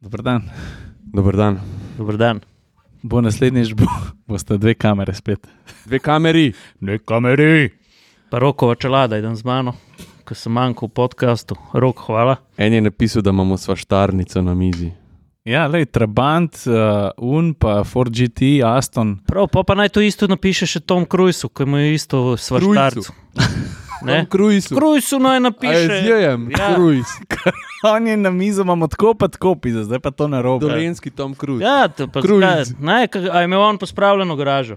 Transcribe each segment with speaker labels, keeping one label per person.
Speaker 1: Dobro dan.
Speaker 2: Dober dan.
Speaker 3: Dobro dan.
Speaker 1: Bo naslednjič, bo, boste dve kamere spet.
Speaker 2: Dve kameri.
Speaker 1: Ne kameri.
Speaker 3: Pa Rokova čelada, idem z mano, ker sem manjkal v podkastu. Rok, hvala.
Speaker 2: En je napisal, da imamo svaštarnico na mizi.
Speaker 1: Ja, lej, Trabant, uh, Un, pa 4GT, Aston.
Speaker 3: Prav, pa, pa naj to isto napiše še Tom Cruisu, ki mu je isto svaštarcu. Ne?
Speaker 2: Krujs.
Speaker 3: Cruisu naj napiše.
Speaker 2: Zjem,
Speaker 3: Ja.
Speaker 2: Krujs.
Speaker 1: On je na mizo, imamo tako pa tako pisa, zdaj pa to na robu.
Speaker 2: Dolenski Tom Cruise.
Speaker 3: Ja, to pa
Speaker 2: Cruise.
Speaker 3: zdaj. Naj, ka- a je imel on pospravljeno garažo.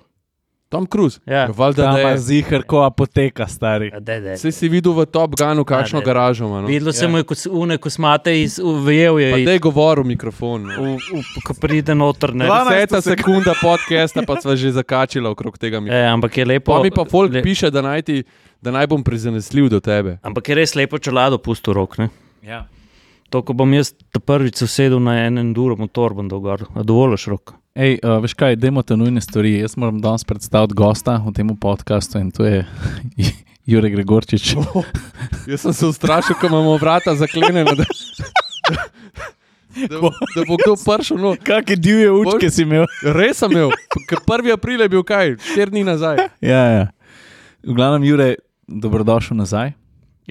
Speaker 2: Tom Cruise.
Speaker 3: Ja.
Speaker 2: Valjda,
Speaker 1: Tam
Speaker 2: da
Speaker 1: je
Speaker 2: je.
Speaker 1: zihar, ko apoteka, stari.
Speaker 3: Ja, daj, daj.
Speaker 2: Saj si videl v Top Gunu, kakšno
Speaker 3: Ja, ne.
Speaker 2: garažo ima. No?
Speaker 3: Videlo se mu je kot une kosmate iz ujel je.
Speaker 2: Pa
Speaker 3: in
Speaker 2: da je govoril v mikrofon. no.
Speaker 3: v- v- Ko pride noter, ne.
Speaker 1: Dva- 12
Speaker 2: Deseta sekunda podcasta pa sva že zakačila okrog tega mikrofona.
Speaker 3: E, ampak je lepo.
Speaker 2: Pa mi pa folk
Speaker 3: le-
Speaker 2: piše, da naj, ti, da naj bom prizanesljiv do tebe.
Speaker 3: Ampak je res lepo čelado pusto rok, ne.
Speaker 1: Ja.
Speaker 3: To, ko bom jaz ta prvič se usedel na en enduro motor, bom dogor. Dovolj rok.
Speaker 1: Ej, uh, veš kaj, dajmo te nujne stvari. Jaz moram danes predstaviti gosta v tem podkastu in to je Jurek Gregorčič.
Speaker 2: Jaz sem se ustrašil, ko imamo vrata zaklenjena. Da, da, da bo kdo prišel. No,
Speaker 1: Kakšne divje
Speaker 2: učke
Speaker 1: si imel?
Speaker 2: Res sem imel, ker 1. april je bil kaj, 4 dni nazaj.
Speaker 1: Ja, ja. V glavnem, Jure, dobrodošel nazaj.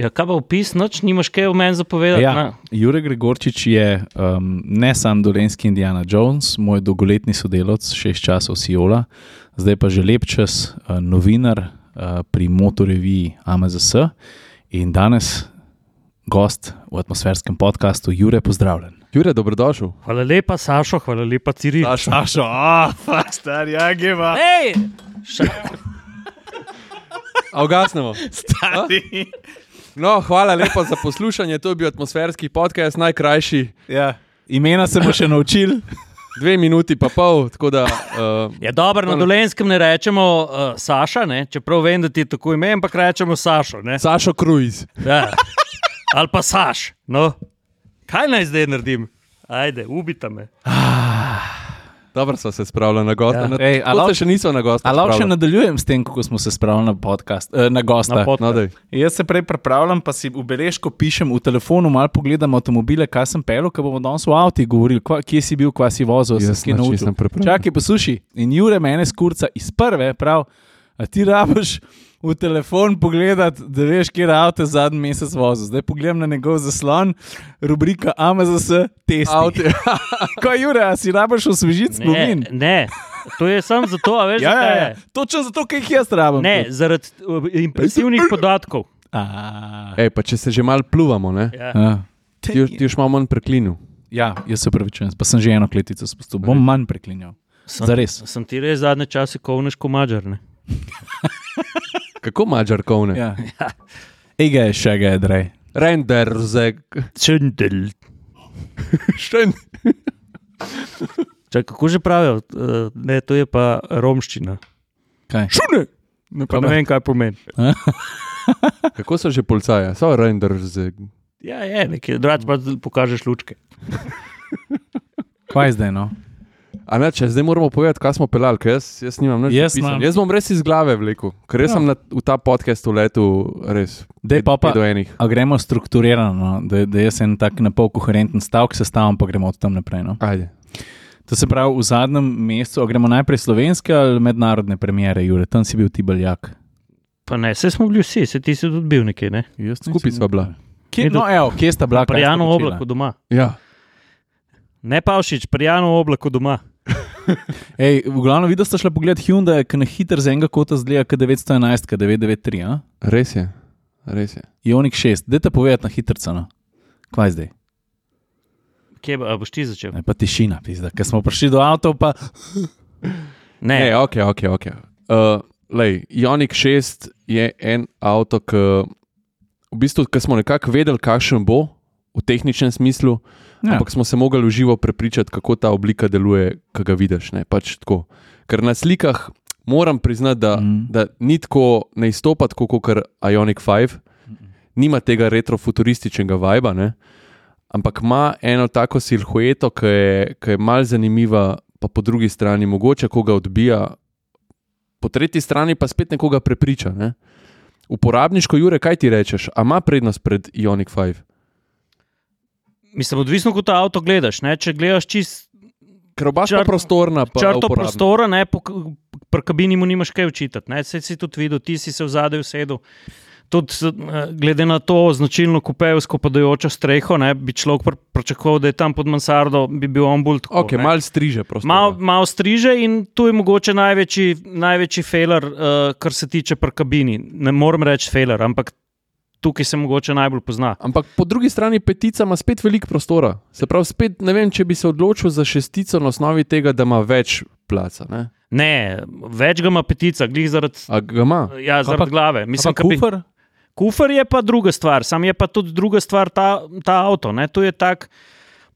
Speaker 3: Ja, kaj pa opis, noč nimaš kaj o meni zapovedati. na?
Speaker 1: Ja, Jure Gregorčič je um, ne sam dolenski Indiana Jones, moj dolgoletni sodelavec, šest časov Siola, zdaj pa že lep čas uh, novinar uh, pri motoreviji AMZS in danes gost v atmosferskem podkastu Jure, pozdravljen.
Speaker 2: Jure, dobrodošel.
Speaker 3: Hvala lepa, Sašo, hvala lepa, Ciril.
Speaker 2: Sašo.
Speaker 1: Sašo, a, oh, star, ja, geva.
Speaker 3: Hej!
Speaker 2: A ugasnemo. No, hvala lepa za poslušanje. To je bil atmosferski podcast, najkrajši,
Speaker 1: Ja. Imena se bo še naučil.
Speaker 2: dve minuti pa pol. Tako da, uh,
Speaker 3: Ja, dobro, na dolenskem ne rečemo uh, Saša, ne? čeprav vem, da ti je tako ime, ampak rečemo Sašo. ne.
Speaker 2: Sašo Krujz.
Speaker 3: Ja. Ali pa Saš. No. Kaj naj zdaj naredim? Ajde, ubita me.
Speaker 2: Dobro sva se spravila na gosta. Ja.
Speaker 3: Ja.
Speaker 1: Ej, a
Speaker 2: Kot
Speaker 1: lahko-
Speaker 2: se še nisva na gosta.
Speaker 1: A lahko še
Speaker 2: spravila.
Speaker 1: nadaljujem s tem, kako smo se spravili na podcast, eh, na gosta.
Speaker 3: Na pod-
Speaker 2: No, daj.
Speaker 1: Jaz se prej pripravljam, pa si v beležko pišem v telefonu, malo pogledam avtomobile, kaj sem pel, kaj bomo danes v avtu govorili, kva, kje si bil, kva si vozil,
Speaker 2: Jaz
Speaker 1: si kaj
Speaker 2: nič
Speaker 1: naučil.
Speaker 2: nisem pripravljen.
Speaker 1: Čakaj, poslušaj. In Jure mene skurca iz prve, prav, a ti rabiš v telefon pogledati, da veš, kje je avto zadnji mesec vozil. Zdaj pogledam na njegov zaslon, rubrika AMZS, testi.
Speaker 2: Avti-
Speaker 1: Kaj, Jure, a si rabiš osvežiti
Speaker 3: Ne,
Speaker 1: spomin?
Speaker 3: ne, to je samo zato, a veš,
Speaker 1: Ja, ja,
Speaker 3: zakaj
Speaker 1: ja.
Speaker 3: je?
Speaker 1: Točno zato, ker jih jaz rabim.
Speaker 3: Ne, zaradi uh, impresivnih podatkov.
Speaker 1: A,
Speaker 2: Ej, pa če se že malo pluvamo, ne?
Speaker 3: Ja.
Speaker 1: a.
Speaker 2: Ti, još- ti još malo manj preklinil.
Speaker 1: Ja, jaz se upravičujem, pa sem že eno kletico spustil, bom manj preklinjal.
Speaker 3: Sem,
Speaker 1: Zares.
Speaker 3: sem ti res zadnje čase kovneš ko mačarne.
Speaker 2: Kako mačar kovne? Ja.
Speaker 1: Ja. Ega je še ga je drej.
Speaker 2: Render ze.
Speaker 3: Čendel.
Speaker 2: Šen.
Speaker 3: Čak, kako že pravijo, Eh, ne, to je pa romščina.
Speaker 1: Kaj?
Speaker 3: Šune! Ne, pa ne vem, kaj pomeni.
Speaker 2: Kako so že policaja? So render ze.
Speaker 3: Ja, je, nekaj, drugače pa pokažeš lučke.
Speaker 1: Kaj zdaj, no?
Speaker 2: A ne, če zdaj moramo povedati, kaj smo pelali, ker jaz, jaz nimam nič.
Speaker 1: Jaz
Speaker 2: zapisano.
Speaker 1: imam.
Speaker 2: jaz bom res iz glave vlekel, ker jaz ja. sem na, v ta podcast uletel res.
Speaker 1: Dej pa pa.
Speaker 2: Do enih.
Speaker 1: A gremo strukturirano, no? da, da jaz en tak napol koherenten stavek sestavim, pa gremo od tam naprej. No?
Speaker 2: Ajde.
Speaker 1: To se pravi, v zadnjem mestu, a gremo najprej slovenske ali mednarodne premjere, Jure, tam si bil ti beljak.
Speaker 3: Pa ne, vse smo bili vsi, se ti si tudi bil nekje, ne?
Speaker 2: Skupaj sva bila.
Speaker 1: Kje, no, evo, kje sta bila? kaj sta
Speaker 3: Prijano
Speaker 1: počela?
Speaker 3: oblako doma.
Speaker 2: Ja.
Speaker 3: Ne Pavšič, prijano oblako doma.
Speaker 1: Ej, v glavnem videl ste šla pogled Hyundai, ki na hiter z enega kota zgleda kot 911, kot 993, a?
Speaker 2: Res je. Res je.
Speaker 1: Ionik 6, dajte povedati na hitrca, no. Kaj zdaj?
Speaker 3: Kje bo- a boš ti začel?
Speaker 1: Ne, pa tišina, pizda. Ker smo prišli do avta, pa
Speaker 2: Ne,
Speaker 3: Ne, ja. ne
Speaker 2: ok, ok. okay. Uh, lej, Jonik 6 je en avto, ki v bistvu, ki smo nekako vedeli, kakšen bo v tehničnem smislu,
Speaker 1: Ja.
Speaker 2: ja. ampak smo se mogli v živo prepričati, kako ta oblika deluje, ki ga vidiš. Ne? Pač tako. Ker na slikah moram priznati, da,
Speaker 1: Mhm.
Speaker 2: mm. da ni tako, ne izstopa tako kot Ionic 5, nima tega retrofuturističnega vibra, ne? ampak ima eno tako silhueto, ki je, ki je malce zanimiva, pa po drugi strani mogoče koga odbija, po tretji strani pa spet nekoga prepriča. Ne? Uporabniško, Jure, kaj ti rečeš, a ima prednost pred Ionic 5?
Speaker 3: Mislim, odvisno, kako ta avto gledaš. Ne? Če gledaš čist
Speaker 2: Ker oba sta
Speaker 3: Črt-
Speaker 2: prostorna, pa
Speaker 3: črto
Speaker 2: uporabna.
Speaker 3: prostora, ne, po, k- pri kabini mu nimaš kaj očitati. Ne? Saj si tudi videl, ti si se v zadju sedel. Tudi s- eh, glede na to značilno kupejsko padajočo streho, ne, bi človek pr- pričakoval, da je tam pod mansardo, bi bil on bolj tako.
Speaker 2: Okay,
Speaker 3: ne.
Speaker 2: Mal striže, prosto.
Speaker 3: Mal, mal striže in tu je mogoče največji, največji failer, uh, kar se tiče pri kabini. Ne morem reči failer, ampak tukaj se mogoče najbolj pozna.
Speaker 2: Ampak po drugi strani petica ima spet veliko prostora. Se pravi, spet ne vem, če bi se odločil za šestico na osnovi tega, da ima več placa. Ne?
Speaker 3: Ne, več ga ima petica, glih zaradi,
Speaker 2: A ga ima?
Speaker 3: ja, zaradi
Speaker 1: Ampak-
Speaker 3: glave. Mislim,
Speaker 1: Mislim,
Speaker 3: ka bi-
Speaker 1: kufr,
Speaker 3: Kufr je pa druga stvar, sam je pa tudi druga stvar ta, ta avto. Ne? To je tak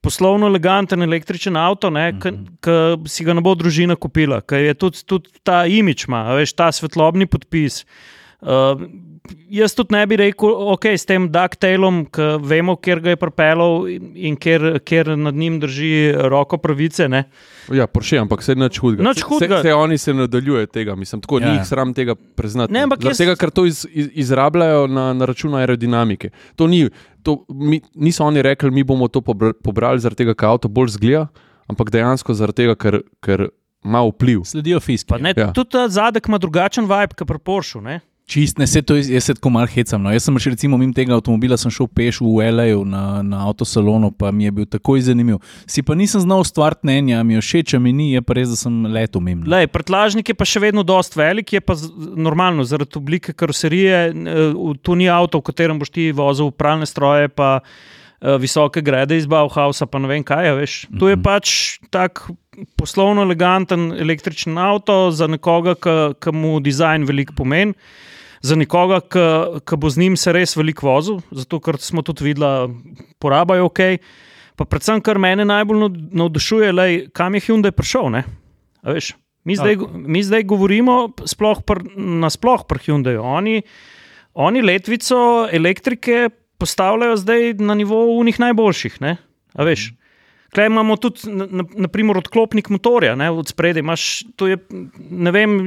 Speaker 3: poslovno eleganten električen avto, ki mm -hmm. si ga ne bo družina kupila, ki je tudi, tudi ta imič, ima, a veš, ta svetlobni podpis. Uh, jaz tudi ne bi rekel, ok, s tem Dugtailom, ki vemo, kjer ga je propeljal in- in kjer, kjer nad njim drži roko pravice. Ne?
Speaker 2: Ja, Porsche, ampak se nič hudega.
Speaker 3: Nič hudega.
Speaker 2: Se, se oni se nadaljujejo tega, mislim, tako
Speaker 1: Ja,
Speaker 2: ja.
Speaker 1: ja.
Speaker 2: njih sram tega priznati.
Speaker 3: Ne, ampak
Speaker 2: Zaradi
Speaker 3: jaz-
Speaker 2: tega, ker to iz, iz, izrabljajo na, na račun aerodinamike. To ni, to, mi, niso oni rekli, mi bomo to pobr- pobrali zaradi tega, ker avto bolj zgleda, ampak dejansko zaradi tega, ker, ker ima vpliv.
Speaker 1: sledijo fiske.
Speaker 3: Pa ne ja.
Speaker 2: Ja.
Speaker 3: Tudi ta zadek ima drugačen vibe, kot pri Poršu. Ne?
Speaker 1: Čist, ne, se to jaz jaz se tako malo hecam. No. Jaz sem še recimo mimo tega avtomobila, sem šel peš v L.A.U. Na, na avtosalonu, pa mi je bil takoj zanimiv. Si pa nisem znal ustvariti mnenja, mi je všeč, a mi ni, je pa res, da sem letel mimo. no.
Speaker 3: Lej, prtlažnik je pa še vedno dost velik, je pa z- normalno zaradi oblike karoserije. n- eh, v- To ni avto, v katerem boš ti vozil pralne stroje, pa eh, visoke grede iz Bauhausa, pa ne vem kaj. a Veš. To je pač tak poslovno eleganten električen avto za nekoga, ki mu dizajn veliko pomeni. Za nekoga, ki bo z njim se res veliko vozil, zato ker smo tudi videli, poraba je ok. Pa predvsem, kar mene najbolj nav- navdušuje, lej, kam je Hyundai prišel. ne? A Veš, mi, zdaj, go- mi zdaj govorimo sploh pr, nasploh pri Hyundaiu. Oni, oni letvico elektrike postavljajo zdaj na nivo unih najboljših. ne? A Veš, Klej imamo tudi, na, na- naprimer, odklopnik motorja, ne, od spredaj. Imaš, to je, ne vem,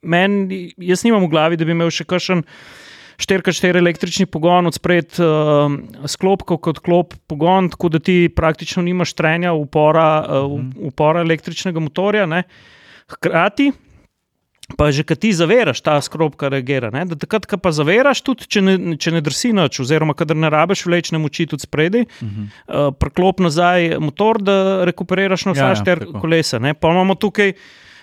Speaker 3: meni, jaz nimam v glavi, da bi imel še kakšen 4x4 električni pogon, od spred uh, sklop kot odklop pogon, tako da ti praktično nimaš trenja, upora, uh,
Speaker 1: Mhm.
Speaker 3: upora električnega motorja. Ne. Hkrati pa že, ki ti zaveraš, ta skrobka reagira. Ne? Da takrat, ko pa zaveraš, tudi če ne, če ne drsi noč, oziroma kadar ne rabiš vlečne moči tudi spredaj, uh
Speaker 1: Mhm.
Speaker 3: -huh. uh, preklop nazaj motor, da rekuperiraš na vsa
Speaker 1: Ja,
Speaker 3: ja,
Speaker 1: ja,
Speaker 3: štiri
Speaker 1: tako.
Speaker 3: kolesa. Ne? Pa imamo tukaj.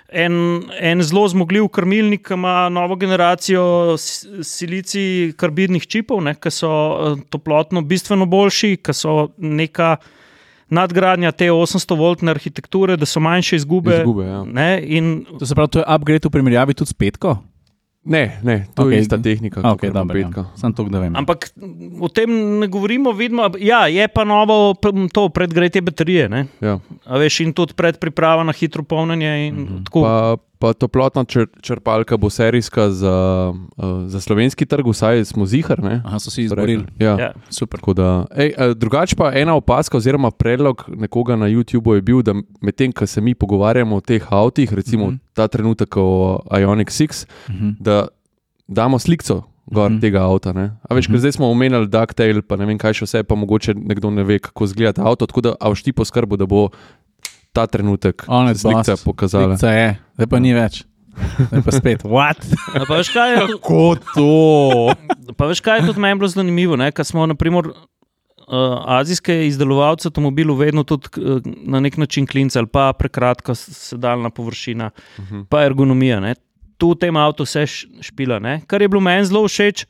Speaker 3: En, en zelo zmogljiv krmilnik, ki ima novo generacijo s- silicij karbidnih čipov, ne, ki so eh, toplotno bistveno boljši, ki so neka nadgradnja te 800-voltne arhitekture, da so manjše izgube.
Speaker 2: Izgube, ja.
Speaker 3: ne, in
Speaker 1: To se pravi, to je upgrade v primerjavi tudi s petko.
Speaker 2: Ne, ne, to okay.
Speaker 1: Okej.
Speaker 2: je ista tehnika,
Speaker 1: A,
Speaker 2: kot
Speaker 1: okay,
Speaker 2: okay,
Speaker 1: dobro,
Speaker 2: petka.
Speaker 1: ja. Sam to, da vem.
Speaker 3: Ampak o tem ne govorimo, vidimo. Ja, je pa novo p- to predgretje baterije. Ne?
Speaker 2: Ja.
Speaker 3: A veš, in tudi predpriprava na hitro polnjenje. In, mm -hmm.
Speaker 1: Uh.
Speaker 3: tako, pa,
Speaker 2: Mhm. Pa, pa toplotna čr, črpalka bo serijska za, uh, za slovenski trg, vsaj smo zihar. Ne?
Speaker 1: Aha, so si izborili.
Speaker 2: Ja.
Speaker 3: ja.
Speaker 2: Ja.
Speaker 1: Super.
Speaker 2: Ej, eh, drugač pa ena opaska oziroma predlog nekoga na YouTubu je bil, da medtem, ko se mi pogovarjamo o teh avtih, recimo uh
Speaker 1: Mhm.
Speaker 2: -huh. ta trenutek o Ionic 6,
Speaker 1: Mhm.
Speaker 2: da damo sliko gor
Speaker 1: Mhm.
Speaker 2: mm. tega avta. Ne? A veš, mm. ker zdaj smo omenjali DuckTale, pa ne vem kaj še vse, pa mogoče nekdo ne ve, kako izgleda ta avto, tako da avš ti poskrbo, da bo ta trenutek
Speaker 1: On je
Speaker 2: slika
Speaker 1: boss.
Speaker 2: pokazala. Ja.
Speaker 1: Slikca je, zdaj pa ni več. Zdaj pa spet. What?
Speaker 3: A Pa, veš, kaj, je tu-
Speaker 1: Kako to?
Speaker 3: pa veš, kaj je tudi meni bilo zanimivo, ne? ker smo naprimer, uh, azijske izdelovalce avtomobilov vedno tudi uh, na nek način klinci ali pa prekratka s- sedalna površina.
Speaker 2: Mhm.
Speaker 3: pa ergonomija. Ne? Tu v tem avtu vse š- špila, ne? kar je bilo meni zelo všeč.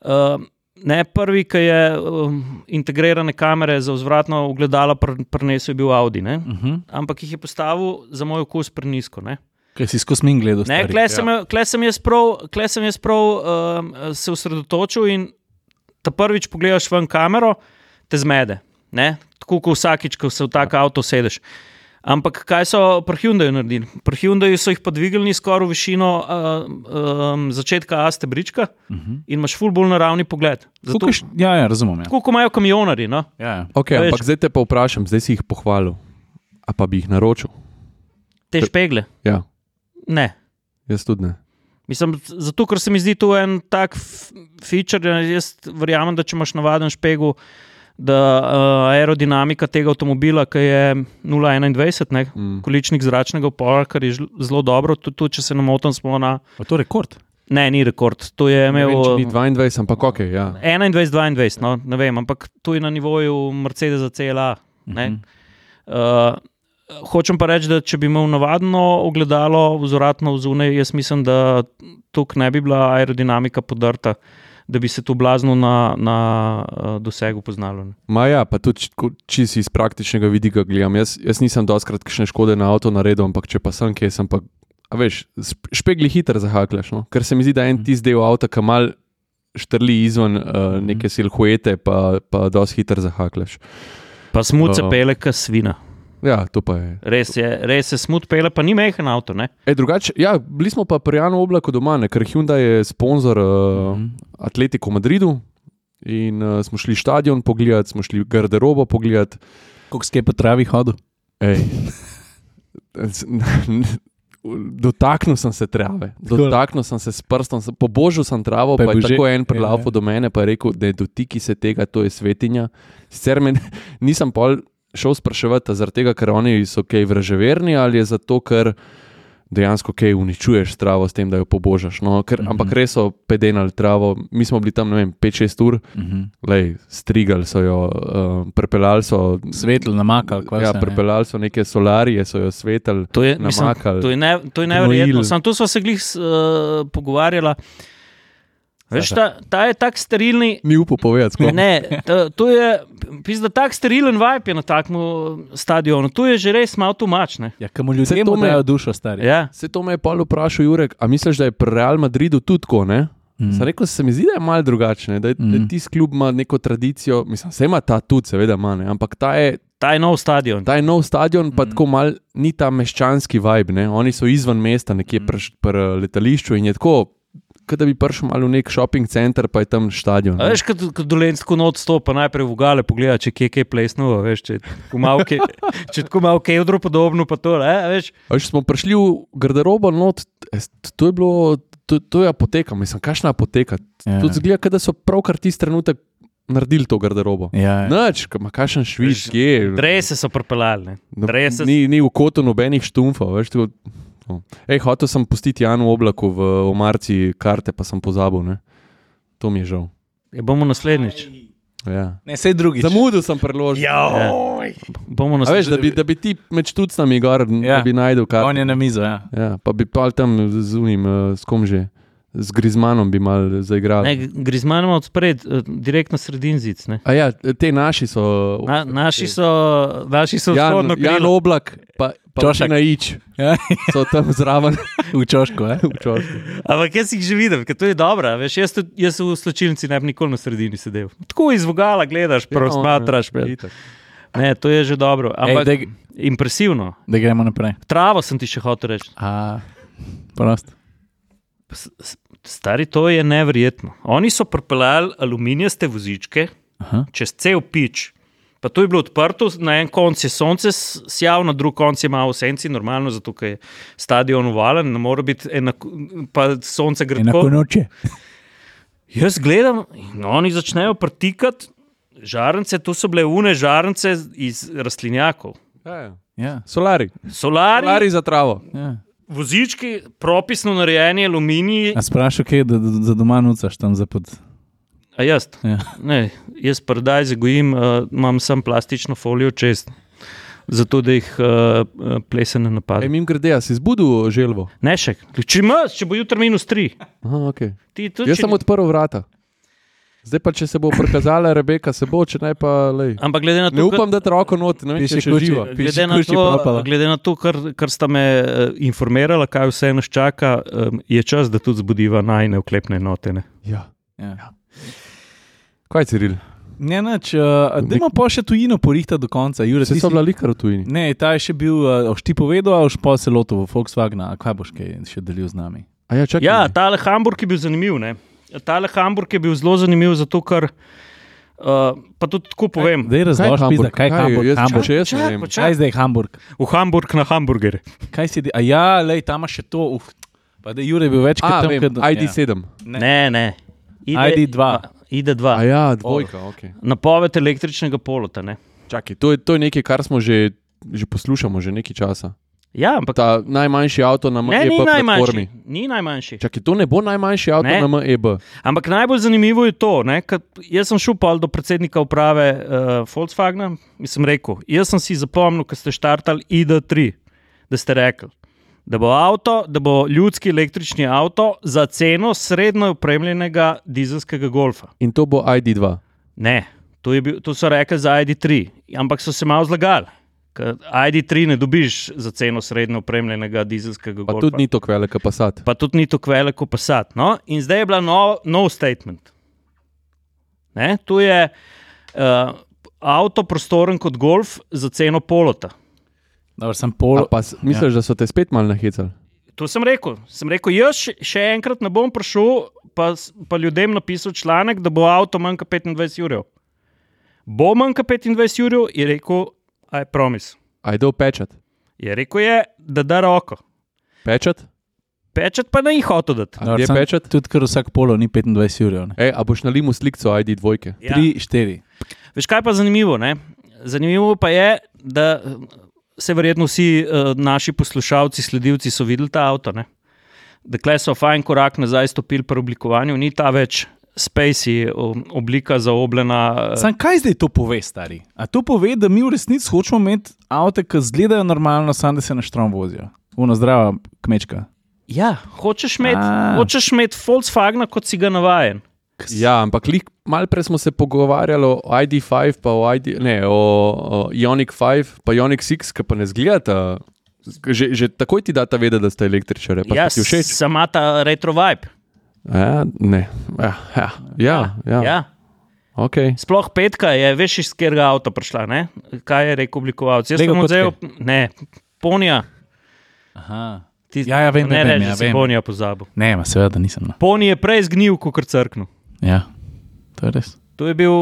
Speaker 3: Uh, ne, prvi, ki je um, integrirane kamere za vzvratno ogledalo pr- prinesel, je bil Audi. Ne?
Speaker 1: Uh -huh.
Speaker 3: Ampak jih je postavil za moj okus prenisko. Ne?
Speaker 1: Kaj si skozi min gledal?
Speaker 3: Ne,
Speaker 1: stari?
Speaker 3: kle sem, ja. kle sem jaz prav, kle sem jaz prav um, se osredotočil in ta prvič pogledaš ven kamero, te zmede. Ne? Tako kot vsakič, ko se v tak avto sedeš. Ampak kaj so pri Hyundaiu naredili? Pri Hyundaiu so jih podvignili skoraj v višino uh, um, začetka Aste Brička uh -huh. in imaš ful bolj naravni pogled.
Speaker 1: Zato...
Speaker 3: Zato,
Speaker 1: Kukaj, ja, ja, razumem. Ja.
Speaker 3: tako kot imajo kamionari. No?
Speaker 1: Ja, ja.
Speaker 2: Okay,
Speaker 3: Veš-
Speaker 2: ampak zdaj te pa vprašam, zdaj si jih pohvalil, a pa bi jih naročil.
Speaker 3: Te špegle?
Speaker 2: Ja,
Speaker 3: Ne.
Speaker 2: jaz tudi ne.
Speaker 3: Mislim, z- zato, ker se mi zdi to en tak f- feature, da jaz verjamem, da če imaš navaden špegel, da uh, aerodinamika tega avtomobila, ki je 0,21, ne,
Speaker 2: Mm.
Speaker 3: količnik zračnega upora, kar je žl- zelo dobro, tudi, tudi če se ne motim, smo na.
Speaker 1: A to je rekord.
Speaker 3: Ne, ni rekord, to je
Speaker 2: Ne
Speaker 3: imel. eh,
Speaker 2: vem, če ni 22, ampak ok. Ja.
Speaker 3: 21, 22, no, ne vem, ampak to je na nivoju Mercedesa CLA. Ne? Uh, hočem pa reči, da če bi imel navadno ogledalo, vzoratno zunaj, jaz mislim, da tukaj ne bi bila aerodinamika podrta, da bi se to blazno na, na uh, dosegu poznalo. Ne?
Speaker 2: Ma ja, pa tudi čisto iz praktičnega vidika gledam. Jaz, jaz nisem doskrat kakšne škode na avto naredil, ampak če pa sem kje, sem pa. A veš, sp- špegli hitro zahaklaš, no? ker se mi zdi, da en tisti del avta, ki mal štrli izven uh, neke silhuete, pa, pa dosti hitro zahaklaš.
Speaker 3: Pa smut se
Speaker 2: Ja.
Speaker 3: pele, ka svina.
Speaker 2: Ja, to pa je.
Speaker 3: Res je, res je smut pele, pa ni mehen avto. Ne?
Speaker 2: E, drugače, ja, bili smo pa pri Janu Oblaku doma, ne? ker Hyundai je sponzor uh,
Speaker 1: Mhm.
Speaker 2: Atletico Madridu. In uh, smo šli stadion pogledat, smo šli garderobo pogledat.
Speaker 1: Kako skaj po travi hodil?
Speaker 2: Ej. Z- Dotaknil sem se trave, dotaknil sem se s prstom, sem- pobožal sem travo,
Speaker 1: Pa je
Speaker 2: pa, pa je
Speaker 1: bil že-
Speaker 2: tako en
Speaker 1: Ja, ja.
Speaker 2: prelavo do mene, pa je rekel, da je dotiki se tega, to je svetinja. Sicer me ne- nisem pol šel spraševati, a zaradi tega, ker oni so kaj vraževerni ali je zato, ker dejansko kaj uničuješ travo s tem, da jo pobožaš. No, ker, ampak res so pedenali travo, mi smo bili tam, ne vem, 5-6 ur,
Speaker 1: Mhm.
Speaker 2: lej, strigali so jo, uh, prepeljali so
Speaker 1: Svetlo namakal, kaj
Speaker 2: Ja, pripeljali so neke solarije, so jo svetili,
Speaker 3: To je, mislim,
Speaker 2: namakali.
Speaker 3: to je, ne, to je
Speaker 2: gnojil.
Speaker 3: neverjetno. Sam tu smo se glih uh, pogovarjali. Veš, ta, ta je tak sterilni,
Speaker 2: Ni upal povedati, kako
Speaker 3: Ne, to, to je pizda, tak sterilen vibe je na takem stadionu. Tu je že res malo tumačne.
Speaker 1: Ja, kamu ljudje
Speaker 2: Saj to
Speaker 1: to
Speaker 2: me-
Speaker 1: dajo dušo, stari.
Speaker 3: Ja.
Speaker 2: Se to me je pol vprašal, Jurek, a misliš, da je pri Real Madridu tudi tako? Ne?
Speaker 1: Mhm.
Speaker 2: Mm. Sem rekel, se mi zdi, da je malo drugačne, da, mm. da
Speaker 1: Mm.
Speaker 2: tisti klub ima neko tradicijo, mislim, se ima ta tudi, seveda ima, ne? ampak ta je,
Speaker 3: Ta je nov stadion.
Speaker 2: ta je nov stadion, mm. pa tako mal ni ta meščanski vibe, ne? oni so izven mesta, nekje mm. pri pr letališču in je tako, kot da bi prišel malo v nek shopping center, pa je tam stadion.
Speaker 3: A veš, kot dolenc tako not stopa, najprej v gale pogleda, če kje je kje plesnulo, veš, če je tako malo ke- če je tako malo kevdro podobno, pa to, ne, a veš.
Speaker 2: A Veš, smo prišli v garderobo, no, t- es- t- to je bilo, to, to je apoteka, mislim, kakšna apoteka.
Speaker 1: Ja.
Speaker 2: Tudi zgleda, kot da so pravkar tisti trenutek naredili to garderobo.
Speaker 1: Ja, ja.
Speaker 2: Noč, ma kakšen švič, je.
Speaker 3: Drese so propeljali.
Speaker 2: No,
Speaker 3: Drese
Speaker 2: Ni, ni v kotu nobenih štumfov, veš. Tako, no. Ej, hotel sem pustiti Janu v oblaku v omarci karte, pa sem pozabil, ne. To mi je žal.
Speaker 3: ja, bomo naslednjič.
Speaker 2: Ja.
Speaker 1: Ne, sej drugi.
Speaker 2: Zamudil sem priložnost.
Speaker 3: Ja. Bomo
Speaker 2: A veš,
Speaker 3: naslednjič.
Speaker 2: da bi, da bi ti med štucami gor, ja. da
Speaker 1: Ja.
Speaker 2: bi najdel karto.
Speaker 1: On je na mizo, ja.
Speaker 2: Ja, pa bi pa tam z unim, eh, s kom že, z Grizmanom bi mal
Speaker 3: Ne,
Speaker 2: zaigrali.
Speaker 3: Grizmanoma odpred, eh, direktno sredin zic, ne.
Speaker 2: A ja, te naši so.
Speaker 3: Na, naši so, naši so
Speaker 2: Jan,
Speaker 3: vzhodno
Speaker 2: Jan
Speaker 3: krilo.
Speaker 2: Oblak, pa, pa
Speaker 1: Čošak.
Speaker 2: še na Ič,
Speaker 1: ja.
Speaker 2: so tam zraven.
Speaker 1: v čošku, ja.
Speaker 2: v Čošku.
Speaker 3: Ampak jaz jih že vidim, ker to je dobro. a Veš, jaz, tudi- jaz v slčilnici ne bi nikoli na sredini sedel. Tako izvogala, gledaš, prav
Speaker 2: Ja,
Speaker 3: smatraš.
Speaker 2: ja,
Speaker 3: Ja,
Speaker 2: itak.
Speaker 3: ne, to je že dobro. Ampak,
Speaker 1: no, Ej,
Speaker 3: Ej,
Speaker 1: daj-
Speaker 3: impresivno.
Speaker 1: Da gremo naprej.
Speaker 3: Travo sem ti še hotel reči.
Speaker 1: A, prost.
Speaker 3: S- s- Stari, to je neverjetno. Oni so propeljali aluminijaste vozičke
Speaker 1: Aha.
Speaker 3: čez cel pič. Pa to je bilo odprto, na en koncu je sonce s- sjalo, na drug koncu je malo v senci, normalno, zato ker je stadion uvalen, ne more biti enako, pa sonce gre tako.
Speaker 1: Enako noče.
Speaker 3: Jaz gledam, in oni začnejo pritikati žarnice, tu so bile une žarnice iz rastlinjakov.
Speaker 2: Ja, ja.
Speaker 1: Ja.
Speaker 2: Solari.
Speaker 3: Solari, Solari.
Speaker 2: Solari za travo.
Speaker 1: Ja.
Speaker 3: vozički, propisno narejeni aluminij.
Speaker 2: Ja.
Speaker 1: A sprašal, kaj je, da, da, da doma nucaš tam zapod.
Speaker 3: A jaz,
Speaker 1: Ja.
Speaker 3: ne, jaz predaj zagojim, uh, imam sem plastično folijo čez, zato da jih uh, plesen ne
Speaker 2: Ej,
Speaker 3: napade.
Speaker 2: mim grede, a si zbudil želvo.
Speaker 3: Ne še, če imaš, če bo jutri minus tri.
Speaker 2: Aha, okay.
Speaker 3: Ti tudi,
Speaker 2: Jaz
Speaker 3: če-
Speaker 2: sem odprl vrata. Zdaj pa, če se bo prikazala Rebeka, se bo, če ne pa lej.
Speaker 3: Ampak glede na to,
Speaker 2: Ne upam, da te roko not, ne vem, če
Speaker 1: Piši
Speaker 2: še
Speaker 1: kuči.
Speaker 2: živa.
Speaker 1: Piši
Speaker 3: Glede na,
Speaker 1: kuči
Speaker 3: to,
Speaker 1: propala.
Speaker 3: glede na to, kar, kar sta me eh, informirala, kaj vse nas čaka, em, je čas, da tudi zbudiva najne oklepne note. Ne?
Speaker 2: Ja.
Speaker 1: Ja.
Speaker 2: Kaj je Ciril?
Speaker 1: Ne, nač, uh, dajmo pa še tujino porihta do konca. Jure,
Speaker 2: Vse
Speaker 1: ti
Speaker 2: so
Speaker 1: si-
Speaker 2: bila likar v tujini.
Speaker 1: Ne, ta je še bil, uh, ti povedal, a boš pa se lotil v Volkswagenu, a kaj boš kaj še delil z nami.
Speaker 2: A ja, čakaj.
Speaker 3: Ja, tale Hamburg je bil zanimiv. Ne? Tale Hamburg je bil zelo zanimiv, zato ker. Uh, pa tudi tako povem,
Speaker 1: Zdaj razloži, pizda, kaj je Hamburg.
Speaker 2: Jaz,
Speaker 1: Hamburg.
Speaker 2: če jaz ne vem.
Speaker 1: Kaj je zdaj Hamburg?
Speaker 3: v Hamburg na hamburger.
Speaker 1: Kaj si di? A ja, lej, tam imaš še to. Uf. Pa ja. da Jure je bil večkrat
Speaker 2: A,
Speaker 1: tam,
Speaker 2: vem,
Speaker 1: kad-
Speaker 2: ID7.
Speaker 3: Ne, ne.
Speaker 1: Ja. ID2.
Speaker 3: ID2.
Speaker 2: A ja, dvojka, ok.
Speaker 3: Napoved električnega polota. Ne?
Speaker 2: Čakaj, to je, to je nekaj, kar smo že, že poslušamo že nekaj časa.
Speaker 3: Ja, ampak
Speaker 2: Ta najmanjši avto na
Speaker 3: ne,
Speaker 2: MEB
Speaker 3: ni
Speaker 2: platformi.
Speaker 3: najmanjši. Ni najmanjši.
Speaker 2: Čakaj, to ne bo najmanjši avto
Speaker 3: Ne.
Speaker 2: na E MEB.
Speaker 3: Ampak najbolj zanimivo je to, ne, ker jaz sem šel pol do predsednika uprave uh, Volkswagna in sem rekel, jaz sem si zapomnil, ko ste štartali ID3, da ste rekli, da bo avto, da bo ljudski električni avto za ceno srednjo opremljenega dizelskega golfa.
Speaker 2: In to bo ID2.
Speaker 3: Ne, to, je bil, to so rekli za ID3, ampak so se malo zlagali. ker ID3 ne dobiš za ceno srednjo opremljenega dizelskega
Speaker 2: Pa
Speaker 3: golfa
Speaker 2: tudi ni tako velik pasat.
Speaker 3: pa tudi ni tako velik kot Passat. No? In zdaj je bila nov no statement. Ne? Tu je uh, avto prostoren kot golf za ceno polota.
Speaker 1: Dobro, sem
Speaker 2: A
Speaker 1: pol,
Speaker 2: Pa, s- misliš, ja. da so te spet malo nahecali?
Speaker 3: To sem rekel. Sem rekel, jaz še- še enkrat ne bom prišel, pa, s- pa ljudem napisal članek, da bo avto manj kot 25 ur. Bo manj kot 25 ur, je rekel, aj promis.
Speaker 2: Ajde, pečat.
Speaker 3: Je rekel, je, da da roko.
Speaker 2: Pečat?
Speaker 3: Pečet pa ne jih hotel dati.
Speaker 2: A Je
Speaker 1: samo
Speaker 2: pečat?
Speaker 1: Tudi ker vsak polo ni 25 ur.
Speaker 2: Ej, E, a boš nalil mu sliko ID2?
Speaker 3: Ja.
Speaker 1: 3, 4.
Speaker 3: Veš kaj je pa zanimivo? Ne? Zanimivo pa je, da se verjetno vsi uh, naši poslušalci, sledilci so videli ta avto. Ne? Dekle so fajn korak nazaj stopili pri oblikovanju, ni ta več spacey o- oblika zaobljena. eh,
Speaker 1: Sam kaj zdaj to pove, stari? A to pove, da mi v resnici hočemo imeti avto, ki izgledajo normalno, samo da se na štrom vozijo. Uno zdrava kmečka.
Speaker 3: Ja, hočeš imeti
Speaker 1: A.
Speaker 3: hočeš imeti Volkswagen, kot si ga navaden.
Speaker 2: Ja, ampak lih, malo prej smo se pogovarjali o ID5, pa o, ID, ne, o, o Ionic 5, pa Ionic 6, ki pa ne zgledata. Že, že takoj ti data vedeti, da ste električari. Ja,
Speaker 3: Ja,
Speaker 2: ti všeč.
Speaker 3: sama ta retro vibe.
Speaker 2: Ja, ne. Ja, ja, ja, ja. ja.
Speaker 3: Ja.
Speaker 2: Okay.
Speaker 3: Sploh petka je, veš, iz katerega avta prišla. Ne? Kaj je rekel oblikovalec? Jaz
Speaker 1: Lego
Speaker 3: sem
Speaker 1: kocke.
Speaker 3: odzel, ne, ponija.
Speaker 1: Aha.
Speaker 3: Ti,
Speaker 1: Ja, ja, vem,
Speaker 3: ne
Speaker 1: vem, vem,
Speaker 3: reči,
Speaker 1: ja,
Speaker 3: da si
Speaker 1: vem.
Speaker 3: ponija pozabil.
Speaker 1: Ne, ma seveda nisem. No.
Speaker 3: Poni je prej zgnil, kot crkno.
Speaker 1: Ja, to je res.
Speaker 3: To je bil,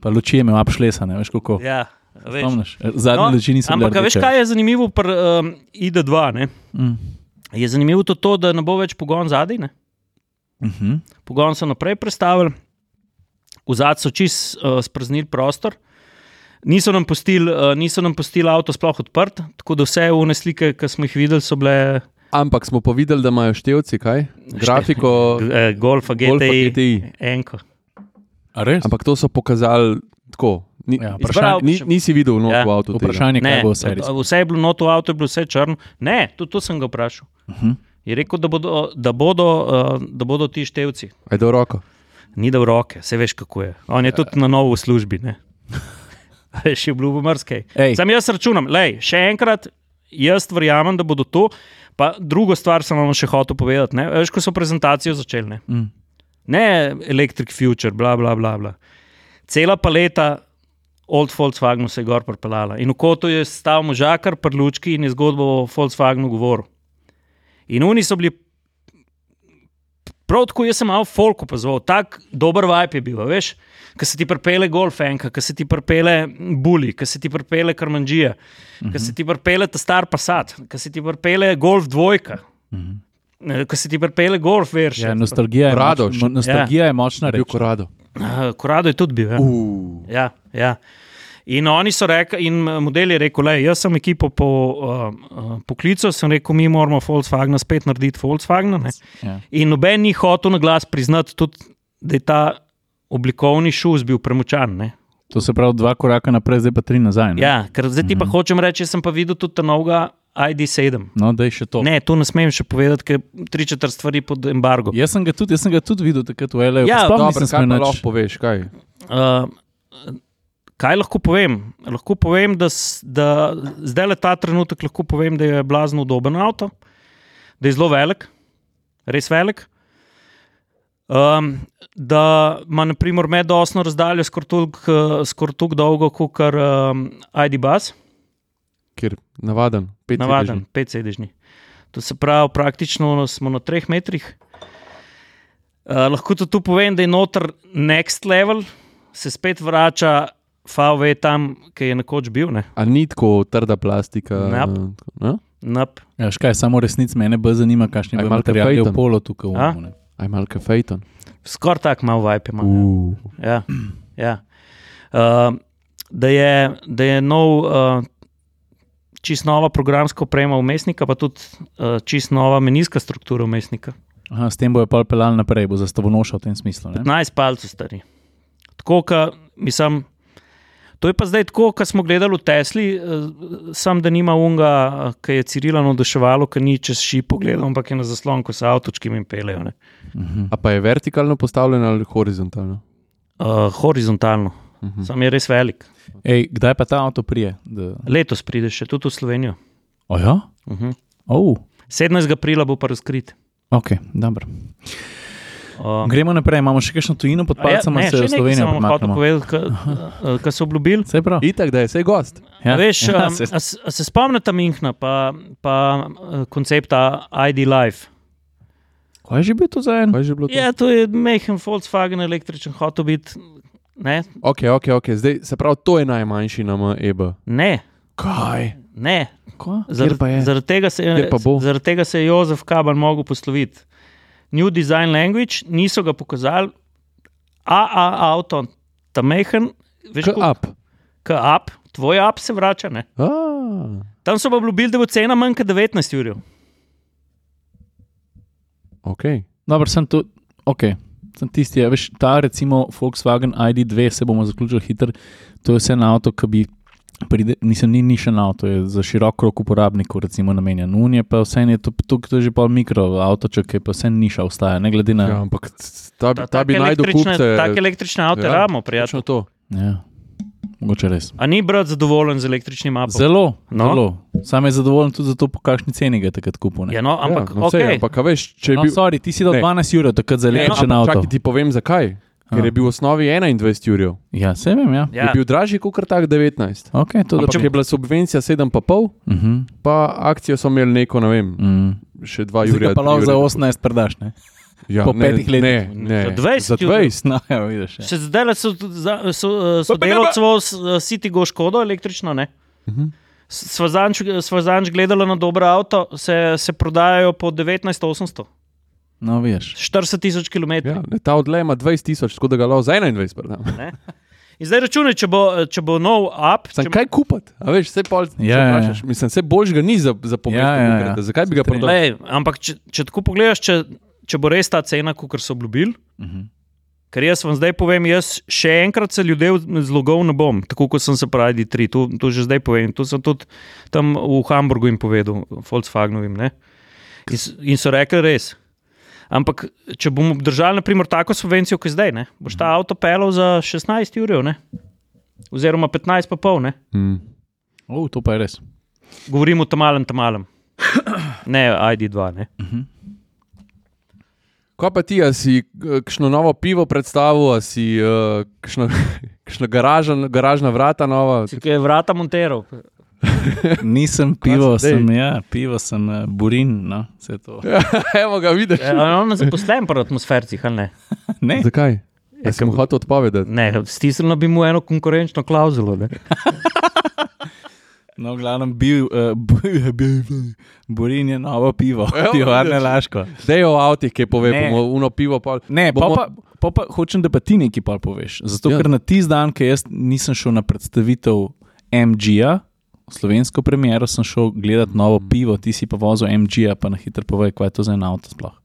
Speaker 1: Pa luči je imel apšlesa, ne veš kako.
Speaker 3: ja, veš.
Speaker 1: Spomniš? Zadnje no, luči niso bile.
Speaker 3: ampak a veš,
Speaker 1: rdeče.
Speaker 3: kaj je zanimivo pri um, ID2? Ne?
Speaker 1: Mm.
Speaker 3: Je zanimivo to, to, da ne bo več pogon zadaj. Ne?
Speaker 1: Mhm.
Speaker 3: Pogon so naprej prestavili, vzad so čist uh, spraznili prostor. Niso nam, pustili, uh, niso nam pustili avto sploh odprt, tako da vse one slike, ki smo jih videli, so bile
Speaker 2: Ampak smo pa videli, da imajo števci kaj? Grafiko,
Speaker 3: eh, Golfa, GTI,
Speaker 2: Golfa GTI.
Speaker 3: enko.
Speaker 1: A res?
Speaker 2: ampak to so pokazali tako. Ni,
Speaker 1: Ja,
Speaker 2: ja,
Speaker 3: vprašanje-
Speaker 2: ni, nisi videl no,
Speaker 3: Ja.
Speaker 2: ja, v avtu. tega.
Speaker 1: Vprašanje, kaj
Speaker 3: Ne,
Speaker 1: bo vse res.
Speaker 3: vse je bilo noto, avto je bilo vse črno. Ne, tudi to sem ga vprašal.
Speaker 1: Mhm.
Speaker 3: Je rekel, da bodo, da bodo, eh, da bodo ti števci.
Speaker 2: Ajde, v roko.
Speaker 3: Ni da v roke, se veš, kako je. On je tudi na novo v službi. ne. Še obljubo mrskej.
Speaker 1: Ej.
Speaker 3: Sam jaz računam, lej, še enkrat, jaz verjamem, da bodo to. Pa drugo stvar sem vam še hotel povedati. ne. Veš, ko so prezentacijo začeli, ne,
Speaker 1: Mm.
Speaker 3: ne Electric Future, bla, bla, bla, bla. Cela paleta Old Volkswagenu se je gor pripeljala. In v kotu je stal možakar, prlučki in je zgodbo o Volkswagenu govoril. In oni so bili. Prav tako jaz sem malo folk opazoval, tako dober vibe je bil, a veš, ki se ti pripele golfenka, ki se ti pripele buli, ki se ti pripele karmanžija, ki se ti pripele ta star pasat, ki se ti pripele golf dvojka, ki se ti pripele golf verš.
Speaker 1: Ja, nostalgija je,
Speaker 2: Radoš.
Speaker 1: moč, mo- nostalgija ja. je močna
Speaker 2: Bil
Speaker 1: reč.
Speaker 2: korado.
Speaker 3: Eh, Korado je tudi bil. Ja.
Speaker 2: Uh.
Speaker 3: Ja, ja. In oni so rekli, in model je rekel, le, jaz sem ekipo po, uh, uh, poklical, sem rekel, mi moramo Volkswagen spet narediti Volkswagen. Ne?
Speaker 1: Ja.
Speaker 3: In noben ni hotel na glas priznati, tudi, da je ta oblikovni šus bil premočan. Ne?
Speaker 1: To se pravi dva koraka naprej, zdaj pa tri nazaj. ne?
Speaker 3: Ja, ker zdaj ti pa hočem reči, jaz sem pa videl tudi ta novega ID7.
Speaker 1: No, da je še to.
Speaker 3: Ne, to ne smem še povedati, ker tri četrt stvari pod embargo.
Speaker 1: Jaz sem ga tudi, jaz sem ga tudi videl takrat v L.A.
Speaker 3: Ja,
Speaker 1: sploh
Speaker 2: Dobro,
Speaker 1: nisem
Speaker 2: kaj
Speaker 1: smel
Speaker 2: pa
Speaker 1: nič.
Speaker 2: lahko poveš? Kaj?
Speaker 3: Uh, kaj lahko povem? Lahko povem, da, s- da zdaj le ta trenutek lahko povem, da je blazno udoben avto, da je zelo velik, res velik. Um, da ima naprimer medosno razdaljo skoraj toliko, eh, skoraj toliko dolgo kot kar um, ID bus,
Speaker 2: Kjer navaden, pet
Speaker 3: navaden, pet sedežni. To se pravi, praktično smo na treh metrih. Uh, lahko tudi tu povem, da je noter next level, se spet vrača FAV tam, ki je nekoč bil. Ne?
Speaker 2: A ni tako trda plastika? eh,
Speaker 3: Ne.
Speaker 2: Ne?
Speaker 3: Nap.
Speaker 1: Ja, škaj, samo resnic mene bolj zanima, kakšni
Speaker 2: A je
Speaker 1: bodo
Speaker 2: malo
Speaker 1: materiali v
Speaker 2: kafejtan?
Speaker 1: polo tukaj. v
Speaker 3: A?
Speaker 1: omu, ne.
Speaker 2: Aj malo kafejton.
Speaker 3: Skoraj tako malo vibe ima. ja. Ja, ja. Uh, da, je, da je nov, uh, čist nova programska oprema umestnika, pa tudi uh, čist nova menijska struktura umestnika.
Speaker 1: Aha, s tem bojo pa pelali naprej, bo zastavonoša v tem smislu. Ne?
Speaker 3: 15 palcev stari. Tako, ka, mislim, to je pa zdaj tako, kot smo gledali v Tesli, eh, sam da nima unga, ki je Cirila navduševalo, ki ni čez šip pogledal, ampak je na zaslon, ko se avtočkim in pelejo. ne.
Speaker 2: A pa je vertikalno postavljen ali horizontalno?
Speaker 3: Uh, horizontalno,
Speaker 2: Mhm.
Speaker 3: sam je res velik.
Speaker 1: Ej, kdaj pa ta avto prije? ja? Da...
Speaker 3: Letos prideš še tudi v Slovenijo.
Speaker 1: Ojo?
Speaker 3: Uh -huh.
Speaker 1: Oh,
Speaker 3: 17. aprila bo pa razkrit.
Speaker 1: ok, dobro.
Speaker 3: Uh,
Speaker 1: Gremo naprej, imamo še kakšno tujino
Speaker 3: ja,
Speaker 1: pod palcem, ali se v Slovenijo
Speaker 3: Slovenija
Speaker 1: premaknemo?
Speaker 3: premaknemo. Kaj eh, so obljubili?
Speaker 1: Vse prav.
Speaker 2: Itak, da je vse gost.
Speaker 3: Ja, Veš,
Speaker 1: ja,
Speaker 3: ja, se... A, s- a se spomnite Minhna, pa, pa eh, koncepta ID Life?
Speaker 1: Kaj je že bil to za en?
Speaker 2: Kaj je že bilo to?
Speaker 3: Ja, to je mehen Volkswagen električen, hotel biti. Ne,
Speaker 2: Ok, ok, ok. Zdaj se pravi, to je najmanjši na E, MEB.
Speaker 3: ne,
Speaker 2: Kaj?
Speaker 3: ne.
Speaker 1: Kaj?
Speaker 3: Zaradi zaradi tega, se je-
Speaker 2: Kjer pa bo?
Speaker 3: zaradi tega se je Jozef Kaban mogel posloviti. New Design Language, niso ga pokazali, AA avto, ta mehen, veš,
Speaker 2: K up.
Speaker 3: K-up, tvoj up se vrača. Ne?
Speaker 2: Ah,
Speaker 3: Tam so pa obljubili, da bo cena manj kot 19 ur.
Speaker 2: ok.
Speaker 1: Dobro, sem tu, ok. Sem tisti, ja, veš, ta recimo Volkswagen ID2, se bomo zaključili hitro. To je vse na avto, ki bi. Pride, nisem ni nišen avto, je za širok krog uporabnikov, recimo namenjen. Nun je pa vse, je to, to, to je že pol mikro avto, če je pa vse niša ostaja, ne glede na.
Speaker 2: Ja,
Speaker 1: Ja.
Speaker 2: ampak c- ta, ta, ta bi
Speaker 3: Take
Speaker 2: najdel
Speaker 3: električne-
Speaker 2: kupce.
Speaker 3: Take električne avto ja,
Speaker 2: Ja,
Speaker 3: ramo,
Speaker 2: Točno
Speaker 3: prijatelj.
Speaker 2: to.
Speaker 1: Ja, mogoče res.
Speaker 3: A ni brat zadovoljen z električnim avtom?
Speaker 1: Zelo,
Speaker 3: No.
Speaker 1: no. zelo. Sam je zadovoljen tudi zato, po kakšni ceni ga je takrat kupil. ne.
Speaker 3: Ja, no, ampak,
Speaker 2: ja, no, sej,
Speaker 3: okay.
Speaker 2: ampak a veš, če je
Speaker 1: No,
Speaker 2: bil.
Speaker 1: sorry, ti si dal
Speaker 2: Ne.
Speaker 1: 12 ur takrat za
Speaker 2: Ne, no,
Speaker 1: električen
Speaker 2: ampak
Speaker 1: avto.
Speaker 2: Čakaj, ti povem zakaj. Ker
Speaker 1: Ja.
Speaker 2: je bil v osnovi 21 ur.
Speaker 1: Ja, se vem, ja.
Speaker 2: Ja.
Speaker 3: ja.
Speaker 2: Je bil dražji kot tak 19.
Speaker 1: Okay, to, da,
Speaker 2: Ampak če je bila subvencija 7,5,
Speaker 1: uh -huh,
Speaker 2: pa akcijo so imeli neko, ne vem,
Speaker 1: mm.
Speaker 2: še 2
Speaker 1: Zdaj
Speaker 2: ur.
Speaker 1: ga pa lahko za 18 predaš, ne?
Speaker 2: ja,
Speaker 1: po
Speaker 2: ne,
Speaker 1: petih letih.
Speaker 2: Ne, ne.
Speaker 3: Za 20
Speaker 2: Za
Speaker 3: jurjev.
Speaker 2: 20.
Speaker 1: No, ja, vidiš. Ja.
Speaker 3: Se zdaj le so, za- so, eh, sodelavcev s Citigo škodo električno, ne?
Speaker 2: Mhm.
Speaker 3: S- Sva zanč, sva zanč gledala na dobro avto, se, se prodajajo po 19,800,
Speaker 1: No, vidiš.
Speaker 3: 40 tisoč km.
Speaker 2: Ja, ne, ta odle ima 20 tisoč, tako da ga lahko za 21 prodam.
Speaker 3: In zdaj računaj, če bo, če bo nov up,
Speaker 2: Sam
Speaker 3: če,
Speaker 2: kaj kupiti, a veš, vse pol,
Speaker 1: Ja, ja,
Speaker 2: ja,
Speaker 1: ja.
Speaker 2: vprašaš. Mislim, vse bož ga ni za, za pomembno.
Speaker 1: Ja, ja, ja.
Speaker 2: Ja, ja. Zakaj bi ga
Speaker 1: Se strinjam.
Speaker 2: prodal?
Speaker 3: lej, ampak če, če tako pogledaš, če, če bo res ta cena, kot so obljubili,
Speaker 1: Uh -huh.
Speaker 3: Ker jaz vam zdaj povem, jaz še enkrat se ljudi zlogov ne bom, tako kot sem se pravi, tri, to, to že zdaj povem. To sem tudi tam v Hamburgu jim povedal, Volkswagenovim. Ne? In, s- in so rekli res. Ampak, če bomo obdržali, naprimer, tako subvencijo, kot je zdaj, ne? boš ta avto pelal za 16 ur, oziroma 15, pa pol, ne?
Speaker 2: Mm.
Speaker 1: O, to pa je res.
Speaker 3: govorim o tem malem, tem malem. Ne, ID2. Ne?
Speaker 2: Kaj pa ti, a si eh, kakšno novo pivo predstavil, a si uh, kakšno, kakšno garažen, garažna vrata nova?
Speaker 3: Si kaj vrata monterov.
Speaker 1: Nisem
Speaker 2: pivo
Speaker 1: pivo,
Speaker 2: si sem,
Speaker 1: sem, ja, pivo sem uh, burin, no, vse to.
Speaker 2: Evo ga, vidiš.
Speaker 3: Ja, on je zaposlen pri atmosfercih, ali ne?
Speaker 1: Ne, Ja,
Speaker 2: Zakaj? Jaz sem mu hotel odpovedati.
Speaker 3: Ne, stisnilo bi mu eno konkurenčno klauzulo. Ne?
Speaker 1: no, glavno, bil, uh, bil, burin je novo pivo,
Speaker 2: Evo,
Speaker 1: pivovarne
Speaker 2: Ja, vidiš.
Speaker 1: laško.
Speaker 2: Dej o avtih, ki pove,
Speaker 1: Ne.
Speaker 2: bomo uno pivo pol.
Speaker 1: Ne,
Speaker 2: Bomo-
Speaker 1: bomo... pa, pa, pa, pa hočem, da pa ti nekaj pa poveš. Zato,
Speaker 2: Ja.
Speaker 1: ja. ker na tisti dan, ki jaz nisem šel na predstavitev MG-ja, slovensko premjero, sem šel gledati novo
Speaker 2: Mm.
Speaker 1: pivo, ti si pa vozil MG-ja, pa na hitro povej, kaj je to za en avto sploh.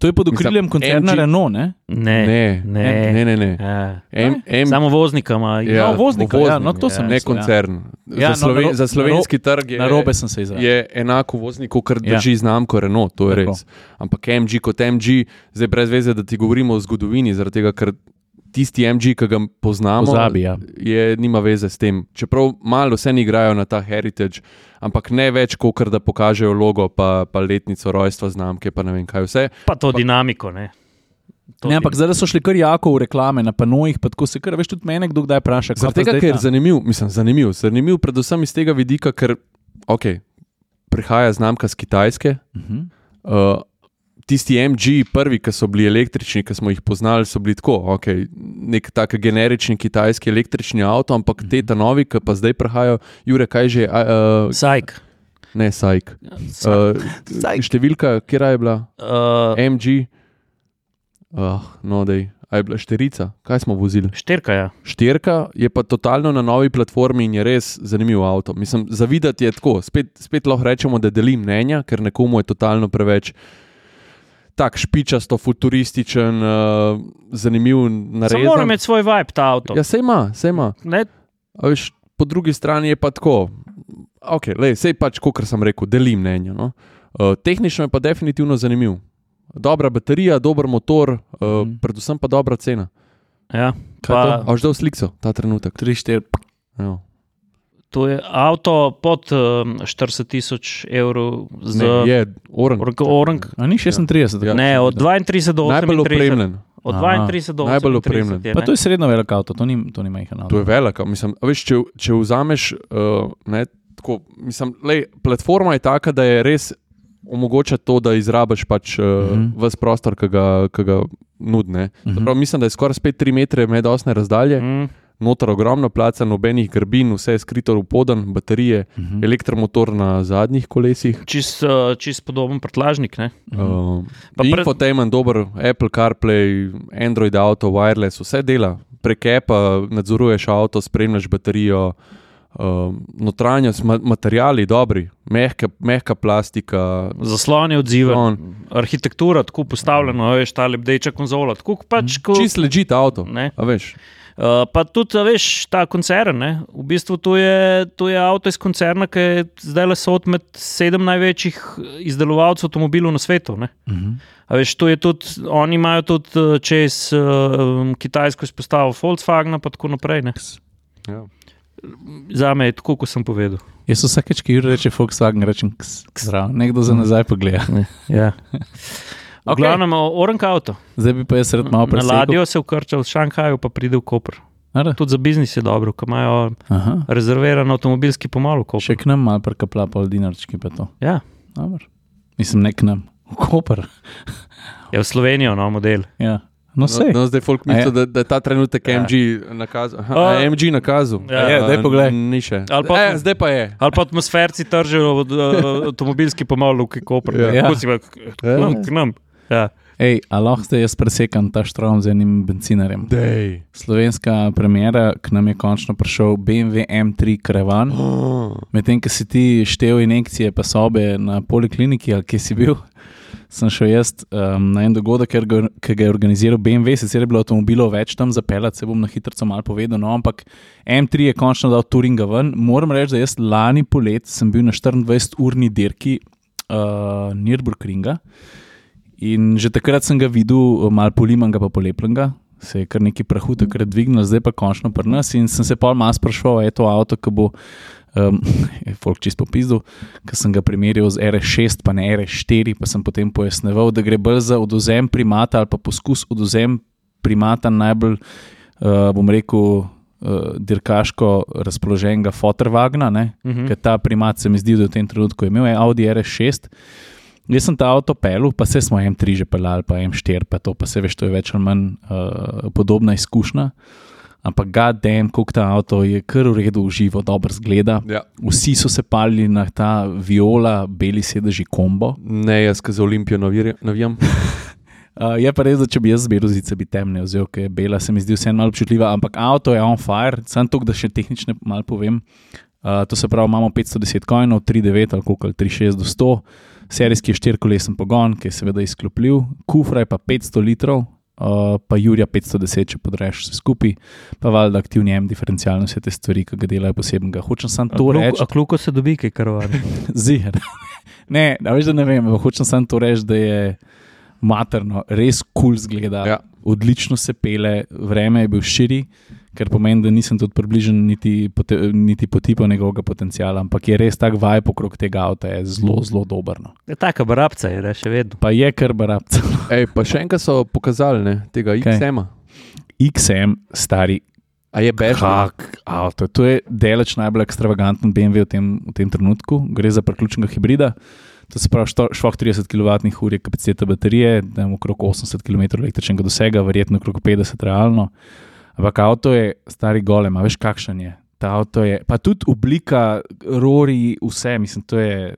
Speaker 1: To je pod
Speaker 2: Mislim,
Speaker 1: okriljem koncerna
Speaker 2: MG
Speaker 1: MG... Renault, ne?
Speaker 3: Ne,
Speaker 2: Ne,
Speaker 3: ne.
Speaker 2: ne, ne. ne.
Speaker 3: Ja.
Speaker 2: M, M,
Speaker 3: Samo voznika ima.
Speaker 2: Ja,
Speaker 1: no, voznika,
Speaker 2: voznik,
Speaker 1: ja, no, to
Speaker 3: ja.
Speaker 1: sem
Speaker 2: ne
Speaker 1: mislil, ja.
Speaker 2: koncern.
Speaker 1: Ja,
Speaker 2: Ja,
Speaker 1: no,
Speaker 2: za, sloven,
Speaker 1: naro-
Speaker 2: za slovenski trg je.
Speaker 1: Na robe sem se izrazil.
Speaker 2: je enako vozniku, kar
Speaker 1: Ja.
Speaker 2: drži ja. znamko Renault, to je
Speaker 1: Tako.
Speaker 2: Tako. res. Ampak MG kot MG, zdaj brez veze, da ti govorimo o zgodovini, zaradi tega, ker tisti MG, ki ga poznamo,
Speaker 1: Pozabi, ja.
Speaker 2: je, nima veze s tem. Čeprav malo vse igrajo na ta heritage, ampak ne več, kot da pokažejo logo, pa, pa letnico rojstva znamke, pa ne vem kaj vse.
Speaker 3: Pa to dinamiko. Ne. To
Speaker 1: Ne, ampak zdaj so šli kar jako v reklame, na panojih, pa tako se kar veš, tudi mene kdo kdaj vpraša. kaj pa
Speaker 2: Zaradi tega,
Speaker 1: zdaj
Speaker 2: ker je
Speaker 1: ta?
Speaker 2: zanimiv, mislim, zanimiv, zanimiv predvsem iz tega vidika, ker okay, prihaja znamka z Kitajske.
Speaker 1: Mhm.
Speaker 2: Uh, tisti MG, prvi, ki so bili električni, ki smo jih poznali, so bili tako, okay, nek tak generični kitajski električni avto, ampak
Speaker 1: Mhm.
Speaker 2: te ta novi, ki pa zdaj prihajajo, Jure, kaj že, uh,
Speaker 3: Sajk.
Speaker 2: ne
Speaker 1: Ja,
Speaker 2: Eh, Sajk.
Speaker 3: Sajk. Eh,
Speaker 2: Uh, številka, kje je bila?
Speaker 3: Uh,
Speaker 2: MG. Uh, no, da je bila šterica, kaj smo vozili.
Speaker 3: Šterka je.
Speaker 2: Štirka je pa totalno na novi platformi in je res zanimiv avto. Mislim, zavidati je tako. Spet, spet lahko rečemo, da deli mnenja, ker nekomu je totalno preveč. Tak špičasto, futurističen, uh, zanimiv,
Speaker 3: Samo mora
Speaker 2: narejen.
Speaker 3: imeti svoj vibe ta avto.
Speaker 2: Ja, se ima, se ima.
Speaker 3: Ne,
Speaker 2: A Veš, po drugi strani je pa tako. Okay, lej, sej pač, kot sem rekel, delim mnenje. No? Uh, tehnično je pa definitivno zanimiv. Dobra baterija, dober motor, uh,
Speaker 1: Mhm.
Speaker 2: mm. predvsem pa dobra cena.
Speaker 3: ja.
Speaker 1: Kaj
Speaker 3: Pa-
Speaker 1: to?
Speaker 2: A že dal sliko ta trenutek? Ja.
Speaker 1: 3-4,
Speaker 2: Evo.
Speaker 3: To je avto pod um, 40 tisoč evrov
Speaker 2: Ne,
Speaker 3: za
Speaker 2: je orang.
Speaker 3: orang. orang
Speaker 1: a ni 36.
Speaker 2: Ja.
Speaker 3: ne, od 32 do
Speaker 2: Najbolj
Speaker 3: 38.
Speaker 2: opremljen.
Speaker 3: Od
Speaker 1: Aha.
Speaker 3: 32 do
Speaker 2: Najbolj
Speaker 3: 38 je,
Speaker 2: opremljen.
Speaker 3: ne.
Speaker 1: Pa to je srednjo velik avto, to ni, to ni majhen avto.
Speaker 2: To je velika. Mislim, a veš, če, če vzameš, uh, ne, tako, mislim, lej, platforma je taka, da je res omogoča to, da izrabiš pač, uh, uh
Speaker 1: Mhm.
Speaker 2: -huh. vse prostor, ki ga, ki ga nudne.
Speaker 1: Mhm.
Speaker 2: Prav, mislim, da je skoraj spet 3 metre medosne razdalje, mm.
Speaker 3: Mm,
Speaker 2: noter ogromno placa, nobenih grbin, vse je skrito v podan, baterije,
Speaker 1: Mhm.
Speaker 2: elektromotor na zadnjih kolesih.
Speaker 3: čist, uh, čist podoben prtlažnik. ne.
Speaker 2: Uh,
Speaker 3: Mhm. Pa pred-
Speaker 2: Infotainment, dober, Apple CarPlay, Android auto, wireless, vse dela. Prek appa nadzoruješ avto, spremljaš baterijo, uh, notranjost, ma materijali dobri, mehka, mehka plastika.
Speaker 3: Zaslon je odziven,
Speaker 2: Zaslon.
Speaker 3: arhitektura tako postavljena, a veš, ta lebdeča konzola. Tako kot pač, ko,
Speaker 2: Čist ležite avto.
Speaker 3: Ne.
Speaker 2: a Veš,
Speaker 3: Uh, pa tudi, a veš, ta koncern. Ne? V bistvu to je, to je avto iz koncerna, ki je zdaj le sod med sedem največjih izdelovalcev avtomobilov na svetu. ne.
Speaker 1: Mhm.
Speaker 3: A veš, to je tudi, oni imajo tudi eh, čez uh, Kitajsko izpostavo Volkswagen, pa tako naprej. Ne?
Speaker 2: ja.
Speaker 3: Za me je tako, kot sem povedal.
Speaker 1: Jaz vsakeč, ki Jure reče Volkswagen, rečem, ks, zdrav, nekdo
Speaker 3: Mhm.
Speaker 1: za nazaj pogleda.
Speaker 3: Ja.
Speaker 1: Okej.
Speaker 3: Okay. Glavno imamo oranka avto.
Speaker 1: Zdaj bi pa jaz rad malo
Speaker 3: Na
Speaker 1: presekal.
Speaker 3: ladjo se vkrča v Šanghaju, pa pride v Koper.
Speaker 1: Ara?
Speaker 3: Tudi za biznis je dobro, ker imajo
Speaker 1: Aha.
Speaker 3: rezerviran avtomobilski pomal v Koper.
Speaker 1: Še k nam malo prekapla, pa dinarčki pa to.
Speaker 3: Ja.
Speaker 1: Dobar. Mislim, ne k nam, v Koper.
Speaker 3: Je v Slovenijo nov model.
Speaker 1: Ja. No,
Speaker 2: no,
Speaker 1: sej.
Speaker 2: no, zdaj folk misli,
Speaker 1: A ja.
Speaker 2: da, da je ta trenutek
Speaker 3: Ja.
Speaker 2: MG nakazal. Aha,
Speaker 3: A-
Speaker 2: a je MG nakazal.
Speaker 3: Ja.
Speaker 2: A,
Speaker 1: Ja, daj poglej.
Speaker 2: Ni še.
Speaker 3: Ali pa-
Speaker 2: e, zdaj pa je.
Speaker 3: Ali pa atmosferci tržijo od, eh, avtomobilski pomal v Koper.
Speaker 1: Ja.
Speaker 3: Tako si pa, k nam. Ja.
Speaker 1: Ej, a lahko zdaj jaz presekam ta štrom z enim bencinarjem.
Speaker 2: Dej.
Speaker 1: Slovenska premjera, k nam je končno prišel BMW M3 Krevan.
Speaker 2: Oh.
Speaker 1: Medtem, ko si ti štev injekcije, pa sobe na polikliniki, ali kje si bil, sem šel jaz um, na en dogodek, ker ga- ki ga je organiziral BMW, sicer je bilo avtomobilov več tam zapeljati, se bom na hitro malo povedal, no, ampak M3 je končno dal Turinga ven. Moram reči, da jaz lani polet sem bil na 24-urni dirki uh, Nürburgringa in že takrat sem ga videl, eh, malo polimanga, pa polepljenega. Se je kar neki prahu takrat dvignil, zdaj pa končno pri nas. In sem se pol malo sprašoval, a je to avto, ki bo Um, je Folk čist popizdal, ker sem ga primerjal z R6, pa ne R4, pa sem potem pojasneval, da gre bolj za oduzem primata ali pa poskus oduzem primata najbolj, uh, bom rekel, uh, dirkaško razpoloženega Fotorvagna, ne,
Speaker 3: Mhm.
Speaker 1: ker ta primat se mi zdi, da je v tem trenutku imel, je Audi RS6. Jaz sem ta avto pel, pa se smo M3 že pelali, pa M4, pa to, pa se veš, to je več ali manj uh, podobna izkušnja. Ampak, gadem, kako ta avto je kar v redu, uživo, dobro zgleda.
Speaker 2: Ja.
Speaker 1: Vsi so se palili na ta viola, beli sedeži kombo.
Speaker 2: Ne, jaz ki za Olimpijo navir- navijam.
Speaker 1: Uh, je pa res, da če bi jaz zbiral zice, bi temne vzel, ker je bela, se mi zdi vseeno malo občutljiva, ampak avto je on fire, sem to, da še tehnične malo povem. Uh, to se pravi, imamo 510 kojnov, 3,9 ali koliko, ali 3,6 do 100, serijski je štirkolesen pogon, ki je seveda izklopljiv, kufra je pa 500 litrov, uh, pa Jurija 510, če podreš vse skupaj, pa valjda aktivni M, diferencialno vse te stvari, ki ga delajo posebnega. Hočem samo to reči.
Speaker 3: A kljub se dobi, kaj karovane.
Speaker 1: Ziger. Ne, a veš, da ne vem, ampak hočem samo to reči, da je materno, res kul cool zgleda.
Speaker 2: Ja.
Speaker 1: Odlično se pele, vreme je bil širi, kar pomeni, da nisem tudi približen niti, pote, niti potipa njegovega potenciala, ampak je res tak vibe okrog tega avta, je zelo, zelo dober. No.
Speaker 3: Je Ja, taka barabca, je ne, še vedno.
Speaker 1: Pa je kar barabca.
Speaker 2: Ej, pa še enkrat so pokazali ne, tega
Speaker 1: Kaj?
Speaker 2: XM-a.
Speaker 1: XM, stari,
Speaker 2: A je bež?
Speaker 1: kak avto. To je deleč najbolj ekstravaganten BMW v tem, v tem trenutku. Gre za priključnega hibrida. To se pravi, što- švah 30 kWh je kapaciteta baterije, da ima okrog 80 km električnega dosega, verjetno okrog 50 realno. Ampak avto je stari golem, a veš kakšen je. Ta avto je, pa tudi oblika, rori, vse, mislim, to je.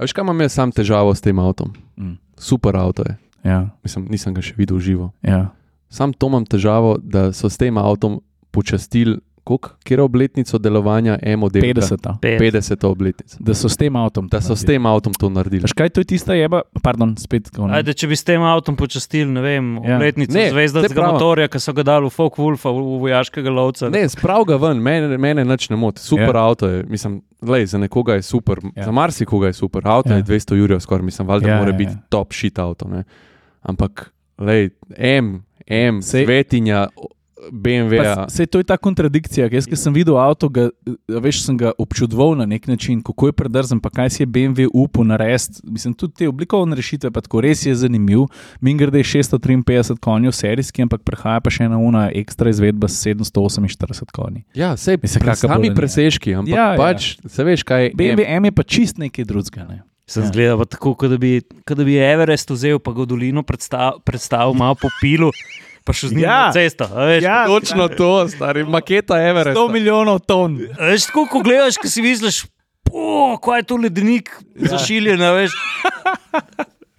Speaker 2: Veš, kaj imam jaz sam težavo s tem avtom?
Speaker 1: Mm.
Speaker 2: Super avto je.
Speaker 1: Ja,
Speaker 2: Mislim, nisem ga še videl v živo.
Speaker 1: ja.
Speaker 2: Sam to imam težavo, da so s tem avtom počastili, koliko je obletnico delovanja M-odela?
Speaker 1: 50.
Speaker 2: 50. obletnico.
Speaker 1: Da so s tem avtom. to
Speaker 2: Da so s
Speaker 1: naredili.
Speaker 2: tem avtom to naredili.
Speaker 1: Veš kaj, to je tista jeba, pardon, spet tako.
Speaker 3: Ajde, če bi s tem avtom počastili, ne vem,
Speaker 1: Ja.
Speaker 3: obletnico
Speaker 2: Ne,
Speaker 3: ja.
Speaker 2: saj
Speaker 3: zvezdarskega
Speaker 2: pravim.
Speaker 3: motorja, ki so ga dali v Folk Wolfa, v v vojaškega lovca.
Speaker 2: Ne, sprav ga ven, mene, mene nič ne moti. Super
Speaker 1: Ja.
Speaker 2: yeah. avto je, mislim, lej, za nekoga je super,
Speaker 1: Ja.
Speaker 2: yeah. za marsikoga je super. Avto
Speaker 1: Ja.
Speaker 2: yeah. je 200 jurjev skoraj, mislim, valjda
Speaker 1: Ja,
Speaker 2: yeah, mora
Speaker 1: ja,
Speaker 2: yeah. biti
Speaker 1: ja.
Speaker 2: top shit avto. Ne? Ampak, lej, M, M,
Speaker 1: Sej-
Speaker 2: svetinja, BMW. -ja.
Speaker 1: Vse to je ta kontradikcija. ker Jaz, ki sem videl avto, ga, eh, veš, sem ga občudoval na nek način, kako je predrzen, pa kaj si je BMW upal narediti. Mislim, tudi te oblikovne rešitve, pa tako res je zanimiv. Min grede je 653 konjev serijski, ampak prihaja pa še ena una ekstra izvedba s 748 konji.
Speaker 2: Ja, sej,
Speaker 1: Mislim,
Speaker 2: pre,
Speaker 1: kaka
Speaker 2: sami
Speaker 1: bolenja.
Speaker 2: presežki, ampak
Speaker 1: Ja, ja.
Speaker 2: ja, pač, ja. se veš, kaj je.
Speaker 1: BMW M
Speaker 2: M.
Speaker 1: je pa čist nekaj drugega. Ne?
Speaker 3: Sem
Speaker 1: Ja.
Speaker 3: zgledal pa tako, kot da bi, kot da bi Everest vzel, pa ga v dolino predstavil, predstavil malo po pilu, pa še z njim
Speaker 1: Ja.
Speaker 3: ja. na cesto. a Veš,
Speaker 1: Ja.
Speaker 2: Točno to, stari, maketa Everest.
Speaker 1: 100 milijonov ton.
Speaker 3: a veš tako, ko gledaš, ki si misliš, "Po, kaj je to ledenik, ja. zašiljen, a veš.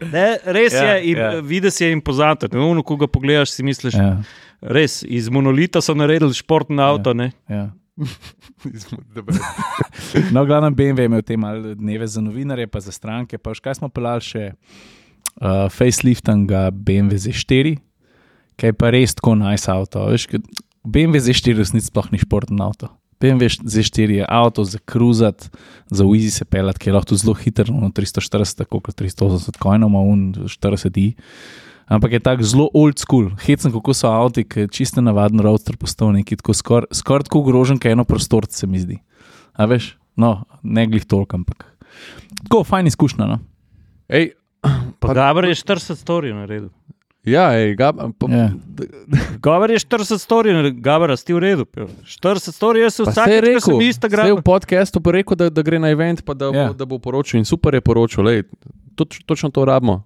Speaker 3: Ne, res
Speaker 1: Ja,
Speaker 3: ja, je, in,
Speaker 1: ja.
Speaker 3: ja. vidiš je impozanten. Uno, ko ga pogledaš, si misliš, ja.
Speaker 1: Ja,
Speaker 3: res iz monolita so naredili športno avto. Ja.
Speaker 1: ja.
Speaker 2: Dobro.
Speaker 1: No, glavno BMW je imel te male dneve za novinarje, pa za stranke. Pa še kaj smo pelali še uh, faceliftinga BMW Z4, ki je pa res tako najs nice avto. Veš, ke- BMW Z4 v resnici sploh ni športno avto. BMW Z4 je avto za kruzat, za uizi se pelat, ki je lahko tudi zelo hiter, no 340, tako kot 380 kojnov, ima un 40 i. Ampak je tako zelo old school, hecen, kako so avti, ki je čisto navaden roadster postal neki, tako skoraj skor tako grožen, kot eno prostorce, se mi zdi. A veš, no, ne glih toliko, ampak. Tako, fajn izkušnja. No?
Speaker 2: Ej,
Speaker 3: Pa, Gabr je 40 storil naredil.
Speaker 2: ja, ej, gab, pa,
Speaker 1: Ja.
Speaker 3: Gabr je 40 storil, Gabr, si ti v redu. pil. 40 storil, jaz se
Speaker 2: Pa se je
Speaker 3: vsakeč, ko
Speaker 2: rekel,
Speaker 3: sem
Speaker 2: se je
Speaker 3: Instagram.
Speaker 2: v podkastu pa rekel, da, da gre na event, pa da,
Speaker 1: Ja.
Speaker 2: yeah. bo, da bo poročil in super je poročil. Lej, toč, točno to rabimo.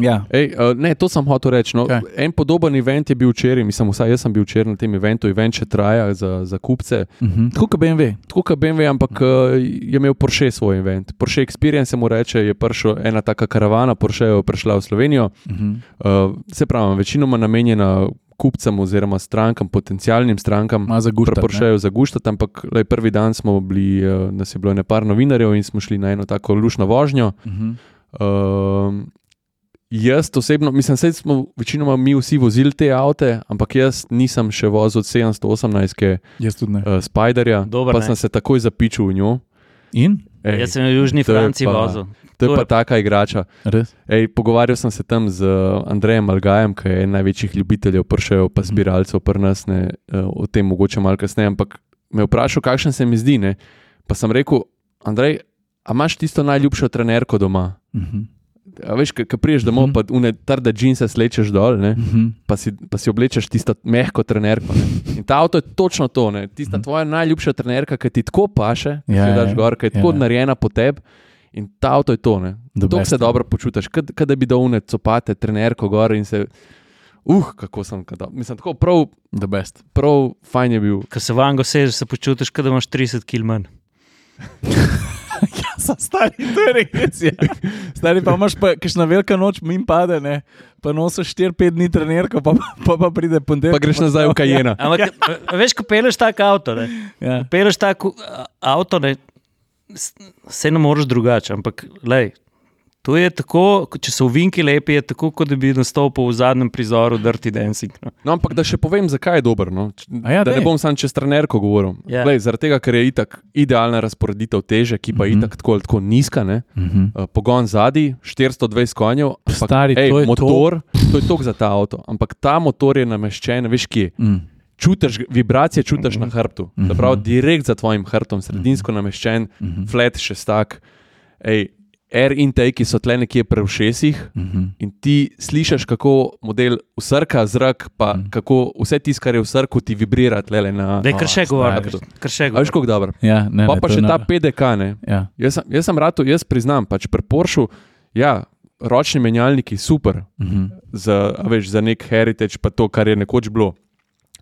Speaker 1: Ja.
Speaker 2: Ej, uh, ne, to sem hotel reči. No,
Speaker 1: Kaj?
Speaker 2: en podoben event je bil včeraj, mislim, vsaj jaz sem bil včeraj na tem eventu, event še traja za, za kupce.
Speaker 1: Mhm. Tako kot BMW.
Speaker 2: Tako kot BMW, ampak
Speaker 1: Mhm.
Speaker 2: uh, je imel Porsche svoj event. Porsche Experience se mu reče, je prišel ena taka karavana, Porsche je prišla v Slovenijo.
Speaker 1: Mhm.
Speaker 2: Uh, se pravi, večinoma namenjena kupcem oziroma strankam, potencialnim strankam.
Speaker 1: Ima za guštar, ne?
Speaker 2: Pršajo za guštat, ampak lej, prvi dan smo bili, eh, nas je bilo nepar novinarjev in smo šli na eno tako lušno vožnjo.
Speaker 1: Mhm.
Speaker 2: Um, jaz osebno, mislim, da smo večinoma mi vsi vozili te avte, ampak jaz nisem še vozil od 718
Speaker 1: Jaz tudi ne.
Speaker 2: uh, Spiderja,
Speaker 3: Dober,
Speaker 2: pa
Speaker 3: ne.
Speaker 2: sem se takoj zapičil v njo.
Speaker 1: In?
Speaker 2: Ej,
Speaker 3: Jaz sem v Južni
Speaker 2: to je
Speaker 3: Franciji
Speaker 2: pa-
Speaker 3: vozil.
Speaker 2: to je
Speaker 3: to
Speaker 2: pa
Speaker 3: je-
Speaker 2: taka igrača.
Speaker 1: Res?
Speaker 2: Ej, pogovarjal sem se tam z eh, Andrejem Algajem, ki je eden največjih ljubiteljev pršev,
Speaker 3: Mhm.
Speaker 2: pa zbiralcev prnasne, eh, o tem mogoče malo kasneje, ampak me je vprašal, kakšen se mi zdi. Ne? Pa sem rekel, Andrej, a imaš tisto najljubšo trenerko doma?
Speaker 1: Mhm.
Speaker 2: A veš, ki priješ domov,
Speaker 1: Mhm.
Speaker 2: pa une trde džinse slečeš dol, ne?
Speaker 1: Mhm.
Speaker 2: pa si, pa si oblečeš tisto mehko trenerko. Ne? In ta avto je točno to, ne? tista
Speaker 1: Mhm.
Speaker 2: tvoja najljubša trenerka, ki ti tako paše, ki
Speaker 1: Ja,
Speaker 2: jo
Speaker 1: ja,
Speaker 2: daš gor, ki je
Speaker 1: ja,
Speaker 2: tako
Speaker 1: ja.
Speaker 2: narejena po tebi. In ta avto je to. ne.
Speaker 1: The
Speaker 2: Tako
Speaker 1: best. ja.
Speaker 2: se dobro počutiš, kot kad da bi dal une copate, trenerko gor in se. Uh, kako sem ga dal. Mislim, tako prav,
Speaker 1: The best.
Speaker 2: prav fajn je bil.
Speaker 3: Ko se vango sežeš, se počutiš, kot da imaš 30 km manj.
Speaker 1: Ja, so stari, to je res. Ja. Stari pa imaš, pa, kakšna velika noč, min pade, ne? pa nosiš 4-5 dni trenerko, pa pa, pa pride
Speaker 2: Pa
Speaker 1: ponedeljek.
Speaker 2: greš nazaj v Kajena.
Speaker 3: Ampak ja. veš, ko peleš tak avto, ne?
Speaker 1: Ja.
Speaker 3: peleš tako avto, ne? s- se ne moreš drugače. Ampak, lej, to je tako, ko- če so vinki lepi, je tako, kot da bi nastopil v zadnjem prizoru Dirty Dancing. No.
Speaker 2: No, ampak da še povem, zakaj je dober. No? Č-
Speaker 1: A ja,
Speaker 2: da ne
Speaker 1: daj.
Speaker 2: bom sam čez trenerko govoril.
Speaker 3: Ja.
Speaker 2: Glej, zaradi tega, ker je itak idealna razporeditev teže, ki pa je
Speaker 1: Mhm.
Speaker 2: itak tako ali tako nizka. Ne?
Speaker 1: Mhm.
Speaker 2: Uh, Pogon zadaj, 420 konjev, ampak,
Speaker 1: Stari,
Speaker 2: ej,
Speaker 1: to je to.
Speaker 2: motor, to, to je tok za ta avto. Ampak ta motor je nameščen, veš kje.
Speaker 1: Mm.
Speaker 2: Čutiš, ga- vibracije čutiš na hrbtu,
Speaker 1: Mhm.
Speaker 2: se pravi, direkt za tvojim hrbtom, sredinsko nameščen,
Speaker 1: Mhm.
Speaker 2: flat šestak. Ej, air intake so tle nekje pri ušesih,
Speaker 1: Mhm.
Speaker 2: In ti slišiš, kako model usrka zrak, pa mm. kako vse tisto, kar je v srku, ti vibrira tle na.
Speaker 3: Da je kar še govor,
Speaker 2: stari, to-
Speaker 3: kar
Speaker 2: A
Speaker 3: še
Speaker 2: Veš,
Speaker 3: govor.
Speaker 2: kako dobro.
Speaker 1: Ja, ne,
Speaker 2: Pa
Speaker 1: ne,
Speaker 2: pa
Speaker 1: to
Speaker 2: še
Speaker 1: je
Speaker 2: ta
Speaker 1: noro.
Speaker 2: PDK. Ne.
Speaker 1: Ja.
Speaker 2: Jaz sem, jaz sem rado, jaz priznam, pač pri Poršu, ja, ročni menjalniki super,
Speaker 1: Mhm.
Speaker 2: za, a veš, za nek heritage, pa to, kar je nekoč bilo.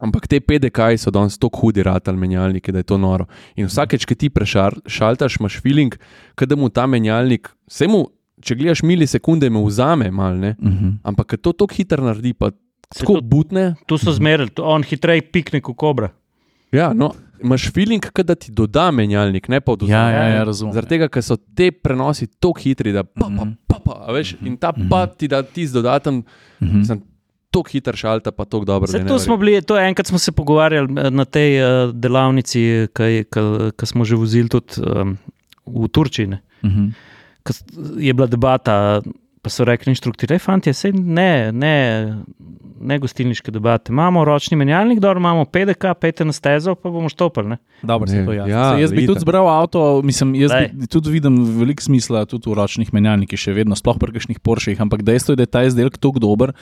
Speaker 2: Ampak te PDK-ji so danes tako hudi, ratal menjalniki, da je to noro. In vsakeč, ki ti prešaltaš, imaš feeling, da mu ta menjalnik, vse mu če gledaš milisekunde, me vzame malne,
Speaker 1: Uh -huh.
Speaker 2: ampak ke to tako hitro naredi, pa
Speaker 3: Se
Speaker 2: tako
Speaker 3: to-
Speaker 2: butne.
Speaker 3: Tu so zmerili, tu- on hitreje pikne kot kobra.
Speaker 2: Ja, no, imaš feeling, ke da ti doda menjalnik, ne pa odvzame.
Speaker 1: Ja, ja, ja,
Speaker 2: ne.
Speaker 1: razumem.
Speaker 2: Zaradi tega, ker so te prenosi tako hitri, da pa, pa,
Speaker 1: Mhm.
Speaker 2: pa, pa, a veš, in ta pa ti da tisti dodaten,
Speaker 1: Mhm.
Speaker 2: sem tako hiter šalta, pa tako dobro. da
Speaker 3: Vse
Speaker 2: ne
Speaker 3: to smo
Speaker 2: verjamem.
Speaker 3: bili, to je enkrat smo se pogovarjali eh, na tej eh, delavnici, ki smo že vozili tudi em, v Turčiji. ne.
Speaker 1: Mhm.
Speaker 3: Ko s- Je bila debata, pa so rekli inštruktorji, fanti, sej ne, ne, ne gostilniške debate. Imamo ročni menjalnik, dobro, imamo PDK, pejte na stezo, pa bomo štopali. ne."
Speaker 1: Dobro,
Speaker 2: Ne,
Speaker 1: se to jasno.
Speaker 2: ja,
Speaker 1: Ja, jaz bi
Speaker 2: itak.
Speaker 1: tudi zbral avto, mislim, jaz
Speaker 3: Glej.
Speaker 1: bi, tudi vidim veliko smisla tudi v ročnih menjalnikih, še vedno, sploh pri kakšnih Porschih, ampak dejstvo je, da je ta izdelek tako dober,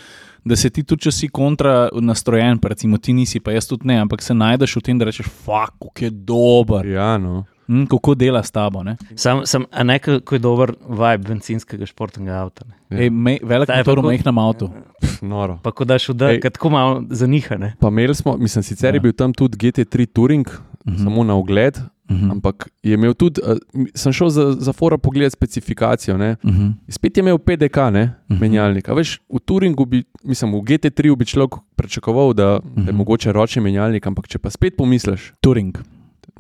Speaker 1: da se ti tudi, če si kontra nastrojen, pa recimo ti nisi, pa jaz tudi ne, ampak se najdeš v tem, da rečeš, fuck, kako je dober,
Speaker 2: Ja, no.
Speaker 1: mm, kako dela s tabo. Ne?
Speaker 3: Sam, sam a ne, kako je dober vibe benzinskega športnega avta. Ne?
Speaker 2: Ja.
Speaker 1: Ej, mej, velik
Speaker 3: Ta je pa
Speaker 1: motor v
Speaker 3: kot-
Speaker 1: majhnem avtu.
Speaker 2: Pff, Noro.
Speaker 3: Pa ko daš
Speaker 2: Ej.
Speaker 3: vdaj, tako malo zanihane.
Speaker 2: Pa imeli smo, mislim, sicer je
Speaker 1: Ja.
Speaker 2: bil tam tudi GT3 Touring,
Speaker 1: Mhm.
Speaker 2: samo na ogled,
Speaker 1: Mhm.
Speaker 2: ampak je imel tudi, eh, mi- sem šel za, za fora pogledati specifikacijo. Ne?
Speaker 1: Mhm.
Speaker 2: Spet je imel PDK, ne,
Speaker 1: Mhm.
Speaker 2: menjalnik. A veš, v Turingu bi, mislim, v GT3 bi človek pričakoval, da, da je
Speaker 1: Mhm.
Speaker 2: mogoče ročni menjalnik, ampak če pa spet pomisliš,
Speaker 1: Turing.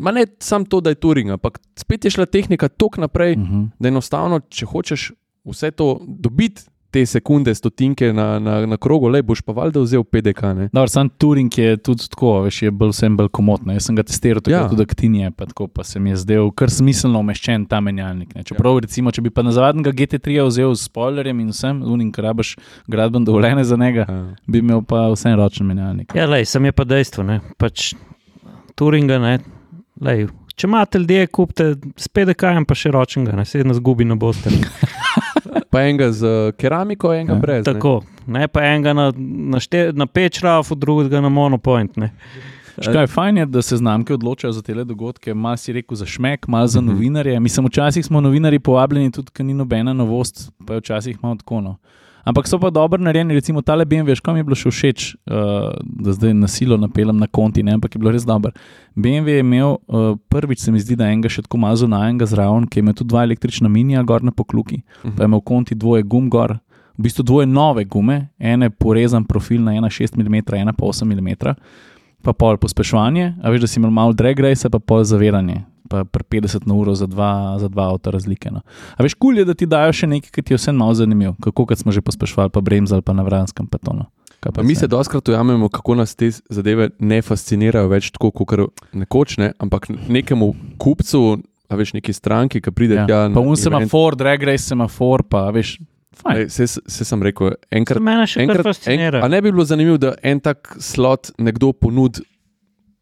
Speaker 2: ma ne samo to, da je Turing, ampak spet je šla tehnika tok naprej,
Speaker 1: Mhm.
Speaker 2: da enostavno, če hočeš vse to dobiti, te sekunde, stotinke na, na, na krogu, le boš pa valjda vzel PDK. Ne?
Speaker 1: Dobro, sam Turing je tudi tako, veš, je bolj vsem bolj komotno. Jaz sem ga testiral tako,
Speaker 2: Ja.
Speaker 1: ja. tudi aktinje, pa, tako, pa se mi je zdel kar smiselno umeščen ta menjalnik. Ne. Čeprav, ja. recimo, če bi pa na zadnjega GT3 vzel s spoilerjem in vsem, unim, ki rabiš gradben dovoljenje za njega,
Speaker 2: Ja.
Speaker 1: bi imel pa vsem ročen menjalnik.
Speaker 3: Ja, lej, sem je pa dejstvo. Ne? Pač Turinga, ne. Lej, če imate ljudi, kupite s PDK-jem, pa še ročnega, ne se nas gubi, ne boste.
Speaker 2: Pa enega z eh, keramiko, enega ja,
Speaker 1: Ja,
Speaker 2: brez. Ne?
Speaker 3: Tako, ne pa enega na, na, šte- na pečrafu, drugega na monopoint. Ne.
Speaker 1: Škaj, fajn je, da se znamke odločajo za te dogodke, malo si rekel za šmek, malo za
Speaker 2: Mhm.
Speaker 1: novinarje. Mislim, včasih smo novinari povabljeni tudi, ker ni nobena novost, pa je včasih malo tako. No. Ampak so pa dobro narejeni, recimo tale BMW, škoda mi je bilo še všeč, uh, da zdaj na silo napeljem na konti, ne? ampak je bilo res dobro. BMW je imel uh, prvič, se mi zdi, da enega še tako malo zunajnega zraven, ki je imel tudi dva električna minija gor na pokluki,
Speaker 2: Mhm.
Speaker 1: pa je imel konti dvoje gum gor. V bistvu dvoje nove gume, ene porezan profil na 1,6 mm, ena pa 8 mm pa pol pospeševanje, a veš, da si imel malo drag race, pa pol zaviranje, pa pri 50 na uro za dva, za dva avta razlike. No. A veš, kul je, da ti dajo še nekaj, ki ti je vse malo zanimivo, kako kot smo že pospeševali, pa bremzali, pa no. na vranskem patonu.
Speaker 2: Pa mi se doskrat ujamemo, kako nas te zadeve ne fascinirajo več tako, kot nekoč, ne? ampak nekemu kupcu, a veš, neki stranki, ki pride
Speaker 1: Ja.
Speaker 2: tja.
Speaker 1: Pa un
Speaker 2: event,
Speaker 1: semafor, drag race semafor, pa a veš, fajn.
Speaker 2: Ej, Saj se sem rekel, enkrat.
Speaker 3: Mene še kar
Speaker 2: enkrat
Speaker 3: fascinira.
Speaker 2: en, a ne bi bilo zanimivo, da en tak slot nekdo ponudi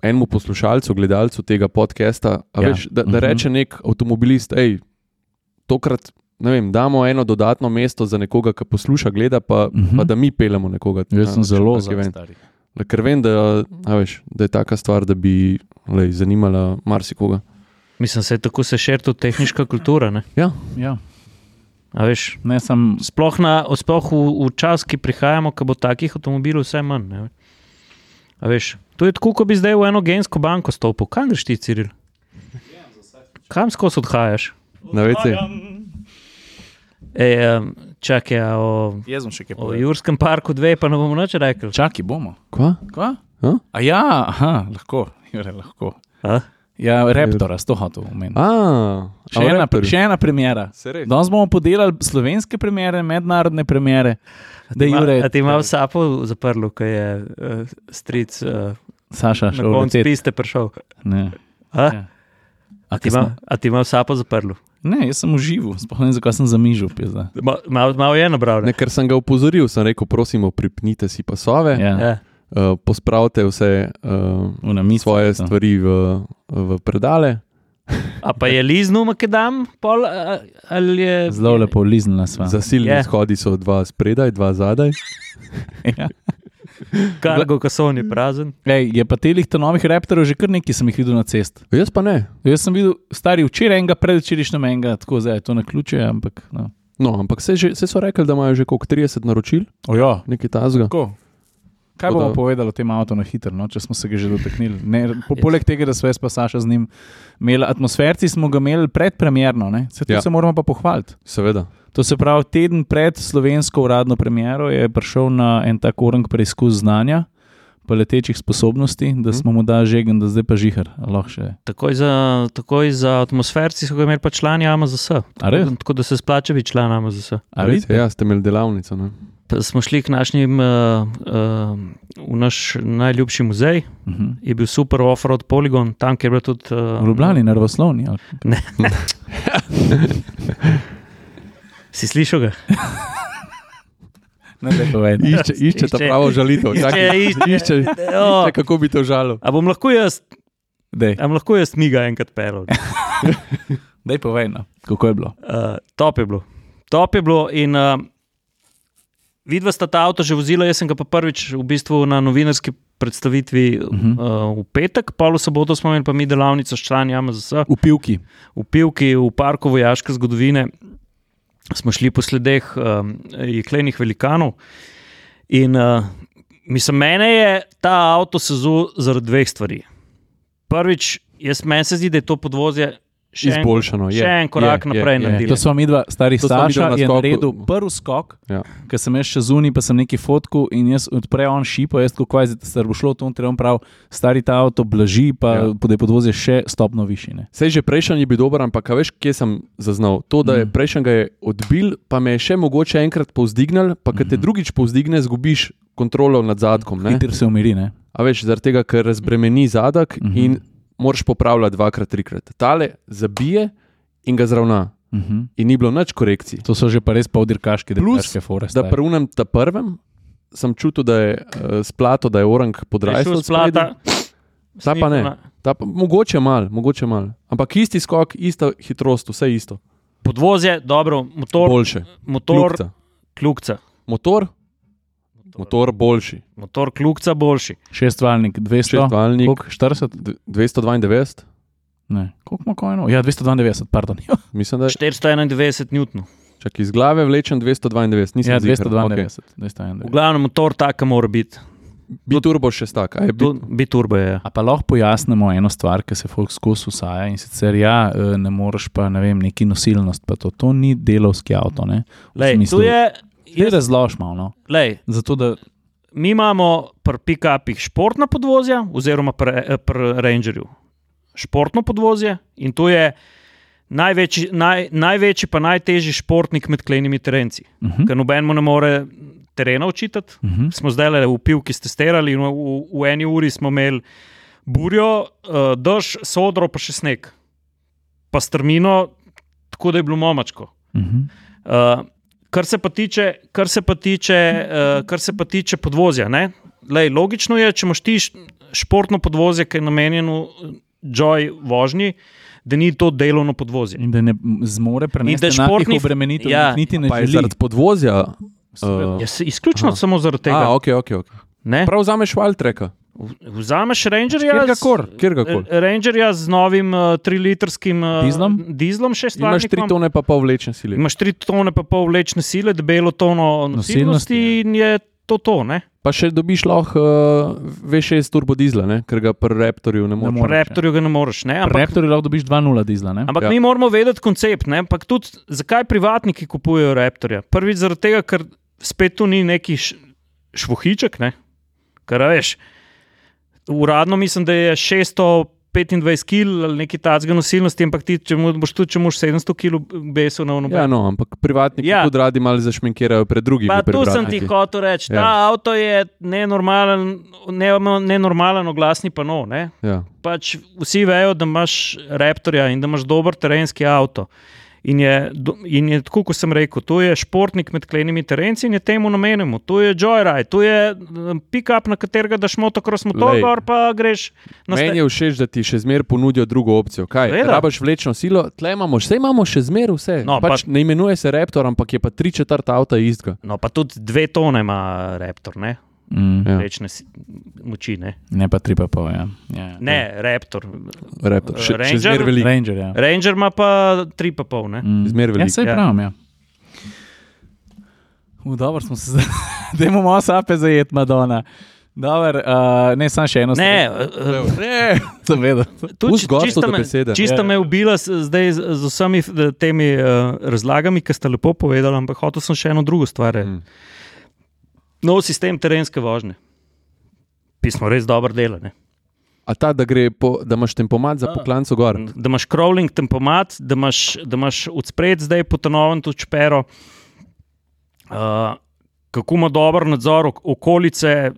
Speaker 2: enemu poslušalcu, gledalcu tega podcasta, ja.
Speaker 1: Ja.
Speaker 2: veš, da, da
Speaker 1: Mhm.
Speaker 2: reče nek avtomobilist, hej, tokrat ne vem, damo eno dodatno mesto za nekoga, ki posluša, gleda, pa,
Speaker 1: Mhm.
Speaker 2: pa da mi pelemo nekoga.
Speaker 1: Jaz sem
Speaker 2: na
Speaker 1: zelo
Speaker 2: tak ja, event.
Speaker 1: zavedam.
Speaker 2: Le Ker vem, da, a veš, da je taka stvar, da bi lej, zanimala marsikoga.
Speaker 3: Mislim, se je tako se širi tudi tehnička kultura. Ne.
Speaker 1: Ja,
Speaker 3: A Veš,
Speaker 1: ne sem.
Speaker 3: sploh, na, sploh v, v čas, ki prihajamo, ko bo takih avtomobilov vse manj. ne. A Veš, to je tako, kot bi zdaj v eno gensko banko stopil. Kam greš ti, Ciril? Kam skozi odhajaš?
Speaker 2: Na vece,
Speaker 3: E, čakaj, a o,
Speaker 1: Jaz sem še kaj
Speaker 3: o Jurskem parku 2 pa ne bomo nič rekli.
Speaker 1: Čakaj, bomo.
Speaker 2: kva?
Speaker 1: Kva?
Speaker 2: A?
Speaker 1: A ja, aha, lahko. Jure, lahko.
Speaker 3: A?
Speaker 1: Ja, Raptora, sto hotel omeniti.
Speaker 2: A,
Speaker 1: Še, ena- še ena premjera.
Speaker 2: Se res?
Speaker 1: Danes bomo podelali slovenske premjere, mednarodne premjere. Da,
Speaker 3: Ma-
Speaker 1: Jure,
Speaker 3: A ti ima vsapo zaprlo, ko je uh, stric uh,
Speaker 1: Saša,
Speaker 3: na
Speaker 1: še v
Speaker 3: koncu
Speaker 1: receptu.
Speaker 3: piste prišel.
Speaker 1: Ne,
Speaker 3: A?
Speaker 1: Ja. A
Speaker 3: A ti
Speaker 1: ti
Speaker 3: ima- a ti ima vsapo zaprlo?
Speaker 1: ne, jaz sem užival, sploh ne vem, zakaj sem zamižil. pizda.
Speaker 3: Ma- Malo mal je nabral.
Speaker 2: Ne,
Speaker 3: Ne?
Speaker 2: ker sem ga opozoril, sem rekel, prosimo, pripnite si pasove, ja.
Speaker 1: Ja,
Speaker 3: Ja.
Speaker 2: uh, pospravite vse uh,
Speaker 1: v nami
Speaker 2: svoje stvari v, v predale.
Speaker 3: A pa je liznil Makedam, pol a- ali je.
Speaker 1: Zelo lepo liznila sva.
Speaker 2: Zasilni
Speaker 3: Je.
Speaker 2: yeah. shodi so dva spredaj, dva zadaj.
Speaker 1: Ja.
Speaker 3: Kargo, ko so oni prazen.
Speaker 1: Ej, je pa telih ta novih raptorjev že kar nekaj, sem jih videl na cesti.
Speaker 2: Jaz pa ne.
Speaker 1: Jaz sem videl stari včeraj enega, predvčerajšnjem enega, tako zdaj je to na ključe, ampak. No.
Speaker 2: No, ampak se, že, se so rekli, da imajo že koliko 30 naročil,
Speaker 3: ja.
Speaker 1: Ojo,
Speaker 2: nekaj tazga.
Speaker 1: Tako. Kaj
Speaker 2: Tako da-
Speaker 1: bomo povedali o tem avtu na hitro, no, če smo se ga že dotaknili? Ne, po, poleg tega, da smo jaz pa Saša z njim imeli atmosferci, smo ga imeli predpremjerno, ne? se to ja.
Speaker 2: Ja.
Speaker 1: se moramo pa pohvaliti.
Speaker 2: Seveda.
Speaker 1: To se pravi, teden pred slovensko uradno premiero je prišel na en tak orang preizkus znanja, pa letečih sposobnosti, da
Speaker 2: Mhm.
Speaker 1: smo mu dali žegen, da zdaj pa žihar, a lahko še.
Speaker 3: Takoj za, takoj za atmosferci so ga imeli pa člani AMZS.
Speaker 1: A res?
Speaker 3: Tako, tako da se splača biti član
Speaker 1: A
Speaker 3: AMZS.
Speaker 2: Res je,
Speaker 1: vidite?
Speaker 2: Ja, ste imeli delavnico. Ne?
Speaker 3: Pa smo šli k našim, uh, uh, v naš najljubši muzej,
Speaker 1: Mhm.
Speaker 3: je bil super off-road poligon, tam kjer je bilo tudi. Uh,
Speaker 1: V Ljubljani, nervoslovni. ali-
Speaker 3: Si slišal ga?
Speaker 1: Ne, lepo vedno.
Speaker 2: Išče, išče ta
Speaker 3: Išče.
Speaker 2: pravo žalitev,
Speaker 3: Išče,
Speaker 2: čakaj,
Speaker 3: išče.
Speaker 2: išče,
Speaker 3: Jo,
Speaker 2: išče, kako bi to žalil.
Speaker 3: a bom lahko jaz,
Speaker 1: Dej,
Speaker 3: a bom lahko jaz miga enkrat pelal.
Speaker 1: dej povej, no. kako je bilo.
Speaker 3: Uh, top je bilo. Top je bilo in uh, vidva sta ta avto že vozila, jaz sem ga pa prvič v bistvu na novinarski predstavitvi uh
Speaker 1: Mhm.
Speaker 3: -huh. uh, v petek, pa v soboto smo imeli pa mi delavnico s člani AMZS.
Speaker 1: V pivki.
Speaker 3: v Pivki, v parku vojaške zgodovine, smo šli po sledeh um, jeklenih velikanov. In uh, mislim, mene je ta avto sezul zaradi dveh stvari. Prvič, jaz meni se zdi, da je to podvozje še en,
Speaker 2: Izboljšano je.
Speaker 3: še en korak
Speaker 2: je,
Speaker 3: naprej
Speaker 2: je, je.
Speaker 3: naredilo.
Speaker 1: E, To smo mi dva, stari
Speaker 2: To sva midva
Speaker 1: starša,
Speaker 2: na
Speaker 1: je
Speaker 2: skoku.
Speaker 1: naredil prvi skok,
Speaker 2: Ja.
Speaker 1: ker sem jaz še zunaj, pa sem nekaj fotku in jaz odpre on šipo, jaz kot kvazi, da se bo šlo, to on treba prav, stari ta avto blaži, pa
Speaker 2: Ja.
Speaker 1: ja. je podvozje še stopno višine.
Speaker 2: Sej že prejšnji je bil dober, ampak a veš, kje sem zaznal? To, da je
Speaker 1: Mhm.
Speaker 2: prejšnji ga je odbil, pa me je še mogoče enkrat povzdignil, pa ker te drugič povzdigne, zgubiš kontrolo nad zadkom. Ne?
Speaker 1: Hiter se umiri, ne?
Speaker 2: A veš, zaradi tega, ker razbremeni zadek
Speaker 1: Mhm.
Speaker 2: in moraš popravljati dvakrat, trikrat. Tale zabije in ga zravna.
Speaker 1: Mhm.
Speaker 2: In ni bilo nič korekcij.
Speaker 1: To so že pa res poldirkaški, da
Speaker 2: Plus,
Speaker 1: dirkaške fore.
Speaker 2: Da
Speaker 1: stari.
Speaker 2: prvem, ta prvem, sem čutil, da je uh, splato, da je orang podrajal.
Speaker 3: splata.
Speaker 2: Ta pa ne. Ta pa, mogoče mal, mogoče mal. Ampak isti skok, ista hitrost, vse isto.
Speaker 3: Podvozje, dobro, motor,
Speaker 2: Boljše.
Speaker 3: motor
Speaker 2: Kljukca.
Speaker 3: kljukca.
Speaker 2: Motor? Motor boljši.
Speaker 3: Motor kljukca boljši.
Speaker 1: Šestvalnik, 200.
Speaker 2: Šestvaljnik
Speaker 1: Koliko? 40?
Speaker 2: d- 292,
Speaker 1: Ne. Koliko ima kojeno? Ja, 292, pardon.
Speaker 2: mislim, da je.
Speaker 3: 491 N.
Speaker 2: Čak iz glave vlečen 292, nisem
Speaker 1: Ja,
Speaker 2: ziher.
Speaker 1: 292.
Speaker 3: V
Speaker 1: 292.
Speaker 3: glavnem, motor taka mora biti.
Speaker 2: Okay. Biturbo še stak. a je bit-
Speaker 3: Biturbo je. ja.
Speaker 1: A pa lahko pojasnimo eno stvar, ki se folk skozi usaja in sicer ja, eh, ne moreš pa ne vem, neki nosilnost, pa to, to ni delovski avto. Ne? V
Speaker 3: Lej,
Speaker 1: smislu-
Speaker 3: tu je,
Speaker 1: Zdaj
Speaker 3: jaz,
Speaker 1: razlož malo. No?
Speaker 3: lej,
Speaker 1: Zato, da
Speaker 3: mi imamo pri pikapih športna podvozja, oziroma pri, eh, pri Rangerju športno podvozje in to je največji, naj, največji pa najtežji športnik med klenimi terenci,
Speaker 1: uh -huh,
Speaker 3: ker nobenemu ne more terena očitati.
Speaker 1: uh -huh,
Speaker 3: Smo zdaj le v pivki testirali in v, v, v eni uri smo imeli burjo, uh, dež, sodro pa še sneg, pa strmino, tako da je bilo momačko.
Speaker 1: uh -huh.
Speaker 3: Uh, kar se pa tiče, kar se pa tiče, uh, kar se pa tiče podvozja, ne? Lej, logično je, če imaš ti š- športno podvozje, ki je namenjeno joj vožnji, da ni to delovno podvozje.
Speaker 2: No.
Speaker 1: In da ne m- zmore
Speaker 3: da
Speaker 1: prenesti
Speaker 3: športni
Speaker 1: športnih
Speaker 3: f-
Speaker 1: obremenitev,
Speaker 3: ja.
Speaker 1: ja, niti ne
Speaker 2: Pa je
Speaker 1: želi.
Speaker 2: zaradi podvozja.
Speaker 1: Seveda.
Speaker 2: eh,
Speaker 3: Ja, se, izključno
Speaker 2: Aha.
Speaker 3: Aha. samo zaradi tega. Eh.
Speaker 2: A,
Speaker 3: A,
Speaker 2: ok, ok. okay.
Speaker 3: okay.
Speaker 2: Prav vzameš valtreka,
Speaker 3: Vzameš rangerja, z-
Speaker 2: kjerkakor. kjerkakor.
Speaker 3: Eh, rangerja z novim uh, 3-litrskim uh,
Speaker 1: Dizlom?
Speaker 3: dizlom
Speaker 2: Imaš tri
Speaker 3: šestvaljnikom.
Speaker 2: tone, pa pol vlečen sile.
Speaker 3: Imaš 3 tone pa pol vlečne sile, debelo tono
Speaker 1: Nosilnosti,
Speaker 2: ja.
Speaker 3: nosilnosti in je to to, ne?
Speaker 2: Pa še dobiš lahko uh, V6 turbodizla, ne? ker ga pri Raptorju ne moreš.
Speaker 1: moreš, ja.
Speaker 3: Raptorju ga ne moreš, ne?
Speaker 1: Pri Raptorju lahko dobiš 2-0 dizla. Ne?
Speaker 3: Ampak
Speaker 2: Ja.
Speaker 3: ja. mi moramo vedeti koncept, ne? ampak tudi zakaj privatniki kupujejo Raptorja. Prvič zaradi tega, ker spet tu ni neki š- švohiček, ne? kar a veš. Uradno mislim, da je 625 kg ali nekaj tacga nosilnosti, ampak ti, če mu- boš tudi, če moš 700 kg besu na ono.
Speaker 2: Ja, no, ampak privatniki ja.
Speaker 3: Ja.
Speaker 2: tudi radi malo zašminkirajo pred drugimi.
Speaker 3: Pa tu sem ti
Speaker 2: privratniki.
Speaker 3: hotel reči,
Speaker 2: Ja.
Speaker 3: ja. ta avto je nenormalen, ne, nenormalen oglasni pano. Ne?
Speaker 2: Ja.
Speaker 3: pač vsi vejo, da imaš Raptorja in da imaš dober terenski avto. In je, do- in je tako, kot sem rekel, to je športnik med klenimi terenci in je temu namenjeno. To je joyride, to je eh, pick-up, na katerega daš motokros motor,
Speaker 2: Glej.
Speaker 3: gor pa greš na
Speaker 2: Meni
Speaker 3: stran.
Speaker 2: je všeč, da ti še zmeraj ponudijo drugo opcijo. Kaj,
Speaker 3: Seveda.
Speaker 2: rabaš vlečno silo, tle imamo, vse imamo še zmeraj vse.
Speaker 3: No,
Speaker 2: pač
Speaker 3: pa-
Speaker 2: Ne imenuje se Raptor, ampak je pa tri četrt avta istega.
Speaker 3: No, pa tudi dve tone ima Raptor, ne
Speaker 1: Mm,
Speaker 2: Ja.
Speaker 3: rečne si- moči. Ne,
Speaker 1: ne pa 3,5. Ja. Ja, ja.
Speaker 3: ne Raptor.
Speaker 2: Raptor, še, še
Speaker 3: Ranger?
Speaker 2: zmeraj velik.
Speaker 1: Ranger. Ja.
Speaker 3: Ranger ima pa tri pa pol. Ne?
Speaker 1: Mm.
Speaker 2: Zmer
Speaker 1: Ja,
Speaker 2: velik.
Speaker 1: sej
Speaker 3: Ja.
Speaker 1: pravim, ja. U, dobro smo se zdaj, da imamo malo sape zajet, Madonna. Dobar, uh, ne, samo še eno
Speaker 3: Ne, eh,
Speaker 2: Ne,
Speaker 1: sem vedel.
Speaker 3: tudi
Speaker 2: Pust
Speaker 3: či-
Speaker 2: No, gor so
Speaker 3: čisto
Speaker 2: te
Speaker 3: me-
Speaker 2: besede.
Speaker 1: Ja, ja.
Speaker 3: Čisto me je ubila s- zdaj z, z vsemi eh, temi uh, razlagami, ki ste lepo povedali, ampak hotel sem še eno drugo stvar. Mm.
Speaker 2: Mm.
Speaker 3: Nov sistem terenske vožnje. Pismo res dobro dela. Ne?
Speaker 2: A ta, da, gre po, da imaš tempomat za
Speaker 1: A.
Speaker 2: poklanco gor.
Speaker 3: Da imaš crawling tempomat, da imaš, da imaš odspred zdaj potonoven tudi čpero. Uh, Kako ima dober nadzor ok- okolice, eh,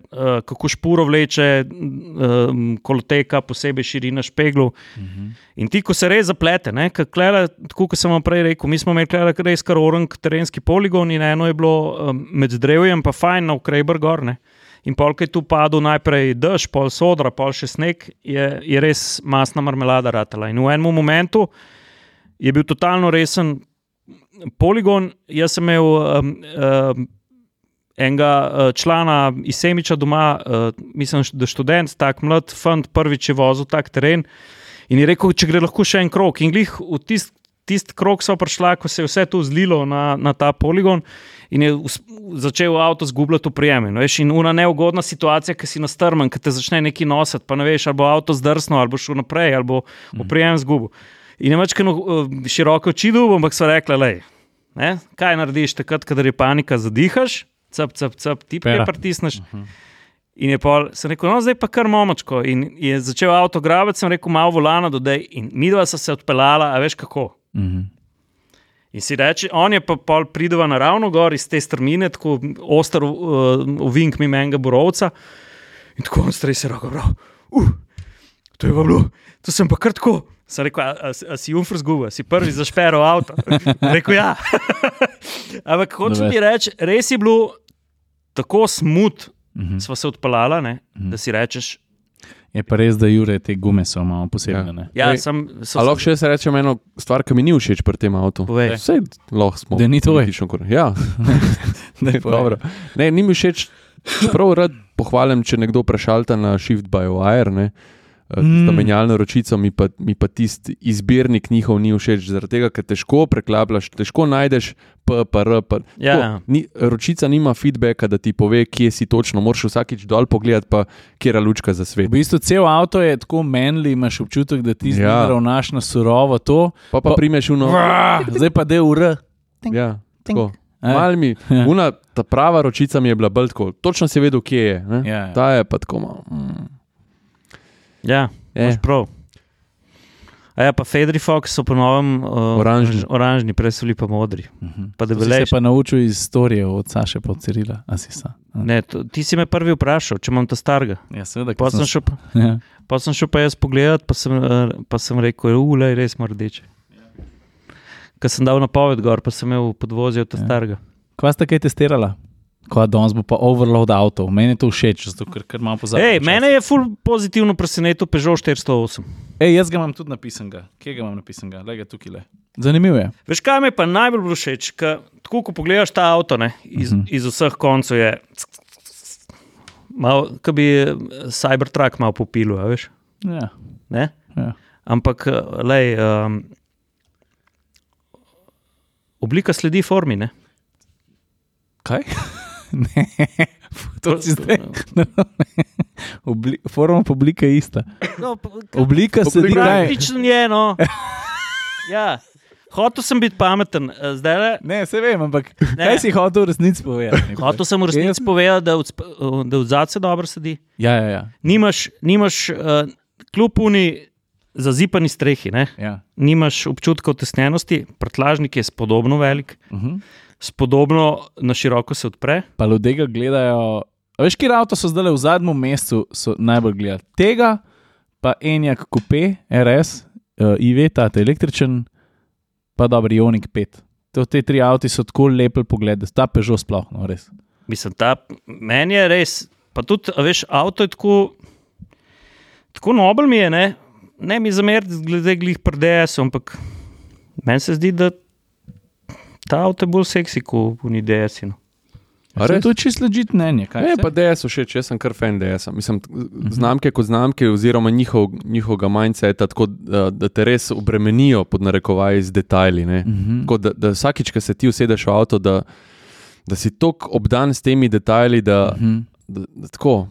Speaker 3: kako špuro vleče, em, koloteka, posebej širina špeglov.
Speaker 1: Mhm.
Speaker 3: In ti, ko se res zaplete, ne, ker klele, tako kot sem vam prej rekel, mi smo imeli klele, res kar oren terenski poligon in eno je bilo um, med drevjem, pa fajn na Ukrejber gor. Ne. In pol, ki je tu padel, najprej dež, pol sodra, pol še sneg, je, je res masna marmelada ratela. In v enem momentu je bil totalno resen poligon. Jaz sem imel um, um, enega uh, člana iz Semiča doma, uh, mislim, da študent, tak mlad, fant, prvič je vozil tak teren. In je rekel, če gre lahko še en krok. In glih v tisti tist krok so prišla, ko se je vse to zlilo na, na ta poligon in je us- začel avto zgubljati prijeme. No, veš, in una neugodna situacija, ki si nastrmen, ki te začne neki nositi, pa ne veš, ali bo avto zdrsnil, ali bo šel naprej, ali bo oprijem zgubil. In je večkrat široko čidil, ampak so rekli, lej. Ne? Kaj narediš takrat, kadar je panika, zadihaš, cep, cep, cep, ti
Speaker 1: Pera.
Speaker 3: pa pritisneš. In je pol, sem rekel, no, zdaj pa kar momočko. In je začel avto grabiti, sem rekel, malo volana dodaj. In midva sta se odpeljala, a veš kako.
Speaker 1: Mhm.
Speaker 3: In si reče, on je pa pol prideva naravno gor iz te strmine, tako oster uh, ovink mi menga borovca. In tako on stres je roko, bro. Uh, to je pa bilo, to sem pa kar tako. Sem rekel, a, a, a si umfr zguba, si prvi zašperal avto. rekel, ja. Ampak hočem
Speaker 1: Dober.
Speaker 3: ti reči, res je bilo tako smut,
Speaker 2: Mhm.
Speaker 3: sva se odpeljala, ne, da si rečeš,
Speaker 1: Je pa res, da jure te gume so malo posebne.
Speaker 2: Ja.
Speaker 1: ne.
Speaker 3: ja,
Speaker 2: Ej,
Speaker 3: sem, sem,
Speaker 2: A lahko še jaz rečem eno stvar, ki mi ni všeč pri tem avtu.
Speaker 3: Povej.
Speaker 2: Vse lahko smo.
Speaker 1: Da ni tvoj.
Speaker 2: politično kor- Ja,
Speaker 1: Ne,
Speaker 2: dobro. Ne, ni mi všeč, čeprav rad pohvalim, če nekdo prešalta na Shift by Wire. Ne. Eh, Ta
Speaker 1: Mm.
Speaker 2: menjalna ročica, mi pa, mi pa tisti izbirnik njihov ni všeč, zaradi tega, ker težko preklapljaš, težko najdeš P, P, R. P. Tako,
Speaker 3: Ja, ja.
Speaker 2: Ni, ročica nima feedbacka, da ti pove, kje si točno. Moraš vsakič dol pogledati, pa kje je lučka za
Speaker 1: V
Speaker 2: svet.
Speaker 1: bistvu cel avto je tako menli, imaš občutek, da ti
Speaker 2: Ja.
Speaker 1: ja. ravnaš na surovo to,
Speaker 2: Pa, pa
Speaker 1: Pa-
Speaker 2: primeš uno.
Speaker 1: Ah, zdaj pa del ur.
Speaker 2: Ja,
Speaker 1: Tink.
Speaker 2: tako.
Speaker 1: Eh.
Speaker 2: Mal mi, una, ta prava ročica mi je bila bolj tako, točno si vedel, kje je. ne.
Speaker 1: Ja, ja.
Speaker 2: Ta je pa tako malo. Mm.
Speaker 3: ja,
Speaker 2: Eh,
Speaker 3: Imaš prav. A ja, pa Fedri Fox so ponovem uh,
Speaker 2: Oranžni.
Speaker 3: oranžni, prej so bili pa modri. Pa
Speaker 1: Da bi Mhm. se
Speaker 3: debelejši.
Speaker 1: pa naučil iz storije od Saše pod Cirila, a si sa.
Speaker 3: Ne, to, ti si me prvi vprašal, če imam ta starega.
Speaker 1: Ja, seveda,
Speaker 3: Pa sem, šel, pa,
Speaker 1: Ja.
Speaker 3: pa sem šel pa jaz pogledat, pa sem, eh, pa sem rekel, ulej, res smo rdeči. Ker sem dal napoved gor, pa sem imel podvozje od ta
Speaker 1: Ja.
Speaker 3: starega.
Speaker 1: Kva ste kaj testirala? Kva danes bo pa overload avto. Meni je to všeč, zato ker, ker malo pozabim.
Speaker 3: Ej,
Speaker 1: čas.
Speaker 3: mene je ful pozitivno presenetil Peugeot 408.
Speaker 1: Ej, jaz ga imam tudi napisanega. Kje ga imam napisanega? Le ga tukaj le. Zanimivo je.
Speaker 3: Veš, kaj me je pa najbolj bilo všeč, ker tako, ko pogledaš ta avto, ne, iz,
Speaker 1: Mhm.
Speaker 3: uh -huh. iz vseh koncev je, malo, ki bi eh, Cybertruck malo popil, veš.
Speaker 1: Ja,
Speaker 3: Ne?
Speaker 1: ja.
Speaker 3: Ampak, eh, lej, um, oblika sledi formi. Ne?
Speaker 1: Kaj? ne, to si zdaj. No, Obli, forma oblike je ista.
Speaker 3: No, p-
Speaker 1: Oblika se ti kaj.
Speaker 3: Praktično je eno. Ja. Hotel sem biti pameten, eh, zdaj le.
Speaker 1: Ne, se vem, ampak
Speaker 3: Ne.
Speaker 1: ne. kaj si hotel v resnici povedati?
Speaker 3: Hotel sem v resnici povedati, da odsp- da od zadaj se dobro sedi.
Speaker 1: Ja, ja, ja.
Speaker 3: Nimaš, nimaš uh, kljub uni zazipani strehi, ne?
Speaker 1: ja.
Speaker 3: nimaš občutka otesnjenosti, prtlažnik je spodobno velik,
Speaker 1: Uh -huh.
Speaker 3: spodobno na široko se odpre.
Speaker 1: Pa ljudje ga gledajo. A veš, kje avto so zdaj v zadnjem mestu so najbolj gledali? Tega, pa enjak kupe, RS, uh, Iveta, ta električen, pa dobro, Ionik 5. To, te tri avti so tako lepi pogled, da sta Peugeot sploh, no res.
Speaker 3: Mislim, ta meni je res. Pa tudi, a veš, avto je tako, tako nobel mi je, ne, ne mi zameriti, glede glih prdes, ampak meni se zdi, da ta avto je bolj seksi kot v Nidesinu.
Speaker 2: A
Speaker 1: Saj
Speaker 2: res?
Speaker 1: To je čisto ležit mnenje. Kaj, Mhm.
Speaker 2: Ne,
Speaker 1: saj?
Speaker 2: pa DS všeč, jaz sem kar fan DS. Mislim, t- znamke kot znamke, oziroma njihov, njihovega mindseta, tako da, da te res obremenijo pod narekovaji z detajli. ne.
Speaker 1: Mhm.
Speaker 2: Tako da, da vsakič, ko se ti usedeš v avto, da, da si tako obdan s temi detajli, da,
Speaker 1: Mhm.
Speaker 2: da, da tako.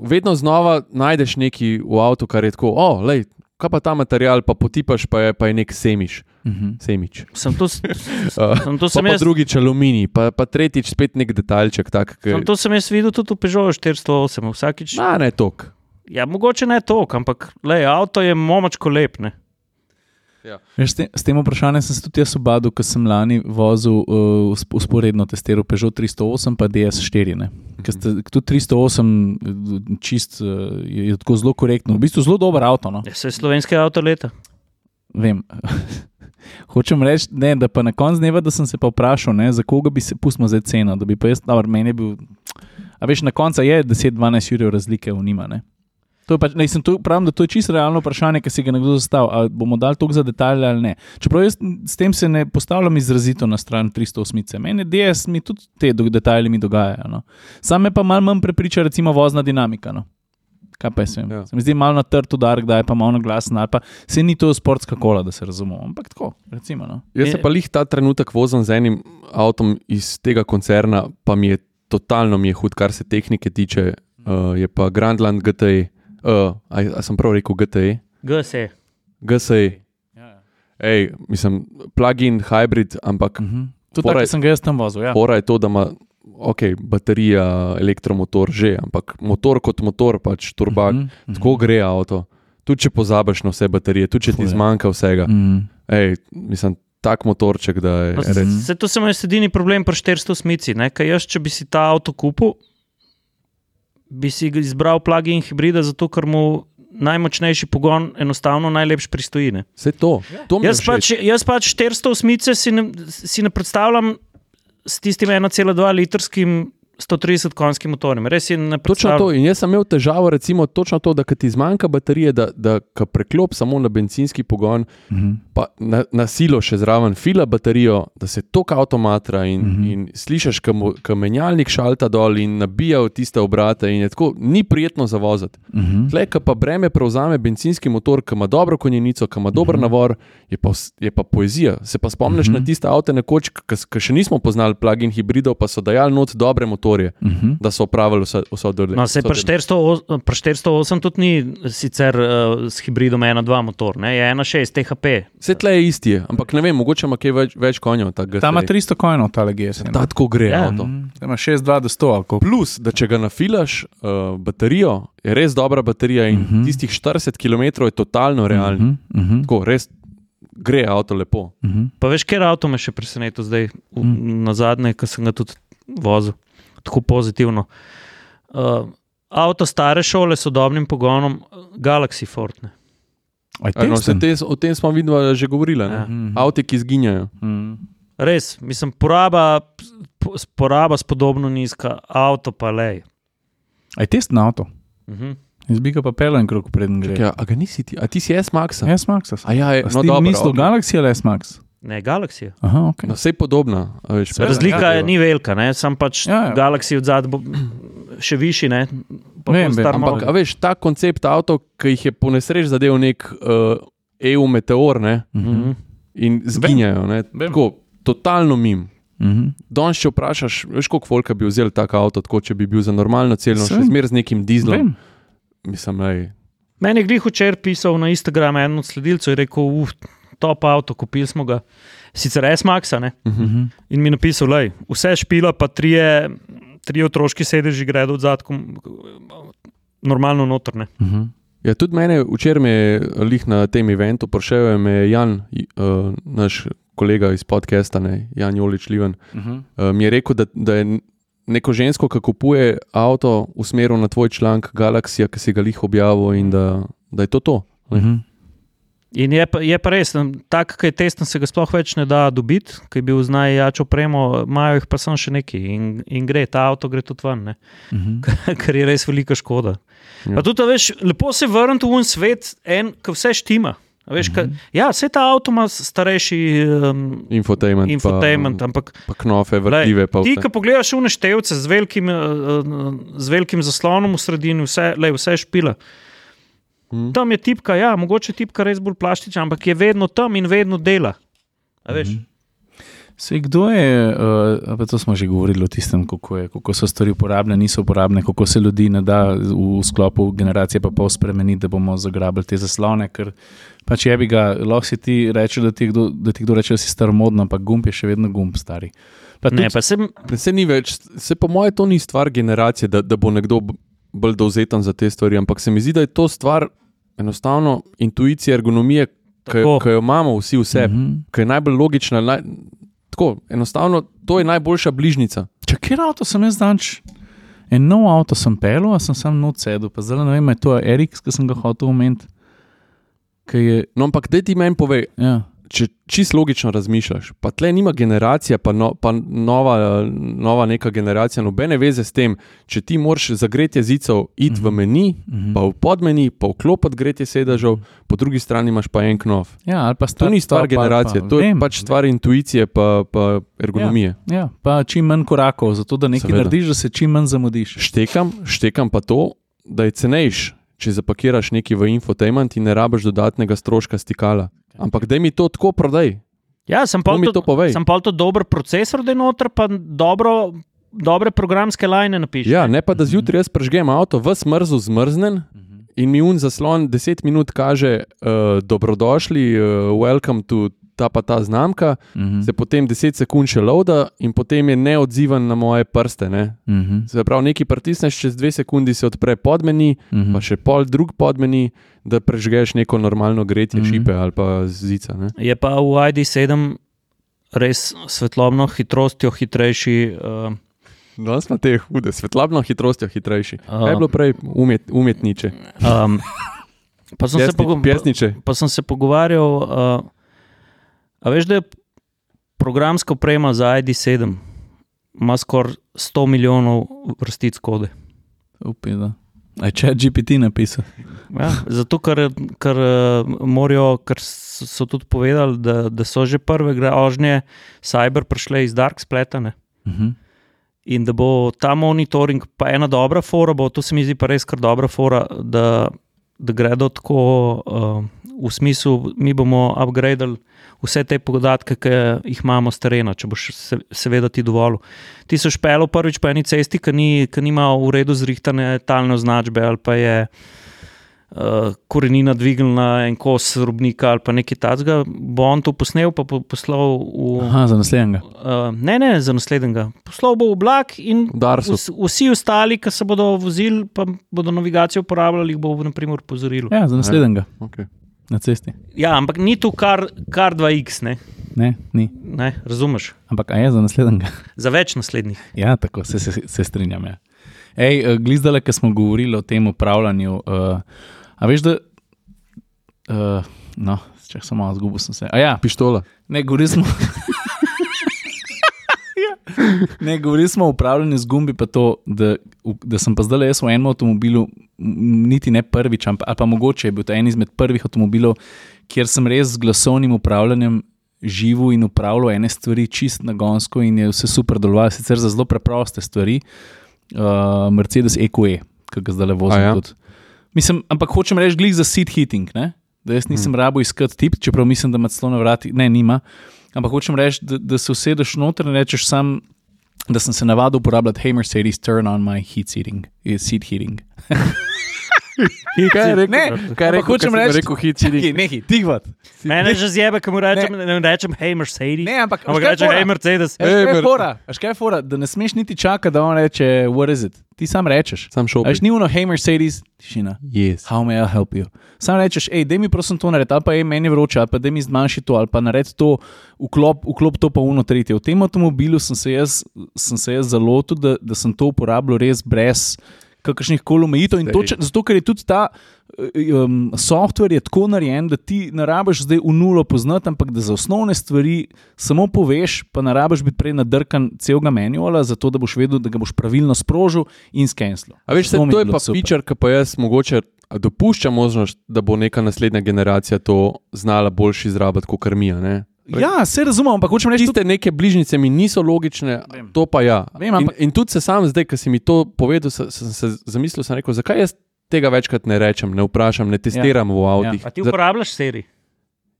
Speaker 2: vedno znova najdeš nekaj v avtu, kar je tako, oh, lej, kaj pa ta material, pa potipaš, pa je, pa je nek semiš.
Speaker 1: Mhm.
Speaker 2: semič.
Speaker 3: Sem to, s-
Speaker 2: Uh,
Speaker 3: sem to,
Speaker 2: pa,
Speaker 3: sem
Speaker 2: pa
Speaker 3: jaz,
Speaker 2: drugič aluminij, pa, pa tretjič spet nek detaljček. Tak,
Speaker 3: sem
Speaker 2: ki,
Speaker 3: to sem jaz videl tudi v Peugeotu 408. Vsakič,
Speaker 2: na, ne tok.
Speaker 3: ja, mogoče ne to, ampak le, avto je momačko lepne.
Speaker 1: Veš, s, te, s tem vprašanjem sem se tudi jaz obadil, ker sem lani vozil uh, usp- usporedno testiral Peugeot 308 pa DS4. ne. Ker ste- Tudi 308 čist, uh, je je tako zelo korektno, v bistvu zelo dober avto. No?
Speaker 3: Ja, se slovenske avto leta.
Speaker 1: Vem. Hočem reči, ne, da pa na koncu dneva, da sem se pa vprašal, ne, za koga bi se pustimo za ceno. Da bi pa jaz, dobro, meni je bil. A veš, na koncu je 10-12 jurjev razlike v njima. Ne. To je pač, ne, sem tu pravim, da to je čisto realno vprašanje, ki si ga nekdo zastavil. Ali bomo dali toliko za detalje ali ne. Čeprav jaz s tem se ne postavljam izrazito na stran 308. Mene DS mi tudi te do- detajli mi dogajajo. No. Sam me pa malo manj prepriča, recimo, vozna dinamika. No. Kaj pa jaz vem?
Speaker 2: Ja.
Speaker 1: Ja. Se mi zdi malo na trtu, da je pa malo na glas, ali pa se ni to sportska kola, da se razumemo. Ampak tako, recimo. No.
Speaker 2: Jaz se
Speaker 3: Je-
Speaker 2: pa lih ta trenutek vozim z enim avtom iz tega koncerna, pa mi je totalno mi je hud, kar se tehnike tiče.
Speaker 1: Mhm.
Speaker 2: Uh, je pa Grandland GTE, uh, a, a sem prav rekel E? GTE,
Speaker 3: GSE.
Speaker 2: GSE. E.
Speaker 1: Ja,
Speaker 2: Ej, mislim, plug-in, hybrid, ampak
Speaker 1: Mhm. Tudi
Speaker 2: Fora
Speaker 1: tako
Speaker 2: je-
Speaker 1: sem ga jaz tam vozil. Ja.
Speaker 2: Fora je to, da ima okay, baterija, elektromotor že, ampak motor kot motor, pač turba, mm
Speaker 1: Mhm,
Speaker 2: -hmm. tako gre avto. Tudi če pozabiš na vse baterije, tudi če ti
Speaker 1: Fuje.
Speaker 2: zmanjka vsega.
Speaker 1: ja. Mhm.
Speaker 2: Ej, mislim, tak motorček, da je
Speaker 3: Pa
Speaker 2: Ja, res.
Speaker 3: Se to samo jaz edini problem pri 400 smici, ne? ker jaz, če bi si ta avto kupil, bi si ga izbral plug-in hibrida, zato ker mu najmočnejši pogon enostavno najlepš pristoji. Ne?
Speaker 2: Vse to. to mi je
Speaker 3: Jaz pač,
Speaker 2: všeč.
Speaker 3: jaz pač 400 osmice si ne, si ne predstavljam s tistim 1,2 litrskim 130 konjskim motorjem. Res je
Speaker 2: Točno
Speaker 3: ne
Speaker 2: to.
Speaker 3: predstavljam.
Speaker 2: In jaz sem imel težavo, recimo, točno to, da ko ti zmanjka baterije, da, da ko preklop samo na benzinski pogon,
Speaker 1: Mhm.
Speaker 2: pa na, na silo še zraven fila baterijo, da se tok avtomatra in, mm
Speaker 1: Mhm.
Speaker 2: -hmm. in slišiš, kam menjalnik šalta dol in nabija v tiste obrate. in je Tako, ni prijetno za voziti.
Speaker 1: Mhm.
Speaker 2: Tle, ki pa breme prevzame benzinski motor, ki ima dobro konjenico, ki ima dober navor, je pa, vs- je pa poezija. Se pa spomniš mm -hmm. na tiste avto nekoč, ki še nismo poznali plug-in hibridov, pa so dajali not dobre motorje,
Speaker 1: Mhm.
Speaker 2: da so opravili vso, vso delo.
Speaker 3: No, se pri 408, pri 408 tudi ni sicer uh, s hibridom 1,2 motor, ne? je 1,6 THP.
Speaker 2: Vse tle je isti, je, ampak ne vem, mogoče ima kaj več, več konjev. Ta,
Speaker 1: Ta ima
Speaker 2: GSE.
Speaker 1: 300 kojnov, ta GS. ne.
Speaker 2: Ta tako gre.
Speaker 3: Ja.
Speaker 2: Ja. Avto.
Speaker 1: Mhm. Ta ima 6,2 do 100. ali koliko?
Speaker 2: Plus, da če ga nafilaš uh, baterijo, je res dobra baterija in uh
Speaker 1: Mhm.
Speaker 2: -huh. tistih 40 km je totalno realno. Uh -huh.
Speaker 1: Mhm, mhm,
Speaker 2: Tako, res gre avto lepo.
Speaker 1: mhm.
Speaker 3: Pa veš, kje avto me še preseneča zdaj, mm. na zadnje, ki sem ga tudi vozil, tako pozitivno. Uh, avto stare šole s sodobnim pogonom, uh, Galaxy Ford. Ne?
Speaker 1: Aj,
Speaker 2: Aj, No,
Speaker 1: testen?
Speaker 2: saj te, o tem smo vidno že govorili.
Speaker 3: Ja.
Speaker 2: Ja.
Speaker 1: Mhm.
Speaker 2: Avte, ki izginjajo.
Speaker 1: Mhm.
Speaker 3: Res, mislim, poraba, po- poraba spodobno nizka, avto pa le.
Speaker 1: Aj test na avto.
Speaker 3: Mhm.
Speaker 1: Jaz bi ga pa pel en krok preden gre.
Speaker 2: Ja, a ga nisi ti, a ti si S-Max.
Speaker 1: S Max.
Speaker 2: A ja, je, no,
Speaker 1: No,
Speaker 2: dobro,
Speaker 1: Mislil
Speaker 2: ok.
Speaker 1: Galaxy ali S Max?
Speaker 3: Ne, Galaxy. je.
Speaker 1: Aha, ok.
Speaker 2: No, vse je podobna. a Veš,
Speaker 1: Seveda,
Speaker 3: Razlika
Speaker 2: ja,
Speaker 3: je, ni velika, ne? sam pač
Speaker 1: Ja,
Speaker 3: ja,
Speaker 1: ja.
Speaker 3: ja. Galaxy od zadaj bo še višji. Ne? Pa
Speaker 1: Vem, vem,
Speaker 3: pol star
Speaker 2: Ampak,
Speaker 3: model.
Speaker 2: a veš, ta koncept avto, ki jih je po nesreči zadev nek uh, EU meteor ne,
Speaker 1: Mhm,
Speaker 3: Mhm.
Speaker 2: in zginjajo. Ne,
Speaker 1: Vem.
Speaker 2: tako, totalno mim.
Speaker 1: mhm.
Speaker 2: Danes, če vprašaš, veš, koliko folka bi vzel tako avto, tako, če bi bil za normalno celno, še
Speaker 1: Saj.
Speaker 2: zmeraj z nekim dizlom.
Speaker 1: Vem.
Speaker 2: Mislim, ej,
Speaker 3: Meni je glih včeraj pisal na Instagramu en od sledilcev in rekel, uf, top avto, kupili smo ga. Sicer S-Maxa ne?
Speaker 1: Mhm.
Speaker 3: in mi je napisal, da vse špila, pa trije, trije otroški sedeži gredo od zadka, normalno notrne.
Speaker 1: Mhm.
Speaker 2: Ja, tudi mene včeraj me je lih na tem eventu prišel, je me je Jan, uh, naš kolega iz podcasta, ne, Jan Jolič Liven,
Speaker 1: Mhm.
Speaker 2: uh, mi je rekel, da, da je neko žensko, ki kupuje avto, usmeril na tvoj članek Galaxija, ki si ga lih objavil in da, da je to to.
Speaker 1: Mhm.
Speaker 3: In je pa, je pa res, ne, tak, ki je testen, se ga sploh več ne da dobiti, ki je bil z najjačo opremo, imajo jih pa sem še neki in, in gre, ta avto gre tudi ven, ne?
Speaker 1: Mhm.
Speaker 3: ker je res velika škoda.
Speaker 2: Ja.
Speaker 3: Ja. Tudi, a veš, lepo se vrniti v en svet, en, ki vse štima. A Veš, ka,
Speaker 2: Mhm.
Speaker 3: ja, vse ta avto ima starejši um,
Speaker 2: Infotainment.
Speaker 3: infotainment,
Speaker 2: Pa,
Speaker 3: ampak
Speaker 2: pa knofe,
Speaker 3: Glej,
Speaker 2: vrtljive. pa
Speaker 3: Ti,
Speaker 2: vse.
Speaker 3: ki pogledaš v neštevce z velikim, eh, eh, z velikim zaslonom v sredini, vse, lej, vse je špila.
Speaker 2: Mhm.
Speaker 3: Tam je tipka, ja,
Speaker 2: Mhm.
Speaker 3: mogoče tipka res bolj plastična, ampak je vedno tam in vedno dela. A Veš,
Speaker 1: Sej, kdo je, uh, pa to smo že govorili o tistem, kako, je, kako so stvari uporabne, niso uporabne, kako se ljudi ne da v sklopu generacije pa pol spremeniti, da bomo zagrabili te zaslone. Ker pač je bi ga, lahko si ti reče, da ti kdo, da ti kdo reče, da si star modno, ampak gumb je še vedno gumb stari. Pa tudi,
Speaker 3: Ne, pa sem,
Speaker 2: Se ni več, se po mojem, to ni stvar generacije, da, da bo nekdo b- bolj dovzeten za te stvari, ampak se mi zdi, da je to stvar enostavno intuicije, ergonomije, ki jo-
Speaker 3: Tako.
Speaker 2: ki jo imamo vsi vse, mm
Speaker 1: Mhm.
Speaker 2: -hmm. ki je najbolj logična. Naj, tako, enostavno, to je najboljša bližnica.
Speaker 1: Če kjer avto sem jaz danč, en nov avto sem pel, a sem sam not sedel, pa zdaj ne vem, a je to Eriks, ki sem ga hotel omeniti. ki Je,
Speaker 2: No, ampak dej ti meni povej,
Speaker 1: ja.
Speaker 2: če čist logično razmišljaš, pa tle nima generacija, pa, no, pa nova, eh, nova neka generacija, nobene veze s tem, če ti moraš zagreti jezicov, id v meni,
Speaker 1: mhm.
Speaker 2: pa v podmeni, pa vklopiti gretje sedežev, po drugi strani imaš pa en knof.
Speaker 1: ja, ali pa
Speaker 2: To
Speaker 1: star-
Speaker 2: ni stvar
Speaker 1: pa- pa-
Speaker 2: generacije,
Speaker 1: pa-
Speaker 2: to je
Speaker 1: vem,
Speaker 2: pač stvar intuicije in ergonomije.
Speaker 1: Ja, pa čim manj korakov, zato da nekaj
Speaker 2: Seveda.
Speaker 1: Seveda. narediš, da se čim manj zamudiš.
Speaker 2: Štekam, štekam pa to, da je cenejš, če zapakiraš nekaj v infotainment in ne rabiš dodatnega stroška stikala.
Speaker 1: Ja.
Speaker 2: Ampak da mi to tako prodaj,
Speaker 3: ja, sem
Speaker 2: to
Speaker 3: pol
Speaker 2: mi
Speaker 3: to,
Speaker 2: to povej.
Speaker 3: sem pol to dober procesor, da je noter, pa dobro, dobre programske lajne napiši.
Speaker 2: Ja, ne pa da zjutraj jaz prežgem avto, v smrzu zmrznen in mi un zaslon 10 minut kaže, uh, dobrodošli, uh, welcome to ta pa ta znamka,
Speaker 1: Mhm.
Speaker 2: se potem 10 sekund še loada in potem je neodziven na moje prste. Ne?
Speaker 1: Mhm.
Speaker 2: Se pravi, nekaj pritisneš, čez dve sekundi se odpre podmeni,
Speaker 1: Mhm.
Speaker 2: pa še pol drug podmeni, da prežgeš neko normalno gretje mm
Speaker 1: Mhm.
Speaker 2: -hmm. šipe ali pa zica. Ne?
Speaker 3: Je pa v ID7 res svetlobno hitrostjo hitrejši. Uh,
Speaker 2: No, smo te hude, svetlobno hitrostjo hitrejši. Kaj je
Speaker 3: A.
Speaker 2: bilo prej umet, umetniče?
Speaker 3: um, pa, sem se pogo-
Speaker 2: Pesniče.
Speaker 3: pa sem se pogovarjal, uh, a veš, da je programska oprema za ID7 ima skoraj 100 milijonov vrstic kode.
Speaker 1: Upi, da. A je če GPT napisal?
Speaker 3: Ja, zato, ker, ker, eh, morajo, ker so, so tudi povedali, da, da so že prve grožnje cyber prišle iz Dark Spletane.
Speaker 1: Mhm.
Speaker 3: In da bo ta monitoring, pa ena dobra fora, bo, to se mi zdi pa res kar dobra fora, da, da gredo tako uh, v smislu, mi bomo upgradili vse te podatke, ki jih imamo z terena, če boš se, seveda ti dovolil. Ti so špelo prvič po eni cesti, ki ni, ki nima v redu zrihtane talne označbe ali pa je. Uh, korenina dvignila en kos robnika ali pa nekaj takega, bo on to posnel, pa po, poslal v
Speaker 1: Aha, za naslednjega.
Speaker 3: Uh, ne, ne, za naslednjega. Poslal bo oblak in
Speaker 2: V Darsu.
Speaker 3: vs, vsi ostali, ki se bodo vozili, pa bodo navigacijo uporabljali, jih bo naprimer opozorilo.
Speaker 1: Ja, za naslednjega
Speaker 2: Okay.
Speaker 1: na cesti.
Speaker 3: Ja, ampak ni tu kar, kar 2x, ne?
Speaker 1: Ne, ni.
Speaker 3: Ne, razumeš?
Speaker 1: Ampak a je za naslednjega?
Speaker 3: Za več naslednjih.
Speaker 1: Ja, tako se, se, se strinjam. Ja. Ej, glizdale, ki smo govorili o tem upravljanju. Uh, a veš, da. Uh, no, če sem malo zgubil, sem se. A ja,
Speaker 2: Pištola.
Speaker 1: Ne, govorili smo. ne, govorili smo o upravljanju z gumbi, pa to, da, da sem pa zdaj jaz v enem avtomobilu, m, niti ne prvič, ampak ali pa mogoče je bil to en izmed prvih avtomobilov, kjer sem res z glasovnim upravljanjem živel in upravljal ene stvari čist na gonsko in je vse super delovalo, sicer za zelo preproste stvari. Uh, Mercedes EQE, ki ga zdaj le vozim.
Speaker 2: A ja?
Speaker 1: Ja? Mislim, ampak hočem reči, glih za sit hitting. Ne? Da jaz
Speaker 2: Mhm.
Speaker 1: nisem hmm. rabo iskati tip, čeprav mislim, da ima celo na vrati, ne, nima. Ampak hočem reči, da, da se usedeš noter in rečeš sam, da sem se navadil uporabljati, hej, Mercedes, turn on my heat seating. eh, Seat heating.
Speaker 2: Kaj je rekel?
Speaker 1: Ne,
Speaker 2: kaj je
Speaker 1: ampak
Speaker 2: rekel?
Speaker 1: hočem
Speaker 2: ko sem
Speaker 1: reči-
Speaker 2: rekel hit city.
Speaker 1: Nehaj, tihvat.
Speaker 3: Mene že zjebe, ko mu rečem, ne, ne rečem, hej, Mercedes.
Speaker 1: Ne, ampak- Ja.
Speaker 3: ampak
Speaker 1: veš, kaj
Speaker 3: rečem,
Speaker 1: fora?
Speaker 3: hej, Mercedes.
Speaker 1: Eš,
Speaker 2: Ej,
Speaker 1: kaj je
Speaker 2: Mer-
Speaker 1: fora, Veš, kaj je fora, da ne smeš niti čakati, da on reče, what is it. Ti sam rečeš.
Speaker 2: Sam šel.
Speaker 1: A Veš, ni uno, hej, Mercedes, tišina.
Speaker 2: Yes.
Speaker 1: How may I help you? Sam rečeš, hej, da mi prosim to naredi, ali pa je meni vroče, ali pa da mi zmanjši to, ali pa naredi to, vklop, vklop to pa uno tretje. V tem avtomobilu sem se jaz, sem se jaz zalotil, da, da sem to uporabljal res brez kakršnih koli omejitev. In
Speaker 2: Sej.
Speaker 1: točen, zato, ker je tudi ta um, softver je tako narejen, da ti ne rabiš zdaj v nulo poznati, ampak da za osnovne stvari samo poveš, pa ne rabiš biti prej nadrkan celega manuala, zato da boš vedel, da ga boš pravilno sprožil in skenslil.
Speaker 2: A veš, se,
Speaker 1: Zato mi
Speaker 2: to je
Speaker 1: bilo
Speaker 2: pa
Speaker 1: super.
Speaker 2: pičar, ki pa jaz mogoče dopuščam možnost, da bo neka naslednja generacija to znala boljši izrabati kot karmija. Ne? Torej,
Speaker 1: Ja, se razumem, ampak hočem reči,
Speaker 2: Tiste neke bližnjice mi niso logične,
Speaker 1: Vem.
Speaker 2: to pa ja.
Speaker 1: Vem, ampak-
Speaker 2: in, in tudi se sam zdaj, ki si mi to povedal, se- sem se zamislil, sem rekel, zakaj jaz tega večkrat ne rečem, ne vprašam, ne testiram ja. v avtih.
Speaker 3: A ti uporabljaš seri?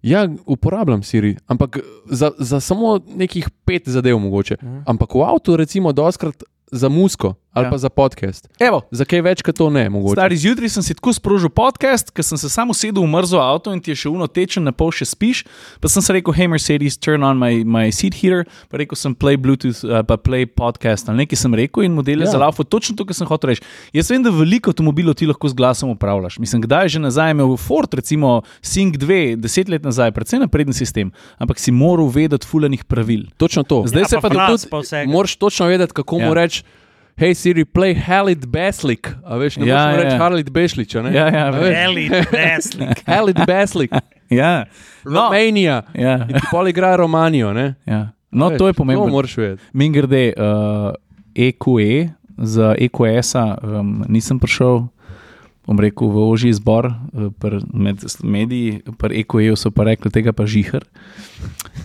Speaker 2: Ja. Ja, uporabljam Siri, ampak za, za samo nekih pet zadev mogoče.
Speaker 3: Mhm.
Speaker 2: Ampak v avtu, recimo, doskrat za muziko ali
Speaker 1: Ja.
Speaker 2: ja. pa za podcast.
Speaker 1: Evo,
Speaker 2: Za kaj več, kot to ne, mogoče.
Speaker 1: Stari zjutraj sem si tako sprožil podcast, ker sem se samo sedel v mrzlo avto in ti je še uno tečen, na pol še spiš. Pa sem se rekel, hey Mercedes, turn on my, my seat heater, pa rekel sem play Bluetooth, uh, pa play podcast ali nekaj sem rekel in modele
Speaker 2: Ja.
Speaker 1: ja. za laufu, točno to, kar sem hotel reči. Jaz vem, da veliko avtomobilov ti lahko z glasom upravljaš. Mislim, kdaj je že nazaj imel Ford, recimo Sync 2, deset let nazaj, predvsem napreden sistem, ampak si moral vedeti fulanih pravil.
Speaker 2: Točno to.
Speaker 1: Zdaj
Speaker 3: Ja,
Speaker 1: se pa,
Speaker 3: pa Franc
Speaker 1: tudi
Speaker 3: Jaz pa vsega.
Speaker 2: Moraš točno vedeti, kako
Speaker 1: Ja.
Speaker 2: mu reči. Hej, Siri, play Halid Beslik. A veš, ne
Speaker 1: Ja,
Speaker 2: moreš mu
Speaker 1: ja.
Speaker 2: reči Harlit Bešlič. a ne?
Speaker 1: Ja, ja,
Speaker 2: A
Speaker 1: vem.
Speaker 2: veš?
Speaker 3: Eli, Beslik.
Speaker 2: Halid Beslik,
Speaker 1: Ja. No,
Speaker 2: Romanija.
Speaker 1: ja,
Speaker 2: In ti pol igra Romanijo. Ne?
Speaker 1: ja. no
Speaker 2: Veš,
Speaker 1: to je pomembno.
Speaker 2: To moraš vedeti.
Speaker 1: Min grede, uh, EQE, E, za EQS-a um, nisem prišel, bom rekel, v oži izbor, eh, pri- med s- mediji, pri EQE-ju so pa rekli, tega pa žihar.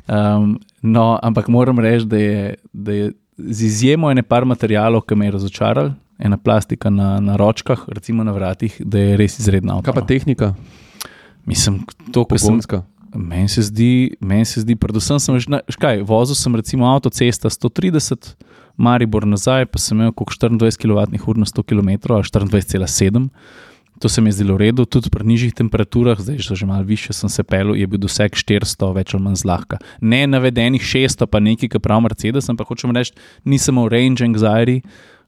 Speaker 1: Um, no, ampak moram reči, da je, da je z izjemo ene par materijalov, ki me je razočaral, ena plastika na, na ročkah, recimo na vratih, da je res izredna.
Speaker 2: Kaj pa tehnika?
Speaker 1: Mislim, to, kar No. sem
Speaker 2: Pogonska.
Speaker 1: Meni se zdi, meni se zdi, predvsem sem, že na- veš kaj, vozil sem recimo avtocesta 130, Maribor nazaj, pa sem imel okrog 24 kWh na 100 km, ali 24,7. To se mi je zdelo v redu, tudi pri nižjih temperaturah, zdaj so že malo više, sem se pel, je bil doseg 400, več ali manj zlahka. Ne navedenih 600, pa nekaj, kar pravi Mercedes, ampak hočem reči, nisem imel range anxiety,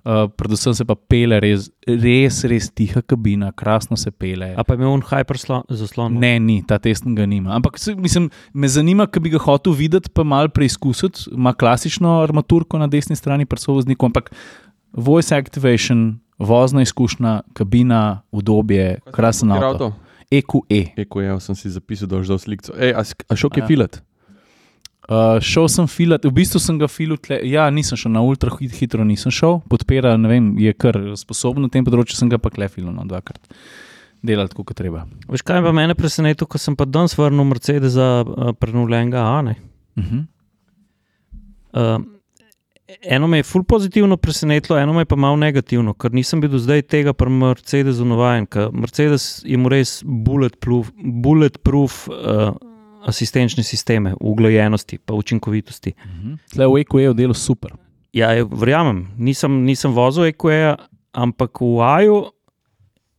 Speaker 1: uh, predvsem se pa pele res, res, res tiha kabina, krasno se pele.
Speaker 3: A pa imel on hyperslo- zaslon.
Speaker 1: Ne, ni, ta test ga nima. Ampak se- mislim, me zanima, ker bi ga hotel videti, pa malo preizkusiti. Ima klasično armaturko na desni strani, prsovozniku, ampak voice activation, vozna izkušnja, kabina, udobje, krasen
Speaker 2: Kjer
Speaker 1: avto. E
Speaker 2: avto?
Speaker 1: EQE.
Speaker 2: Eko, ja, sem si zapisal, da boš dal sliko. Ej, a, sk- a šel kaj
Speaker 1: Ja.
Speaker 2: filat?
Speaker 1: Uh, šel sem filat, v bistvu sem ga filil, tle, ja, nisem šel na ultra hit, hitro nisem šel, podpira, ne vem, je kar sposoben na tem področju, sem ga pa klefil, no, dvakrat. Delati, kot treba.
Speaker 3: Veš kaj je pa mene presenetilo, ko sem pa danes vrnil Mercedes za uh, prenovljenega Ane.
Speaker 1: Uh -huh.
Speaker 3: Uh, eno me je ful pozitivno presenetilo, eno me je pa malo negativno, ker nisem bil do zdaj tega pri Mercedesu navaden. ker Mercedes ima res bulletproof, bulletproof uh, asistenčne sisteme v uglajenosti in učinkovitosti.
Speaker 1: Uh -huh. Tle v EQE-ju delo super.
Speaker 3: Ja, je- verjamem, nisem, nisem vozil EQE, ampak v AJU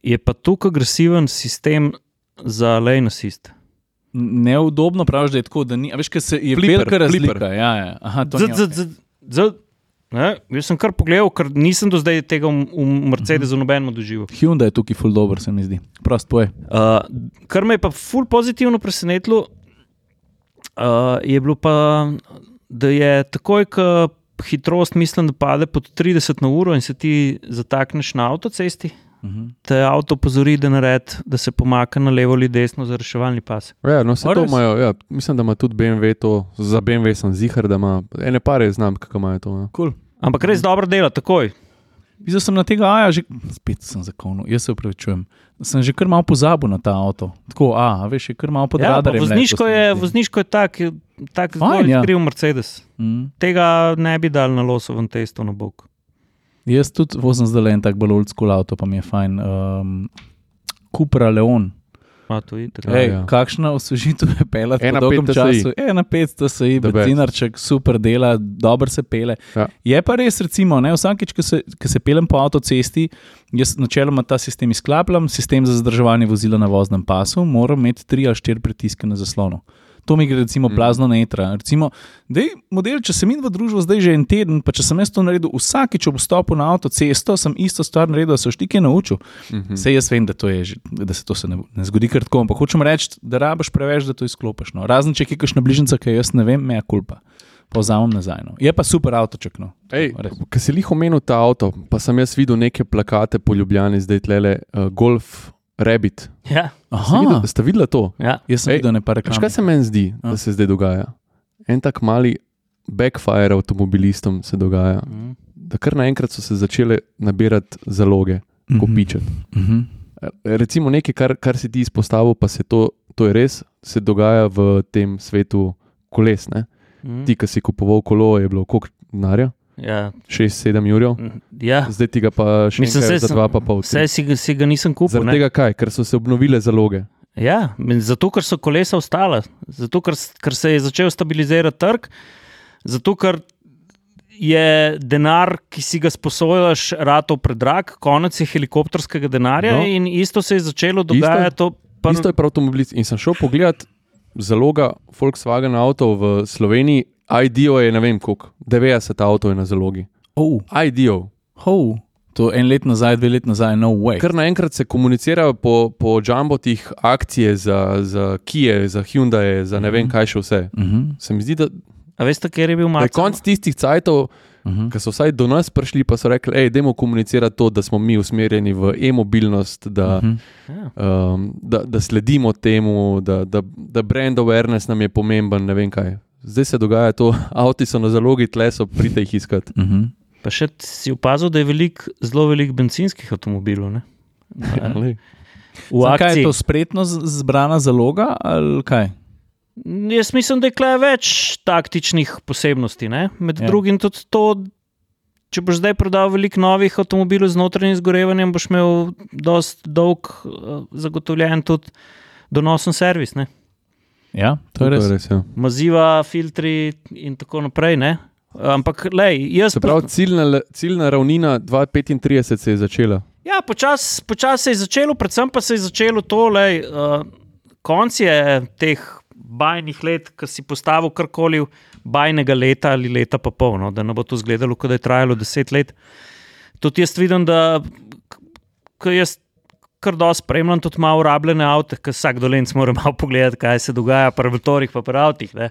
Speaker 3: je pa tukaj agresiven sistem za lane assist.
Speaker 1: Neudobno praviš, da je tako, da ni. a Veš, kaj se je
Speaker 2: Flipper,
Speaker 1: velika razlika.
Speaker 2: flipper.
Speaker 1: Ja, ja. Aha, to ni
Speaker 3: Z- z-
Speaker 1: okej.
Speaker 3: z- z- Ne, jaz sem kar pogledal, ker nisem do zdaj tega v v Mercedesu
Speaker 1: Mhm.
Speaker 3: nobenemu doživel.
Speaker 1: Hyundai je tukaj full dobro, se mi zdi. Prost poje.
Speaker 3: Uh, kar me je pa ful pozitivno presenetilo, uh, je bilo pa, da je takoj, ko hitrost, mislim, da pade pod 30 na uro in se ti zatakneš na avtocesti,
Speaker 1: Uh -huh.
Speaker 3: te avto opozori, da, nared, da se pomaka na levo ali desno za reševalni pas.
Speaker 2: Ja, no, vse
Speaker 1: A
Speaker 2: to
Speaker 1: res?
Speaker 2: imajo. Ja, mislim, da ima tudi BMW to, za BMW sem zihar, da ima ene pare znam, kako imajo to. Ja.
Speaker 1: cool.
Speaker 3: Ampak
Speaker 1: Mhm.
Speaker 3: res dobro dela, takoj.
Speaker 1: Videl sem na tega aja, že spet sem zakonil, jaz se upravičujem. Sem že kar malo pozabil na ta avto. Tako, a, a veš, je kar malo pod
Speaker 3: Ja, pa
Speaker 1: radarjem.
Speaker 3: vozniško, je, vozniško je tak, je tak zelo
Speaker 1: Fajn, ja.
Speaker 3: kriv Mercedes.
Speaker 1: Mm.
Speaker 3: Tega ne bi dal na losovem testu na bok.
Speaker 1: Jaz tudi vozim zdaj le en tak bolj oldskul avto, pa mi je fajn. Um, Kupra Leon.
Speaker 3: Ma, to je itak.
Speaker 2: Ja,
Speaker 1: Ej,
Speaker 2: ja.
Speaker 1: kakšna osvežitev je pela po
Speaker 2: Ena
Speaker 1: dolgem
Speaker 2: 5 TSI.
Speaker 1: času? 1,5 TSI,
Speaker 2: The best.
Speaker 1: benzinarček, super dela, dobro se pele.
Speaker 2: Ja.
Speaker 1: Je pa res, recimo, ne, vsakeč, ko se, ko se pelem po avtocesti, jaz načeloma ta sistem izklapljam, sistem za zadrževanje vozila na voznem pasu, moram imeti tri ali štiri pritiske na zaslonu. To mi gre recimo
Speaker 2: Mm.
Speaker 1: blazno na etra. Recimo, dej, model, če sem in v družbi zdaj že en teden, pa če sem jaz to naredil vsakič ob vstopu na avtocesto, sem isto stvar naredil, da se štike naučil.
Speaker 2: Mhm.
Speaker 1: Vse jaz vem, da, to je, že- da se to se ne, bo- ne zgodi kar tako, ampak hočem reči, da rabiš preveč, da to izklopiš. No. Razen če je kakšna bližnjica, ki jo jaz ne vem, meja kulpa. Povzamem nazaj. No. Je pa super avtočekno.
Speaker 2: Ej, Ko si jih omenil ta avto, pa sem jaz videl neke plakate po Ljubljani, zdaj tlele uh, Golf Rabbit.
Speaker 3: Ja,
Speaker 2: Ste
Speaker 1: Aha,
Speaker 2: videli, ste videli to?
Speaker 3: ja.
Speaker 1: jaz sem
Speaker 2: Ej,
Speaker 1: videl nekaj
Speaker 2: Veš,
Speaker 1: reklam.
Speaker 2: kaj se meni zdi,
Speaker 1: Ja.
Speaker 2: da se zdaj dogaja? En tak mali backfire avtomobilistom se dogaja,
Speaker 3: Mhm.
Speaker 2: da kar naenkrat so se začele nabirati zaloge, kopičati.
Speaker 1: Mhm.
Speaker 2: Eh, Recimo nekaj, kar, kar si ti izpostavil, pa se to, to je res, se dogaja v tem svetu koles. Ne?
Speaker 3: Mhm.
Speaker 2: Ti, ki si kupoval kolo, je bilo koliko denarja?
Speaker 3: Ja.
Speaker 2: 6-7 jurjev,
Speaker 3: Mm, ja.
Speaker 2: zdaj ti ga pa še
Speaker 3: Mislim,
Speaker 2: Mislim,
Speaker 3: saj
Speaker 2: enkrat, za
Speaker 3: sem-
Speaker 2: dva pa pol. tri.
Speaker 3: Vse si, ga- si ga nisem kupil.
Speaker 2: Zaradi
Speaker 3: ne.
Speaker 2: tega kaj, ker so se obnovile zaloge.
Speaker 3: Ja, men zato, ker so kolesa ostala, zato, ker, s- ker se je začel stabilizirati trg, zato, ker je denar, ki si ga sposojaš, ratov predrag, konec je helikopterskega denarja
Speaker 2: No.
Speaker 3: no. in isto se je začelo dogajati.
Speaker 2: Prv... Isto je pri avtomobilih. In sem šel pogledat zaloga Volkswagen avto v Sloveniji, IDO je ne vem koliko, 90 avto je na zalogi.
Speaker 1: Oh,
Speaker 2: IDO.
Speaker 1: oh. To en let nazaj, dve let nazaj, no way.
Speaker 2: Ker naenkrat se komunicirajo po, po jumbotih akcije za, za Kije, za Hyundai, za ne vem kaj še vse.
Speaker 1: Uh -huh,
Speaker 2: Se mi zdi, da,
Speaker 3: A veste, kjer je bil
Speaker 2: da je
Speaker 3: Marko?
Speaker 1: no.
Speaker 2: konc tistih cajtov,
Speaker 1: uh -huh.
Speaker 2: ki so vsaj do nas prišli, pa so rekli, hej, dajmo komunicirati to, da smo mi usmerjeni v e-mobilnost, da,
Speaker 1: Mhm.
Speaker 3: Ja.
Speaker 2: um, da, da sledimo temu, da, da, da brand awareness nam je pomemben, ne vem kaj. Zdaj se dogaja to, avti so na zalogi, tle so, pridite jih iskati.
Speaker 1: Uh -huh.
Speaker 3: Pa še t- si opazil, da je velik, zelo veliko benzinskih avtomobilov. Ne?
Speaker 1: Ja.
Speaker 2: Glej.
Speaker 1: Sam,
Speaker 3: V
Speaker 1: Kaj je
Speaker 3: akciji.
Speaker 1: to spretno z- zbrana zaloga ali kaj?
Speaker 3: Jaz mislim, da je tukaj več taktičnih posebnosti. Ne? Med
Speaker 1: Ja.
Speaker 3: ja. drugim tudi to, če boš zdaj prodal veliko novih avtomobilov z notranjim zgorevanjem, boš imel dost dolg, eh, zagotovljen tudi donosen servis. Ne?
Speaker 1: Ja, to je res.
Speaker 2: res ja.
Speaker 3: Maziva, filtri in tako naprej. Ne? Ampak, lej, jaz
Speaker 2: Se pravi, ciljna, le- ciljna ravnina 2,35 se je začela.
Speaker 3: Ja, počasi počas se je začelo, predvsem pa se je začelo tole. Uh, konc je teh bajnih let, ki si postavil karkoli bajnega leta ali leta pa pol, no, da ne bo to izgledalo, kot da je trajalo deset let. Tudi jaz vidim, da ko jaz kar dosti spremljam, tudi malo rabljene avte, ker vsak dolenc mora malo pogledati, kaj se dogaja pri motorjih, pa pri avtih. Ne.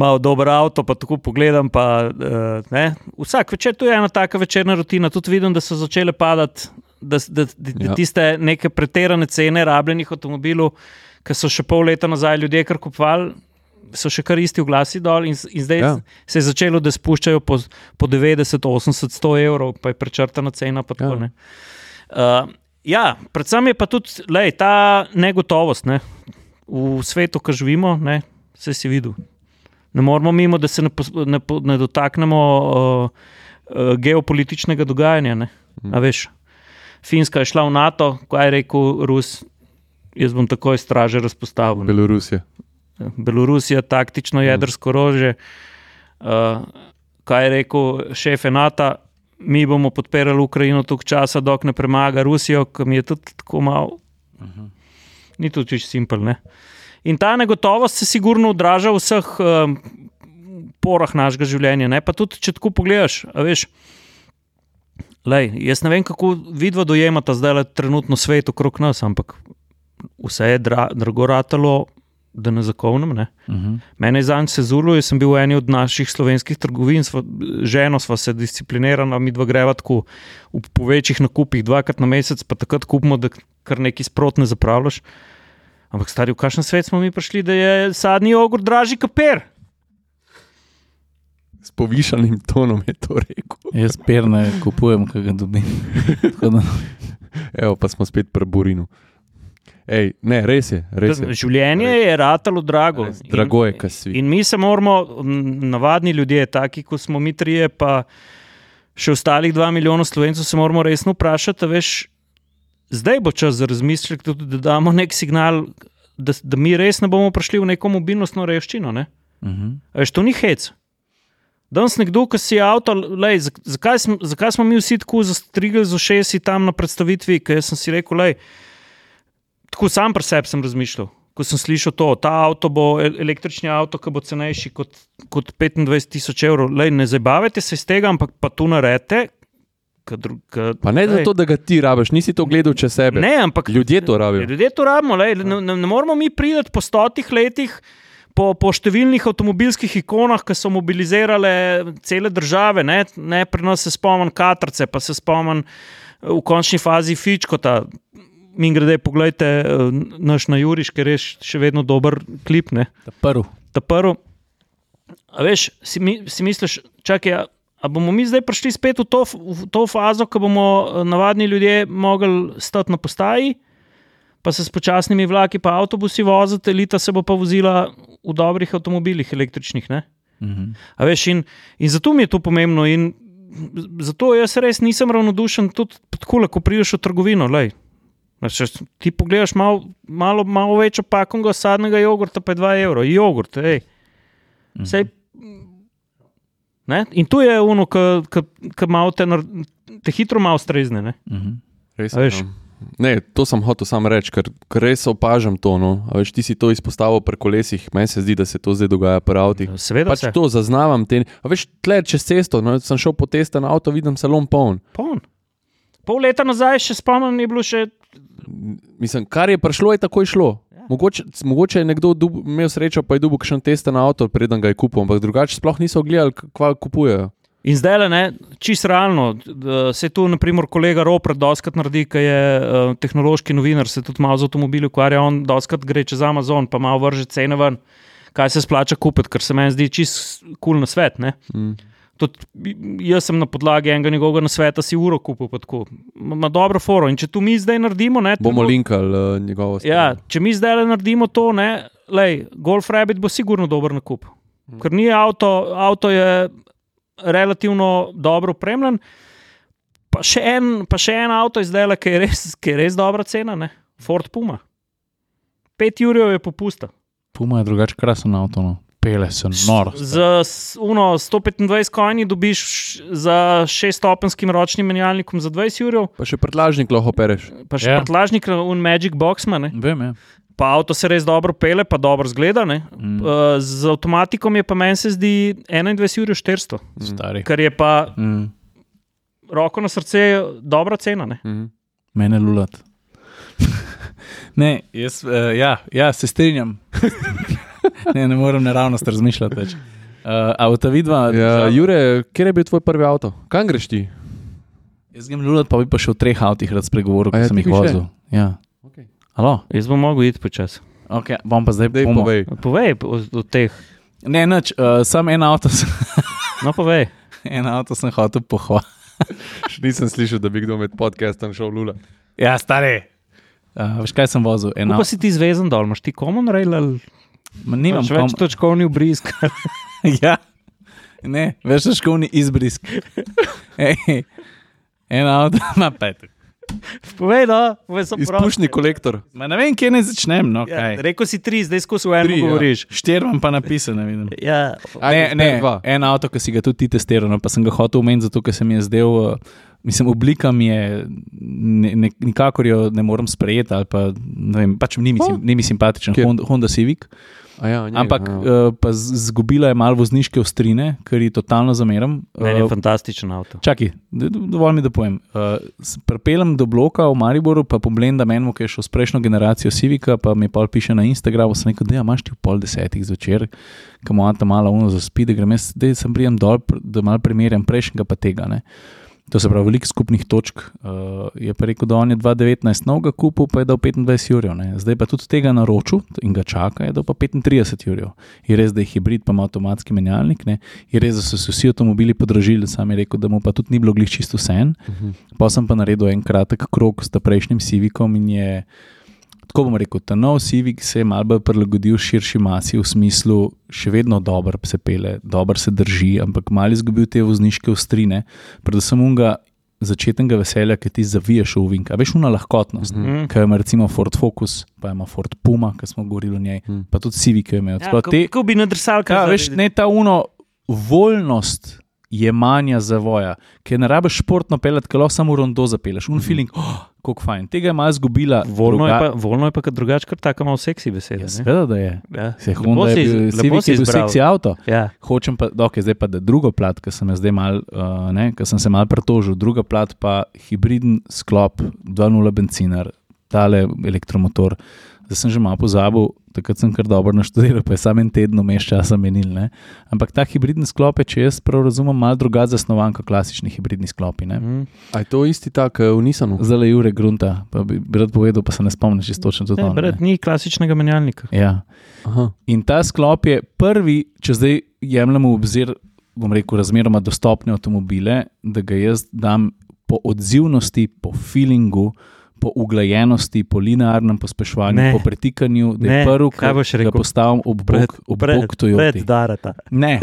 Speaker 3: Malo dober avto, pa tako pogledam. Pa, eh, ne. Vsak večer, to je ena taka večerna rutina, tudi vidim, da so začele padati. Da, s- da, da, da
Speaker 2: Ja.
Speaker 3: tiste neke pretirane cene rabljenih avtomobilov, ki so še pol leta nazaj ljudje kar kupovali, so še kar isti oglasi dol, in, s- in zdaj
Speaker 2: Ja.
Speaker 3: ja. se je začelo, da spuščajo po, po 90, 80, 100 evrov, pa je prečrtana cena. Pa
Speaker 2: Ja.
Speaker 3: tako, ja. Uh, ja, predvsem je pa tudi lej, ta negotovost ne? v svetu, ki živimo, ne? vse si videl. Ne moramo mimo, da se ne, pos, ne, po- ne dotaknemo uh, uh, geopolitičnega dogajanja. Ne?
Speaker 2: Mhm.
Speaker 3: A veš, Finska je šla v NATO, kaj je rekel Rus. Jaz bom takoj straže razpostavil. ne.
Speaker 2: Belorusija.
Speaker 3: Belorusija, taktično jedrsko orožje. Uh, kaj je rekel šef Enata, mi bomo podpirali Ukrajino toliko časa, dok ne premaga Rusijo, ki mi je tudi tako malo. Ni to čisto simpel. In ta negotovost se sigurno odraža v vseh um, porah našega življenja. Ne? Pa tudi, če tako pogledaš, a veš. Lej, jaz ne vem, kako vidva dojemata zdaj trenutno svet okrog nas, ampak vse je dra, drago ratalo, da ne zakovnem. Ne?
Speaker 1: Uh -huh.
Speaker 3: Mene je zanj sezulo, jaz sem bil v eni od naših slovenskih trgovin, sva, ženo sva se disciplinirala, mi dva greva tako v po večjih nakupih dvakrat na mesec, pa takrat kupimo, da kar neki sprotne zapravljaš. Ampak stari, v kakšen svet smo mi prišli, da je sadni jogurt dražji kot per?
Speaker 2: S povišanim tonom je to rekel.
Speaker 1: Jaz perne kupujem, kaj ga dobim. Tako da-
Speaker 2: Evo, pa smo spet pri Burinu. Ej, ne, res je, res je.
Speaker 3: Življenje je ratalo drago.
Speaker 2: Res, Drago je, kaj svi.
Speaker 3: In mi se moramo, m, navadni ljudje, taki kot smo mi trije, pa še ostalih dva milijona slovencev, se moramo resno vprašati, a veš, zdaj bo čas za razmislek, tudi, da damo nek signal, da, da mi res ne bomo prišli v neko mobilnostno revščino. Ne?
Speaker 1: Mhm.
Speaker 3: A Veš, to ni hec. Danes nekdo, ki si je avto, lej, zak- zakaj, smo, zakaj smo mi vsi tako zastrigli z ošesi tam na predstavitvi, ker jaz sem si rekel, lej, tako sam pri sebi sem razmišljal. Ko sem slišal to, ta avto bo el- električni avto, ki bo cenejši kot, kot 25 tisoč evrov, lej, ne zabavajte se iz tega, ampak pa to naredite. Ka dru, ka,
Speaker 2: Pa ne zato, da ga ti rabiš, nisi to gledal čez sebe.
Speaker 3: ne, ampak
Speaker 2: Ljudje to rabijo.
Speaker 3: Ja, Ljudje to rabimo, lej, ne, ne, ne moramo mi priti po stotih letih, po, po številnih avtomobilskih ikonah, ki so mobilizirale cele države. Ne, ne pri nas se spomnim Katrce, pa se spomnim eh, v končni fazi Fičkota. Mi grede, pogledajte, eh, naš na Juriš, ker je še še vedno dober klip. Ne
Speaker 1: Ta Prv.
Speaker 3: ta prvo. a Veš, si, mi, si misliš, čakaj, a, a bomo mi zdaj prišli spet v to, f- v to fazo, ko bomo eh, navadni ljudje mogli stati na postaji, pa se s počasnimi vlaki pa avtobusi voziti, elita se bo pa vozila v dobrih avtomobilih, električnih. Ne?
Speaker 1: Mhm.
Speaker 3: A Veš, in, in zato mi je to pomembno. In z- zato jaz res nisem ravnodušen, tudi tako, ko prideš v trgovino. Lej. Če ti pogledaš malo, malo, malo več opakonga sadnega jogurta, pa je 2 evra, jogurt. Ej.
Speaker 2: Mhm.
Speaker 3: Sej, ne? In tu je ono, ki te, nar- te hitro malo strezne. Ne?
Speaker 1: Mhm.
Speaker 2: Res,
Speaker 3: A veš?
Speaker 2: ja. Ne, to sem hotel sam reči, ker, ker res opažam to. No. A Veš, ti si to izpostavil pri kolesih, meni se zdi, da se to zdaj dogaja pri avtih.
Speaker 3: Seveda,
Speaker 2: Pač
Speaker 3: pač
Speaker 2: to zaznavam. Te, a veš, tle čez cesto, no, sem šel po testu na avto, vidim salon poln.
Speaker 3: poln. Pol leta nazaj, še spomnim, je bilo še
Speaker 2: Mislim, kar je prišlo, je takoj šlo.
Speaker 3: Ja.
Speaker 2: Mogoče, mogoče je nekdo dub, imel srečo, pa je dubo še teste na avto, preden ga je kupil, ampak drugače sploh niso gledali, k- kva kupujejo.
Speaker 3: In zdaj le, ne, čist realno, eh, da se tu, naprimer, kolega Roper, doskrat naredi, ki je eh, tehnološki novinar, se tudi malo z avtomobili ukvarja, on doskrat gre čez Amazon, pa malo vrže cene ven, kaj se splača kupiti, ker se meni zdi čist kul cool na svet. Ne.
Speaker 2: Mm.
Speaker 3: Tudi jaz sem na podlagi enega njegovega nasveta si uro kupil, pa tako. Ma ma dobro foro. In če tu mi zdaj naredimo, ne, to
Speaker 2: Bomo
Speaker 3: je bilo-
Speaker 2: linkali uh, njegovo
Speaker 3: Ja, če mi zdaj le naredimo to, ne, lej, Golf Rabbit bo sigurno dober nakup. Ker ni avto, avto je relativno dobro opremljen. Pa še en, pa še en avto je zdaj le, ki je res, ki je res dobra cena, ne? Ford Puma. 5 jurjev je popusta.
Speaker 1: Puma je drugače krasen avto, no. pele se noro.
Speaker 3: Z s- uno 125 konji dobiš za 6-stopenskim ročnim menjalnikom za 20 jurjev,
Speaker 2: Pa še prtlažnik lahko pereš.
Speaker 3: pa še
Speaker 1: Ja.
Speaker 3: yeah. prtlažnik un Magic Boxman, ne?
Speaker 1: Vem, ja.
Speaker 3: pa avto se res dobro pele, pa dobro zgleda. Ne?
Speaker 1: Mm.
Speaker 3: Uh, z avtomatikom je pa meni se zdi 21,400,
Speaker 1: stari.
Speaker 3: kar je pa
Speaker 1: Mm.
Speaker 3: roko na srce dobra cena. Ne?
Speaker 2: Mhm.
Speaker 1: Mene lulat. ne, jaz, uh, ja, ja, se strinjam. ne, ne morem naravnost razmišljati več. Uh, a v ta vidva,
Speaker 2: Ja,
Speaker 1: ja,
Speaker 2: Jure, kje je bil tvoj prvi avto? Kam greš ti?
Speaker 1: jaz grem lulat, pa bi pa še o treh avtih rad spregovoril,
Speaker 2: A
Speaker 1: ki
Speaker 2: ja,
Speaker 1: sem
Speaker 2: ti
Speaker 1: jih
Speaker 2: bi še?
Speaker 1: vozil. Ja.
Speaker 2: Okay.
Speaker 1: Alo,
Speaker 3: Jaz bom mogel iti počasi.
Speaker 1: okay, bom pa zdaj
Speaker 2: Dej,
Speaker 1: pomo-
Speaker 2: povej.
Speaker 3: Povej o, o teh.
Speaker 1: Ne, nič, uh, sam en avto, sem-
Speaker 3: No, povej.
Speaker 1: en avto sem hotel pohvaliti.
Speaker 2: Še nisem slišal, da bi kdo med podcastom šel lula.
Speaker 1: Ja, stari. Uh, veš kaj sem vozil? En
Speaker 3: No. Pa
Speaker 1: avto.
Speaker 3: si ti zvezen dol, imaš ti common rail ali
Speaker 1: Ma, Nimam
Speaker 3: imaš pač več
Speaker 1: kom-
Speaker 3: točkovni obrisk.
Speaker 1: Ja, ne, veš, škovni izbrisk. Ej, En avto ima petek.
Speaker 3: povej, no, povej sem prav.
Speaker 2: Izpušni kolektor.
Speaker 1: Ma ne vem, kje naj začnem. No,
Speaker 3: Ja,
Speaker 1: ja,
Speaker 3: rekel si tri, zdaj skozi v enem
Speaker 2: Tri, ja.
Speaker 3: govoriš.
Speaker 1: Štir imam pa napisane. Vidim.
Speaker 3: Ja.
Speaker 1: Ne,
Speaker 2: Ajde,
Speaker 1: ne,
Speaker 2: dva.
Speaker 1: en avto, ki si ga tudi ti testiral, no, pa sem ga hotel omeniti, zato ker se mi je zdel, uh, mislim, oblika mi je, ne, ne, nikakor jo ne morem sprejeti, ali pa ne vem, pač ni mi, sim, ni mi simpatičen,
Speaker 2: Kje?
Speaker 1: Honda, Honda Civic.
Speaker 2: A Ja, njega,
Speaker 1: Ampak
Speaker 2: ja.
Speaker 1: uh, pa z- zgubila je malo vozniške ostrine, kar ji totalno zameram.
Speaker 3: Meni
Speaker 1: Eh,
Speaker 3: je fantastičen avto.
Speaker 1: Čakaj, d- d- dovolj mi, da povem. Uh, Prepeljem do bloka v Mariboru, pa poblendam enemu, ki je šel s prejšnjo generacijo Civika, pa mi pol piše na Instagramu, sem rekel, da ja, imaš ti v pol desetih zvečer, ki mu ta mala uno zaspi, da grem jaz, da sem prijem dol, pr- da malo primerjam prejšnjega pa tega. Ne. To se pravi, veliko skupnih točk. Uh, je pa rekel, da on je 2,19 novega kupil, pa je dal 25 jurjev. Ne. Zdaj pa tudi tega naročil in ga čaka, je dal pa 35 jurjev. Je res, da je hibrid, pa ima avtomatski menjalnik. Ne. Je res, da so se vsi avtomobili podražili, sam je rekel, da mu pa tudi ni bilo glih čisto vse.
Speaker 2: Mhm.
Speaker 1: Pa sem pa naredil en kratek krok s ta prejšnjim Civikom in je, tako bom rekel, ta nov Civik se je malce bolj prilagodil širši masi v smislu, še vedno dobro se pele, dobro se drži, ampak malo izgubil te vozniške ostrine, predvsem unga začetnega veselja, ki ti zaviješ v uvink, a veš, una lahkotnost. Mm -hmm.
Speaker 3: Mm.
Speaker 1: Kaj ima recimo Ford Focus, pa ima Ford Puma, ki smo govorili o njej,
Speaker 2: Mhm.
Speaker 1: pa tudi Civic, ki jo imajo.
Speaker 3: Ja,
Speaker 1: Sploh te-
Speaker 3: kako bi nadrsal, kaj
Speaker 1: Ja, veš, ne ta uno voljnost jemanja zavoja, ker ne rabiš športno pelati, ker lahko samo rondo zapeleš. Un feeling, oh, kako fajn. Tega je malo izgubila.
Speaker 3: Volno Mhm. je
Speaker 1: druga-
Speaker 3: pa, volno je pa kad drugače, ker tako imamo seksi besede.
Speaker 1: Ja,
Speaker 3: ne?
Speaker 1: seveda, da je.
Speaker 3: Ja.
Speaker 1: Se je
Speaker 3: Lepo
Speaker 1: Honda, je
Speaker 3: si iz-
Speaker 1: bil,
Speaker 3: lepo
Speaker 1: Civic
Speaker 3: si
Speaker 1: je bil
Speaker 3: izbral.
Speaker 1: seksi avto.
Speaker 3: Ja.
Speaker 1: Hočem pa, ok, zdaj pa da drugo plat, ki sem, jo zdaj mal, uh, ne, ki sem se mal pretožil, druga plat pa hibriden sklop 2.0 benzinar, tale elektromotor. Zdaj sem že malo pozabil, takrat sem kar dobro naštudiral, pa je samo en teden vmes časa menil. Ne. Ampak ta hibriden sklop je, če jaz prav razumem, malo drugače zasnovan kot klasični hibridni sklopi. Ne.
Speaker 3: Mm.
Speaker 2: A je to isti tak eh, v Nisanu?
Speaker 1: Zdaj le Jure Grunta, pa bi, bi rad povedal, pa se ne spomnim čisto točno tudi
Speaker 3: Ne,
Speaker 1: on.
Speaker 3: brat,
Speaker 1: ne.
Speaker 3: ni klasičnega menjalnika.
Speaker 1: Ja.
Speaker 2: Aha.
Speaker 1: In ta sklop je prvi, če zdaj jemljemo v obzir, bom rekel, razmeroma dostopne avtomobile, da ga jaz dam po odzivnosti, po feelingu, po uglajenosti, po linearnem pospeševanju,
Speaker 3: Ne.
Speaker 1: po pretikanju, da je
Speaker 3: Ne,
Speaker 1: prvi,
Speaker 3: kaj boš
Speaker 1: da
Speaker 3: rekel?
Speaker 1: postavim ob bok, ob bok Toyota.
Speaker 3: darata.
Speaker 1: Ne,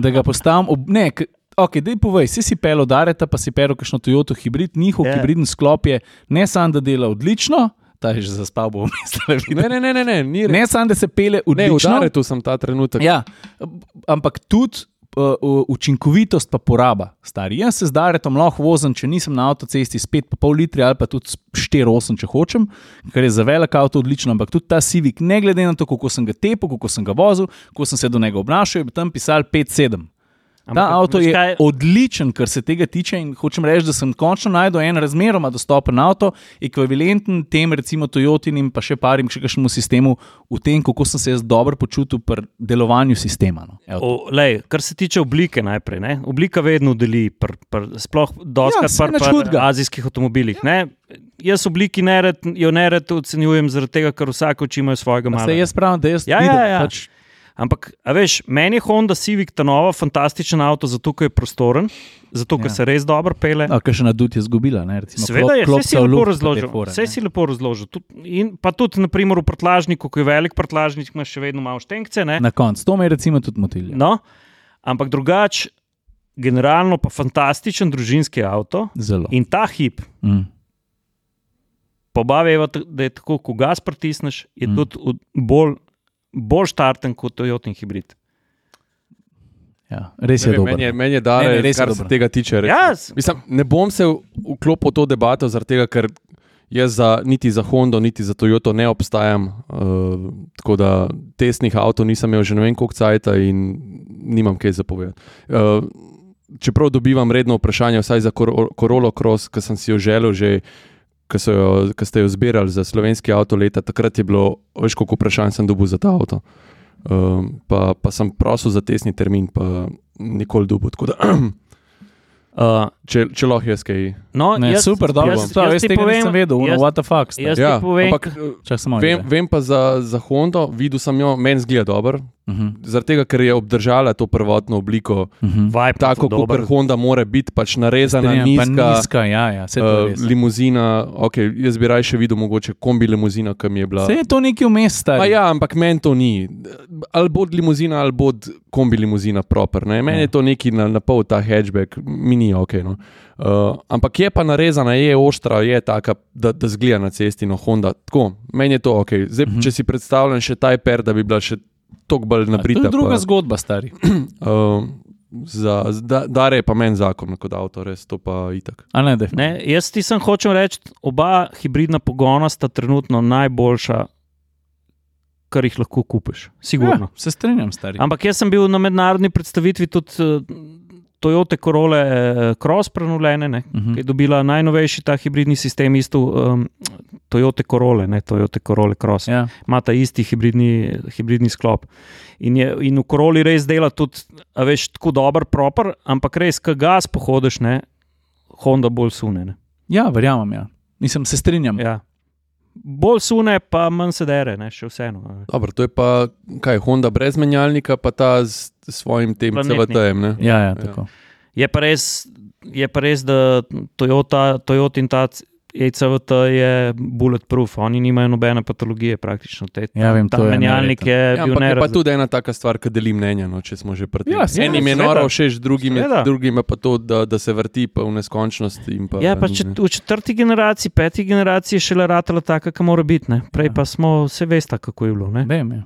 Speaker 1: da ga postavim ob. Ne, k- Okay, dej povej, si si pel odareta, pa si pel kakšno Toyota hibrid, njihov
Speaker 3: Ja.
Speaker 1: yeah. hibridni sklop je ne samo, da dela odlično, ta je že zaspal, bo mislil.
Speaker 2: Ne, ne, ne, ne, ne, ni res.
Speaker 1: Ne samo, da se pele
Speaker 2: Ne,
Speaker 1: odlično,
Speaker 2: udare tu sem ta trenutek.
Speaker 1: ja, b- ampak tudi uh, u- učinkovitost pa poraba. Stari. Jaz se zdaj tam lahko vozim, če nisem na avtocesti s 5,5 litri ali pa tudi s 4,8, če hočem, kar je za velik avto odlično, ampak tudi ta Civic, ne glede na to, kako sem ga tepel, kako sem ga vozil, kako sem se do njega obnašal, je bil tam pisal 5,7. Ta
Speaker 3: Ampak,
Speaker 1: avto
Speaker 3: veš
Speaker 1: je
Speaker 3: kaj-
Speaker 1: odličen, kar se tega tiče, in hočem reči, da sem končno najdel en razmeroma dostopen avto, ekvivalenten tem, recimo, Toyotinim, pa še parim, še kakšnemu sistemu, v tem, kako sem se jaz dobro počutil pri delovanju sistema. No. Evo,
Speaker 3: O, lej, kar se tiče oblike, najprej. Ne? Oblika vedno deli, pr, pr, sploh
Speaker 1: Ja,
Speaker 3: doskrat
Speaker 1: saj nič
Speaker 3: ja, pri
Speaker 1: hudega.
Speaker 3: azijskih avtomobilih. Ja. Jaz obliki nered, jo nered ocenjujem zaradi tega, ker vsak oči ima svojega
Speaker 1: Pa Se
Speaker 3: malega.
Speaker 1: jaz pravim, da jaz
Speaker 3: Ja,
Speaker 1: vidim,
Speaker 3: ja, ja.
Speaker 1: Pač,
Speaker 3: Ampak, a veš, meni je Honda Civic ta nova fantastičen avto, zato ker je prostoren, zato ker
Speaker 1: Ja.
Speaker 3: ja. se res dobro pele.
Speaker 1: a, kakšen adut no, je izgubila. Ne, recimo,
Speaker 3: Sveda je,
Speaker 1: klop-
Speaker 3: vse si
Speaker 1: klopca v
Speaker 3: lepo
Speaker 1: luft,
Speaker 3: razložil.
Speaker 1: te fore,
Speaker 3: Vse
Speaker 1: ne.
Speaker 3: si lepo razložil. Tud, in, pa tudi, naprimer, v prtlažniku, ko je velik prtlažnik, imaš še vedno malo štenkce. Ne?
Speaker 1: Na koncu, to me je recimo tudi motilje.
Speaker 3: No, ampak drugače, generalno pa fantastičen družinski avto.
Speaker 1: Zelo.
Speaker 3: In ta hip,
Speaker 1: Mm.
Speaker 3: pobavi, da je tako, ko gas pritisneš, je
Speaker 1: Mm.
Speaker 3: mm. tudi od- bolj, bolj štarten kot Toyota hibrid.
Speaker 1: Ja, res
Speaker 2: Ne
Speaker 1: je
Speaker 2: vem,
Speaker 1: dober.
Speaker 2: Torej, Meni je, meni
Speaker 1: Ne, ne,
Speaker 2: je dare,
Speaker 1: res
Speaker 2: ne,
Speaker 1: je
Speaker 2: kar se
Speaker 1: dobro.
Speaker 2: tega tiče. res.
Speaker 3: Ja, s-
Speaker 2: Mislim, ne bom se v- vklopil v to debato, zaradi tega, ker jaz za, niti za Hondo, niti za Toyoto ne obstajam. Uh, tako da tesnih avtomobilov nisem imel že ne vem koliko cajt in nimam kaj zapovedati. Uh, čeprav dobivam redno vprašanje, vsaj za Korolo Cross, ki sem si jo želel že. Ki, so jo, ki ste jo zbirali za slovenski avto leta, takrat je bilo, veš, koliko vprašanj sem dobil za ta avto. Um, pa, pa sem prosil za tesni termin, pa nikoli dobil. Tako da,
Speaker 3: Uh,
Speaker 2: če, če lahko jaz kaj
Speaker 3: no,
Speaker 1: Ne,
Speaker 3: jaz,
Speaker 1: super, dobro.
Speaker 3: jaz,
Speaker 1: Jaz, jaz, jaz
Speaker 3: ti
Speaker 1: tega
Speaker 3: povem,
Speaker 1: nisem vedel, uno,
Speaker 3: jaz-
Speaker 1: what the fuck. stari.
Speaker 3: jaz- ti povem-
Speaker 2: ampak eh,
Speaker 1: Čakaj, samo en
Speaker 2: vem,
Speaker 1: gled.
Speaker 2: vem pa za, za Hondo, videl sem jo, meni zgleda dobro,
Speaker 1: Mhm,
Speaker 2: zaradi tega, ker je obdržala to prvotno obliko,
Speaker 1: mhm.
Speaker 3: Vibe
Speaker 2: tako
Speaker 3: dober.
Speaker 2: kot Honda mora biti, pač narezana,
Speaker 1: Strinjam, pa
Speaker 2: nizka.
Speaker 1: nizka ja, ja, se, to
Speaker 2: Uh,
Speaker 1: je res.
Speaker 2: limuzina, okay, jaz bi raje še videl, mogoče kombi limuzina, ki mi je bila.
Speaker 1: Saj je to nekaj vmes,
Speaker 2: Pa
Speaker 1: stari.
Speaker 2: ja, ampak meni to ni. Ali bo limuzina, ali bo kombi limuzina proper. Ne? Meni
Speaker 1: Ja.
Speaker 2: je to neki na, na pol ta hatchback, mini ok. No. Uh, ampak je pa narezana, je ostra, je taka, da, da zgleda na cesti, no Honda. Tako, meni je to ok. Zdaj,
Speaker 1: Mhm.
Speaker 2: mhm. če si predstavljam še taj per, da bi bila še toliko bolj
Speaker 1: A, to
Speaker 2: nabrita.
Speaker 1: je druga
Speaker 2: pa,
Speaker 1: zgodba, stari.
Speaker 2: uh, za, da, dare je pa meni zakon kot avto, res to pa itak.
Speaker 1: A ne, def-
Speaker 3: Ne, jaz ti sem hočem reči, oba hibridna pogona sta trenutno najboljša, kar jih lahko kupiš. Sigurno.
Speaker 1: Ja, se strinjam, stari.
Speaker 3: Ampak jaz sem bil na mednarodni predstavitvi tudi eh, Toyota Corolla eh, Cross prenovljene, ne,
Speaker 1: Mhm.
Speaker 3: ki je dobila najnovejši ta hibridni sistem, isto um, Toyota Corolla, ne Toyota Corolla Cross. Ja.
Speaker 1: Ja.
Speaker 3: Ima ta isti hibridni, hibridni sklop. In, je, in v Corolli res dela tudi, a veš, tako dober, proper, ampak res, ki gas pohodiš, ne, Honda bolj sunene.
Speaker 1: ja, verjamem. Ja. Mislim, se strinjam.
Speaker 3: Ja. Bolj sune, pa manj se dere, ne, še vseeno. a veš.
Speaker 2: Dobro, to je pa kaj, Honda brez menjalnika, pa ta s s svojim tem
Speaker 3: Planetni.
Speaker 2: CVT-jem. ne?
Speaker 1: Ja, ja, tako.
Speaker 3: Je pa res, je pa res da Toyota, Toyota in ta E ECVT je bulletproof, oni nimajo nobene patologije praktično. Te,
Speaker 1: Ja, vem,
Speaker 3: ta
Speaker 1: to je
Speaker 3: menjalnik je, je
Speaker 2: Ja,
Speaker 3: bil
Speaker 2: ampak je pa
Speaker 3: nerazumljen.
Speaker 2: tudi ena taka stvar, ki deli mnenja, no, če smo že pri tem.
Speaker 1: Ja, seveda,
Speaker 2: Enim je
Speaker 3: seveda.
Speaker 2: noro všeč, drugim je,
Speaker 3: Seveda.
Speaker 2: drugim je pa to, da, da se vrti pa v neskončnost. in Pa,
Speaker 3: Ja, pa
Speaker 2: ni,
Speaker 3: če,
Speaker 2: ne.
Speaker 3: v četrti generaciji, peti generaciji je šele ratela taka, ki mora biti. Ne?
Speaker 2: Ja.
Speaker 3: Prej pa smo, vse veste, kako je bilo. Ne?
Speaker 1: Vem, ja.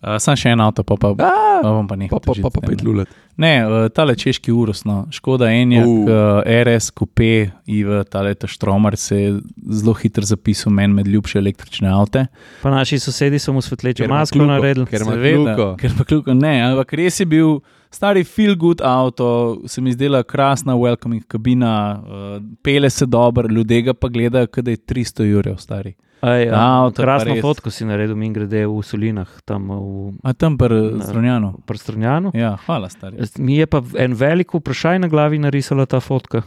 Speaker 1: Uh, sam še en avto, pa, pa, pa,
Speaker 2: A,
Speaker 1: bom pa nekaj.
Speaker 2: pa pa, pa, pa pet lulet.
Speaker 1: Ne, uh, tale češki urosno, škoda enja,
Speaker 2: Uh.
Speaker 1: uh. uh, RS, kupe, IV, tale ta štromar se je zelo hitro zapisal meni med ljubše električne avte.
Speaker 3: Pa naši sosedi so mu svetlečo
Speaker 2: Ker ima
Speaker 3: masko
Speaker 2: kljuko,
Speaker 3: naredili.
Speaker 2: ker ima
Speaker 1: Seveda,
Speaker 2: kljuko.
Speaker 1: Ker pa kljuko ne, ampak res je bil stari feel good avto, se mi zdela krasna, welcoming kabina, uh, pele se dobro, ljudje ga pa gledajo, kot da je 300 jurjev stari.
Speaker 3: Aj, ja,
Speaker 1: Avto pa
Speaker 3: krasno
Speaker 1: res.
Speaker 3: fotko si naredil in grede v Solinah, tam v
Speaker 1: A tam pr
Speaker 3: Ne. Eh.
Speaker 1: zronjano.
Speaker 3: Prstrnjanu.
Speaker 1: Ja, hvala stari.
Speaker 3: Mi je pa en velik vprašaj na glavi narisala ta fotka.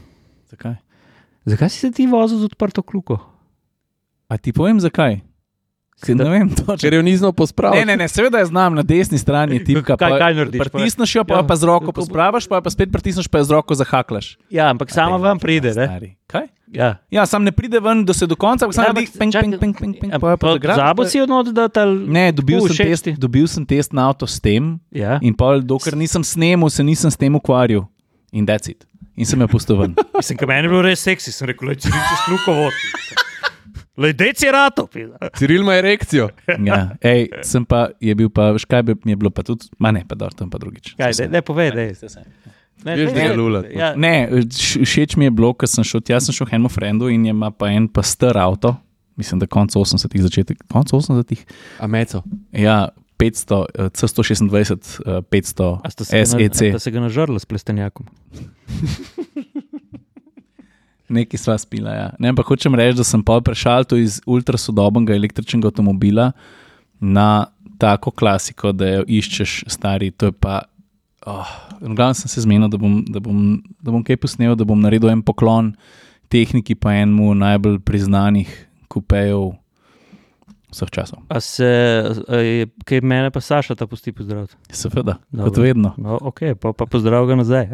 Speaker 1: Zakaj?
Speaker 3: Zakaj si se ti vozil z odprto kljuko?
Speaker 1: A ti povem zakaj? Ker ne vem točno.
Speaker 2: Ker jo ni znal
Speaker 1: Ne,
Speaker 2: pospraviti.
Speaker 1: ne, ne, seveda je znam na desni strani tipka.
Speaker 3: Kaj-
Speaker 1: pa
Speaker 3: kaj narediš, pa-
Speaker 1: Pritisneš jo, pa,
Speaker 3: Ja.
Speaker 1: jo pa z roko pospraviš, pa jo pa spet pritisneš, pa jo z roko zahaklaš.
Speaker 3: Ja, ampak sama vam pride. ne?
Speaker 1: Stari. Kaj?
Speaker 3: Ja.
Speaker 1: Ja, sam ne pride ven do, se do konca, ampak sam
Speaker 3: Ja,
Speaker 1: naredi
Speaker 3: ampak
Speaker 1: ping,
Speaker 3: čakaj,
Speaker 1: ping, ping, ping, ping.
Speaker 3: Ja,
Speaker 1: pa jo pa
Speaker 3: pa
Speaker 1: zagrabiš, pa
Speaker 3: Zabo
Speaker 1: jo-
Speaker 3: si odnot, da ta
Speaker 1: Ne, dobil
Speaker 3: V
Speaker 1: sem, test,
Speaker 3: šesti.
Speaker 1: dobil sem test na avto s tem
Speaker 3: Ja.
Speaker 1: in pol, dokler nisem snemal, se nisem s tem ukvarjal. in decid. In sem jo pustil ven.
Speaker 3: Mislim, da meni je bilo res seksi, sem rekel, da če si slukovo. Lejdeci je rato.
Speaker 2: Ciril ima erekcijo.
Speaker 1: Ja. Ej, sem pa, je bil pa, veš kaj bi, mi je bilo pa tudi, ma ne, pa dobro, tam pa drugič.
Speaker 3: Kaj, ne, ne povej, ne. Ne,
Speaker 2: Veš, da
Speaker 3: ne,
Speaker 2: ga lulat. no.
Speaker 3: Ja,
Speaker 1: Ne, š- všeč mi je bilo, ker sem šel tja, sem šel k enemu frendu in je ima pa en pa star avto, mislim, da konc 80-ih, začetek konc 80-ih.
Speaker 2: A meco.
Speaker 1: Ja, 500, eh, C126, eh, E 500,
Speaker 3: A ste se ga
Speaker 2: E
Speaker 3: na- a
Speaker 1: SEC,
Speaker 3: ste se ga nažrli s plestenjakom?
Speaker 1: neki sva spila. Ja. Ne, ampak hočem reči, da sem pa prešal to iz ultrasodobnega električnega avtomobila na tako klasiko, da jo iščeš stari. To je pa. Oh, Glavno sem se zmenil, da bom, da, bom, da bom kaj posnel, da bom naredil en poklon tehniki, pa enemu najbolj priznanih kupejev vseh časov.
Speaker 3: A se, a je, kaj mene pa Saša ta pusti pozdraviti?
Speaker 1: Seveda,
Speaker 3: Dobro.
Speaker 1: kot vedno.
Speaker 3: No, ok, pa, pa pozdrav ga nazaj.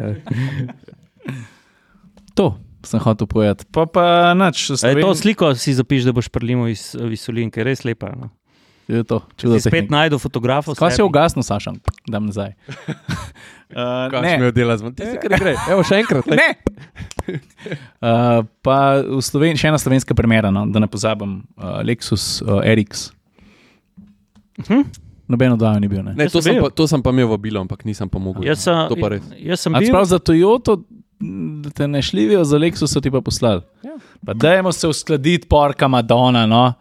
Speaker 1: To sem hotel povedati. Pa pa nič,
Speaker 3: E, to
Speaker 1: Sloven-
Speaker 3: sliko si zapiš, da boš prelimo iz eh, Visolinke, res lepa. No.
Speaker 1: To je to, čudo
Speaker 3: Si spet
Speaker 1: tehnike.
Speaker 3: najdel fotografa.
Speaker 1: Kaj se je ugasnil, Sašam, da nazaj. Uh,
Speaker 2: Kaj smo jo delali z manj?
Speaker 1: kar gre. Evo, še enkrat. Ne. Uh, pa v Sloven, še ena slovenska premjera, no, da ne pozabim, uh, Lexus uh, RX.
Speaker 3: Mhm.
Speaker 1: Noben od vaju ni bil. Ne?
Speaker 2: Ne, to
Speaker 3: sem
Speaker 2: sem,
Speaker 3: bil.
Speaker 2: pa, to sem pa imel vabilo, ampak nisem pomogel.
Speaker 3: Jaz sem,
Speaker 2: to pa res.
Speaker 3: jaz sem
Speaker 1: A
Speaker 3: bil.
Speaker 1: Prav za Toyoto m, te ne šljivijo, za Lexus so ti pa poslali.
Speaker 2: Ja.
Speaker 1: Pa dajmo se uskladiti, porka Madonna. No.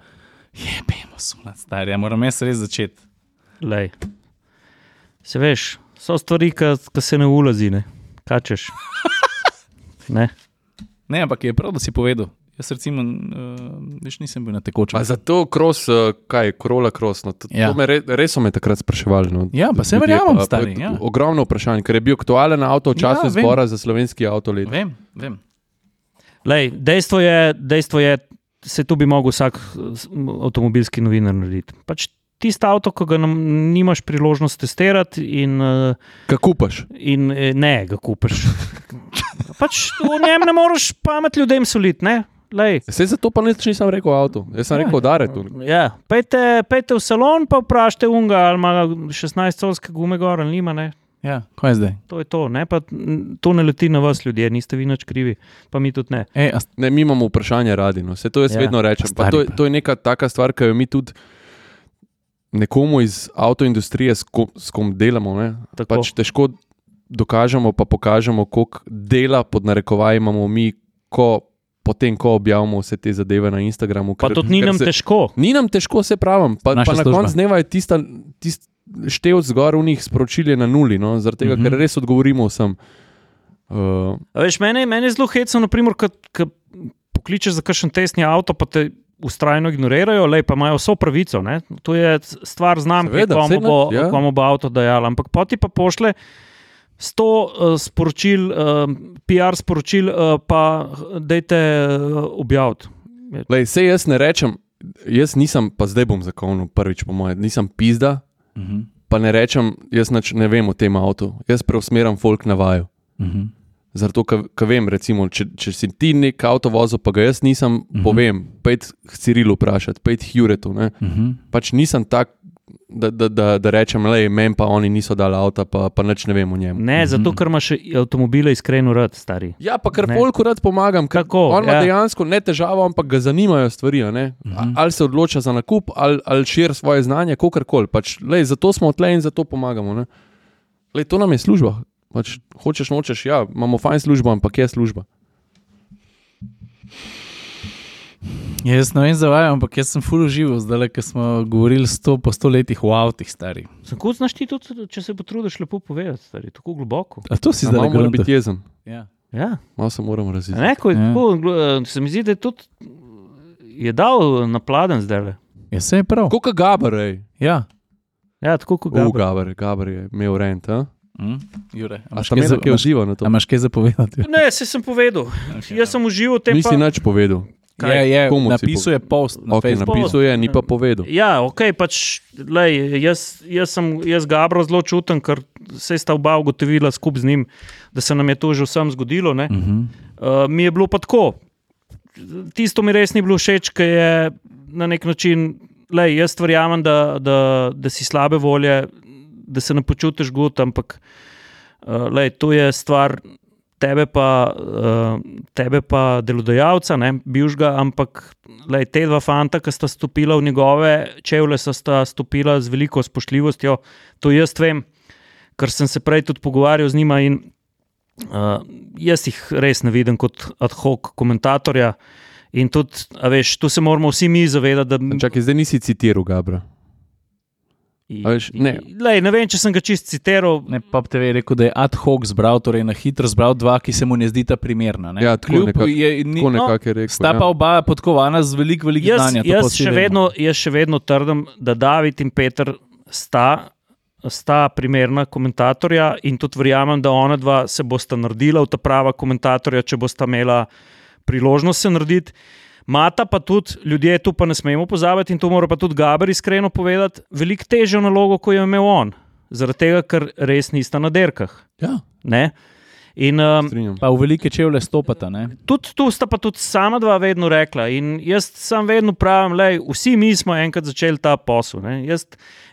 Speaker 1: Je, pejmo sunat, stari, ja, moram jaz res začeti.
Speaker 3: Lej. Se veš, so stvari, ki se ne ulazi, ne kačeš. Ne.
Speaker 1: Ne, ampak je prav, da si povedal. Jaz recimo, uh, veš, nisem bil na tekočem.
Speaker 2: Pa zato kros, eh, kaj, krola kros. No, to,
Speaker 1: Ja.
Speaker 2: ja. to me re, res so me takrat spraševali. No,
Speaker 1: Ja, pa saj
Speaker 2: Ljudje,
Speaker 1: verjamem,
Speaker 2: pa- pa
Speaker 1: stari,
Speaker 2: je t-
Speaker 1: ja.
Speaker 2: Ogromno vprašanj, ker je bil aktualen avto v
Speaker 1: Ja,
Speaker 2: času ja,
Speaker 1: vem.
Speaker 2: zbora za slovenski avto leta.
Speaker 1: Vem, vem.
Speaker 3: Lej, dejstvo je, dejstvo je, se tu bi mogel vsak eh, s- m, avtomobilski novinar narediti. Pač Tisti avto, ki ga nam- nimaš priložnost testirati, in, eh,
Speaker 2: Kaj kupaš?
Speaker 3: in eh, ne ga kupiš. Pač v njem ne moreš pamet ljudem soliti. ne? Glej,
Speaker 2: Vse zato pa nič nisem rekel o avtu, jaz sem ja, rekel darek.
Speaker 3: Ja, pejte, pejte v salon, pa vprašajte unga, ali ima 16-solske gume gor ali nima. Ne?
Speaker 1: Ja, kaj je zdaj?
Speaker 3: To je to, ne? Pa, n- to ne leti na vas, ljudje, niste vi nič krivi, pa mi tudi ne.
Speaker 1: Ej, a
Speaker 2: Ne, mi imamo vprašanje radi, no. vse to jaz
Speaker 3: Ja.
Speaker 2: ja, vedno rečem.
Speaker 1: Pa
Speaker 2: Pa to,
Speaker 1: stari
Speaker 2: je-
Speaker 1: pa.
Speaker 2: to je neka taka stvar, ki jo mi tudi nekomu iz avtoindustrije, s kom, s kom delamo, ne,
Speaker 3: Tako.
Speaker 2: pač težko dokažemo, pa pokažemo, koliko dela pod narekovaji imamo mi, ko, potem, ko objavimo vse te zadeve na Instagramu.
Speaker 3: Pa
Speaker 2: ker-
Speaker 3: tudi ni
Speaker 2: ker
Speaker 3: nam
Speaker 2: se-
Speaker 3: težko.
Speaker 2: Ni nam težko, se pravim. Pa,
Speaker 1: Naša
Speaker 2: pa na
Speaker 1: služba.
Speaker 2: koncu dneva je tista, tist števc zgor v njih sporočil je na nuli, no, zaradi tega,
Speaker 1: Mhm.
Speaker 2: mm -hmm. ker res odgovorimo vsem. Uh,
Speaker 3: A Veš, mene, mene je zelo hecno, naprimer, ko pokličeš za kakšen testni avto, pa te ustrajno ignorirajo, lej, pa imajo vso pravico. Ne? To je c- stvar znamke,
Speaker 2: Seveda,
Speaker 3: komu
Speaker 2: saj
Speaker 3: bo,
Speaker 2: ne, ja.
Speaker 3: komu bo avto dajala. Ampak poti pa pošle. Sto uh, sporočil, uh, PR sporočil, uh, pa dajte uh, objaviti.
Speaker 2: Lej, sej jaz ne rečem, jaz nisem, pa zdaj bom zakonil prvič, po mojem, nisem pizda,
Speaker 1: Uh -huh,
Speaker 2: pa ne rečem, jaz nič ne vem o tem avtu. Jaz preusmerjam folk na vaju.
Speaker 1: uh -huh.
Speaker 2: Zato, ker vem, recimo, če, če si ti nek avto vozil, pa ga jaz nisem, mm
Speaker 1: Mhm.
Speaker 2: -hmm. povem, pojdi k Cirilu vprašati, pojdi k Juretu. Ne?
Speaker 1: Mhm.
Speaker 2: Pač nisem tak, da, da, da, da rečem, le meni pa oni niso dali avta, pa, pa nič ne vem o njem.
Speaker 3: Ne, zato
Speaker 1: Mhm.
Speaker 3: ker imaš avtomobile iskreno rad, stari.
Speaker 2: Ja, pa ker
Speaker 3: Ne.
Speaker 2: polku rad pomagam. ker
Speaker 3: Tako,
Speaker 2: on ima
Speaker 3: ja.
Speaker 2: ja. dejansko ne težavo, ampak ga zanimajo stvari. a ne. A-
Speaker 1: Mhm.
Speaker 2: Ali se odloča za nakup, ali, ali širi svoje znanje, kako koli. Pač, lej, zato smo tle in zato pomagamo. ne. Lej, to nam je služba. Pač, hočeš, nočeš, ja, imamo fajn službo, ampak je služba.
Speaker 1: Jaz ne vem, zavajam, ampak jaz sem full živo, zdaj, ker smo govorili sto po stoletjih o avtih, stari.
Speaker 3: Kako znaš ti tudi, če se potrudiš lepo povedati, stari, tako globoko?
Speaker 1: A to si
Speaker 2: Zdaj
Speaker 1: zdaj
Speaker 2: moram
Speaker 1: moram
Speaker 2: biti jezen,
Speaker 1: Ja.
Speaker 3: Ja.
Speaker 2: malo se moram
Speaker 3: A
Speaker 2: razviti.
Speaker 3: Ne, ko je
Speaker 1: Ja.
Speaker 3: tako, gl- se mi zdi, da je tudi je dal napladen zdaj. Le.
Speaker 1: ja, se je prav.
Speaker 2: Koliko gabar je?
Speaker 1: Ja.
Speaker 3: Ja, tako kot ga.
Speaker 2: Gabar. gabar, gabar je imel rent. A,
Speaker 1: Mm. Jure, a
Speaker 2: a
Speaker 1: imaš
Speaker 2: šta
Speaker 1: kaj
Speaker 2: me
Speaker 1: za-
Speaker 2: zakaj
Speaker 1: imaš-
Speaker 2: uživa na
Speaker 1: a
Speaker 2: to?
Speaker 1: imaš kaj zapovedati?
Speaker 3: Ne, se sem povedal. Okay, Jaz sem užival v tem.
Speaker 2: Nisi
Speaker 3: Pa...
Speaker 2: nič povedal.
Speaker 3: Kaj?
Speaker 1: Je, Ja, je,
Speaker 2: Komu si
Speaker 1: napisal je post na
Speaker 2: Okay,
Speaker 1: Facebooku.
Speaker 2: napisal je, ni pa povedal.
Speaker 3: Ja, ok, pač, lej, jaz, jaz sem jaz Gabro zelo čuten, ker se sta oba ugotovila skupaj z njim, da se nam je to že vsem zgodilo. ne.
Speaker 1: Mhm.
Speaker 3: Uh, mi je bilo pa tako. Tisto mi res ni bilo všeč, ker je na nek način, lej, jaz verjamem, da, da, da si slabe Eh, volje, da se ne počutiš gut, ampak uh, lej, to je stvar tebe pa, uh, tebe pa delodajalca, ne bivžga, ampak lej, te dva fanta, ki sta stopila v njegove čevlje, sta, sta stopila z veliko spoštljivostjo. To jaz vem, ker sem se prej tudi pogovarjal z njima in uh, jaz jih res ne vidim kot ad hoc komentatorja. In tudi, a veš, tu se moramo vsi mi zavedati, da
Speaker 2: Čakaj, zdaj nisi citiral, Gabra. A veš, ne.
Speaker 3: Lej, ne vem, če sem ga čist citiral.
Speaker 1: Ne, pa TV je rekel, da je ad hoc zbral, torej na hitro zbral dva, ki se mu ne zdita primerna. Ne?
Speaker 2: Ja, tako
Speaker 1: Kljub
Speaker 2: nekako-
Speaker 1: je, ni, no,
Speaker 2: Tako nekako je rekel.
Speaker 1: sta
Speaker 2: ja.
Speaker 1: pa oba podkovana z veliko, veliko
Speaker 3: Jaz,
Speaker 1: znanja. to pa
Speaker 3: jaz,
Speaker 1: vsi
Speaker 3: še
Speaker 1: vemo.
Speaker 3: vedno, jaz še vedno trdim, da David in Peter sta, sta primerna komentatorja in tudi verjamem, da ona dva se bosta naredila v ta prava komentatorja, če bosta imela priložnost se narediti. Mata pa tudi, ljudje tu pa ne smemo pozabiti, in to mora pa tudi Gaber iskreno povedati, veliko težjo nalogo, kot jo je imel on, zaradi tega, ker res nista na derkah.
Speaker 2: Ja,
Speaker 3: Ne? In um,
Speaker 2: strinjam.
Speaker 1: Pa v velike čevlje stopata. Ne?
Speaker 3: tudi tu sta pa tudi sama dva vedno rekla. In jaz sam vedno pravim, da vsi mi smo enkrat začeli ta posel. Ne? Jaz,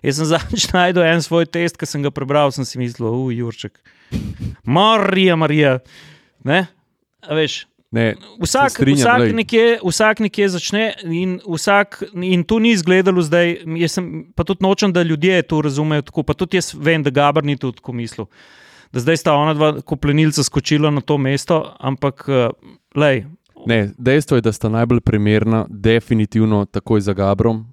Speaker 3: jaz sem zadnjič najdel en svoj test, ki sem ga prebral, sem si mislil, uf, Jurček. Marija, Marija. Ne? A Veš,
Speaker 2: Ne,
Speaker 3: vsak,
Speaker 2: se strinjam,
Speaker 3: vsak,
Speaker 2: glej.
Speaker 3: nekje, vsak nekje začne, in, vsak, in to ni izgledalo zdaj. Jaz sem, pa tudi nočem, da ljudje to razumejo tako. Pa tudi jaz vem, da Gabr ni tudi tako mislil. Da zdaj sta ona dva koplenilca skočila na to mesto, ampak eh, lej,
Speaker 2: Ne, dejstvo je, da sta najbolj primerna, definitivno takoj za Gabrom.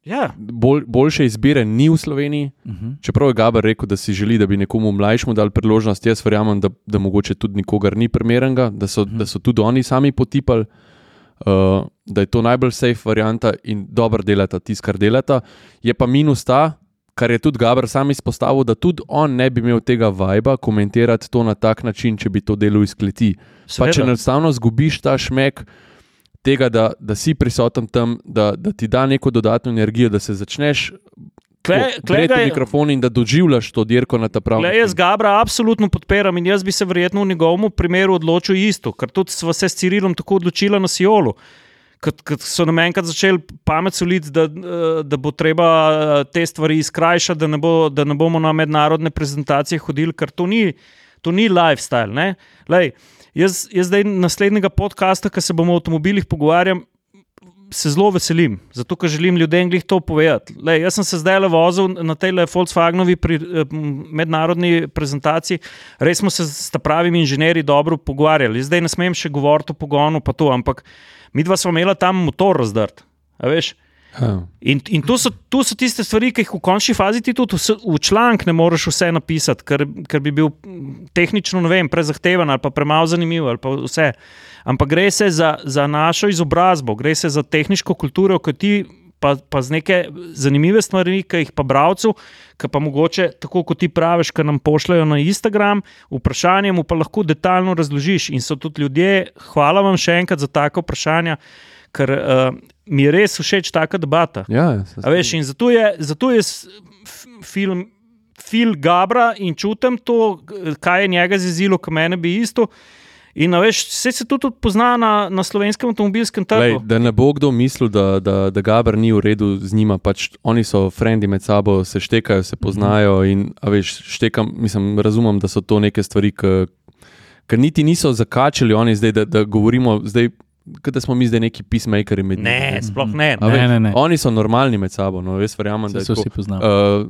Speaker 3: ja,
Speaker 2: Bolj, boljše izbire ni v Sloveniji,
Speaker 1: Uh
Speaker 3: Mhm.
Speaker 1: -huh.
Speaker 2: čeprav je Gabr rekel, da si želi, da bi nekomu mlajšemu dal priložnost. Jaz verjamem, da, da mogoče tudi nikogar ni primernega, da so, da so tudi oni sami potipali, uh, da je to najbolj safe varianta in dobro delata tisto, kar delata. Je pa minus ta, kar je tudi Gabr sam izpostavil, da tudi on ne bi imel tega vibra komentirati to na tak način, če bi to delo iz kleti. Pa če
Speaker 3: seveda.
Speaker 2: enostavno zgubiš ta šmek tega, da, da si prisoten tam, da, da ti da neko dodatno energijo, da se začneš
Speaker 3: Tle- tle ga
Speaker 2: gledati
Speaker 3: je-
Speaker 2: mikrofon in da doživljaš to dirko na ta pravi
Speaker 3: Glej,
Speaker 2: način.
Speaker 3: jaz Gabra absolutno podpiram in jaz bi se verjetno v njegovem primeru odločil isto, ker tudi sva se s Cirilom tako odločila na Sijolu. Kot, kot so nam enkrat začeli pamet soliti, da, eh, da bo treba eh, te stvari izkrajšati, da ne, bo, da ne bomo na mednarodne prezentacije hodili, ker to ni, to ni lifestyle. ne. Glej, jaz, jaz zdaj naslednjega podcasta, ki se bomo o avtomobilih pogovarjali, se zelo veselim, zato ker želim ljudem glih to povedati. Lej, jaz sem se zdaj le vozil na tej Volkswagenovi pri, eh, m, mednarodni prezentaciji, res smo se s ta pravimi inženirji dobro pogovarjali. Zdaj ne smem še govoriti o pogonu, pa to, ampak mi dva smo imela tam motor razdrt. a veš.
Speaker 2: Ja.
Speaker 3: In, in to, so, to so tiste stvari, ki jih v končni fazi ti tudi vse, v članek ne moreš vse napisati, ker, ker bi bil mm, tehnično ne vem, prezahteven ali pa premalo zanimiv. ali Pa vse. Ampak gre se za, za našo izobrazbo, gre se za tehniško kulturo, ki ti. Pa, pa z neke zanimive stvari, ki jih pa bravcu, ki pa mogoče, tako kot ti praviš, ki nam pošljajo na Instagram, vprašanje mu pa lahko detaljno razložiš. In so tudi ljudje, hvala vam še enkrat za tako vprašanje, ker uh, mi je res všeč taka debata.
Speaker 2: Ja, se
Speaker 3: A veš, in zato je, zato je s- f- film. Fil Gabra in čutim to, k- kaj je njega zezilo, kaj mene bi isto. In a veš, vse se tudi pozna na, na slovenskem avtomobilskem
Speaker 2: Lej,
Speaker 3: trgu.
Speaker 2: da ne bo kdo mislil, da, da, da Gabr ni v redu z njima, pač oni so frendi med sabo, se štekajo, se poznajo. In, a veš, štekam, mislim, razumem, da so to neke stvari, ki- ki niti niso zakačili, oni zdaj, da, da govorimo, zdaj, kot da smo mi zdaj neki peacemakeri med njimi.
Speaker 3: Ne, sploh ne.
Speaker 2: A
Speaker 1: Ne,
Speaker 2: veš,
Speaker 1: ne, ne.
Speaker 2: Oni so normalni med sabo, no, jaz verjamem,
Speaker 1: Se,
Speaker 2: da je
Speaker 1: se
Speaker 2: tako.
Speaker 1: vsi poznamo.
Speaker 2: Uh,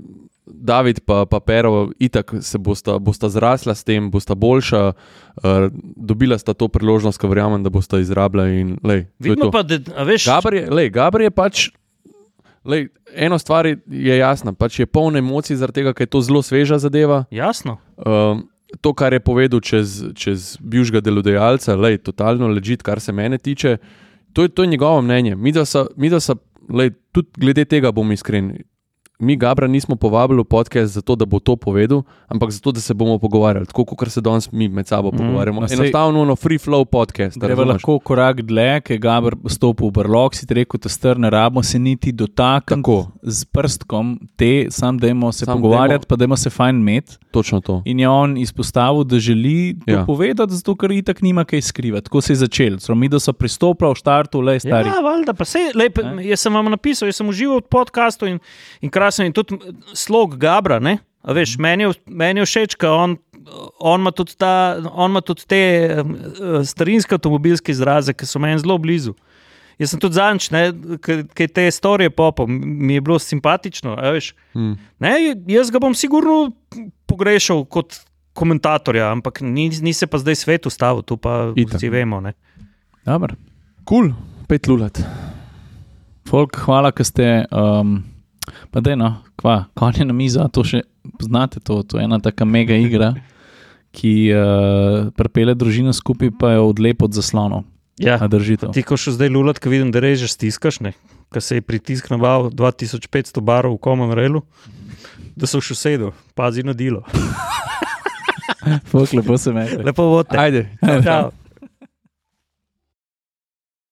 Speaker 2: David pa, pa Pero, itak se bosta, bosta zrasla s tem, bosta boljša, uh, dobila sta to priložnost, ki verjamem, da bosta izrabila. In, lej, to je
Speaker 3: Vidimo pač-
Speaker 2: to.
Speaker 3: pa, da a veš,
Speaker 2: Gabr je, lej, Gabr je pač. Lej, eno stvar je- je jasna, pač je poln emocij, zaradi tega, ker je to zelo sveža zadeva.
Speaker 3: jasno.
Speaker 2: Um, to, kar je povedal čez, čez bivšega delodajalca, je totalno ležit, kar se mene tiče. To, je- to je njegovo mnenje. Mi, da so, mi da so, lej, tudi glede tega bom iskren. Mi, Gabra, nismo povabili v podcast zato, da bo to povedal, ampak zato, da se bomo pogovarjali, tako kot se danes mi med sabo mm, pogovarjamo.
Speaker 1: no, saj-
Speaker 2: Enostavno, no, free flow podcast. a
Speaker 1: Greva
Speaker 2: razumeš?
Speaker 1: lahko korak dlje, ki je Gabr stopil v brlog, si ti rekel, da str ne rabimo se niti dotakniti
Speaker 2: Tako.
Speaker 1: z prstkom te, sam dajmo se
Speaker 2: Samo
Speaker 1: sam pogovarjati, dajmo.
Speaker 2: dajmo-
Speaker 1: pa dajmo se fajn met.
Speaker 2: Točno to.
Speaker 1: In je on izpostavil, da želi to
Speaker 2: Ja.
Speaker 1: ja. povedati, zato ker itak nima kaj skrivati. Tako se je začel. Celo mi, da so pristopili v štartu, le stari.
Speaker 3: Ja, valjda, pa sej, lej, pa, jaz sem vam napisal, jaz sem užival v podkastu in, in krasno. In tudi m, slog Gabra, ne? A veš, meni je, v- meni je všeč, ker on on ima tudi, ta, on ima tudi te eh, starinske avtomobilske izraze, ki so meni zelo blizu. Jaz sem tudi zadnjič, ki te storije popom, mi je bilo simpatično. a Veš,
Speaker 2: Mm.
Speaker 3: ne, jaz ga bom sigurno pogrešal kot komentatorja, ampak ni, ni se pa zdaj svet ustavil, tu pa
Speaker 2: Itak.
Speaker 3: vsi vemo. Ne.
Speaker 1: Dobro.
Speaker 2: Kul, cool. pet lulat.
Speaker 1: Folk, hvala, da ste. Um, pa da, no, kva, konje na mizo, to še poznate, to, to je ena taka mega igra, ki uh, prepele družino skupaj, pa jo odlep od zaslonov.
Speaker 3: Ja.
Speaker 1: A držite.
Speaker 3: Ti, ko še zdaj lulat, ki vidim, da režeš, stiskaš, ne? Ko se je pritisk naval 2500 barov v Common Railu, da so še sedel, pazi na delo.
Speaker 1: Folk, lepo se meni.
Speaker 3: Lepo Ja. vodite.
Speaker 2: Ajde,
Speaker 3: Čau.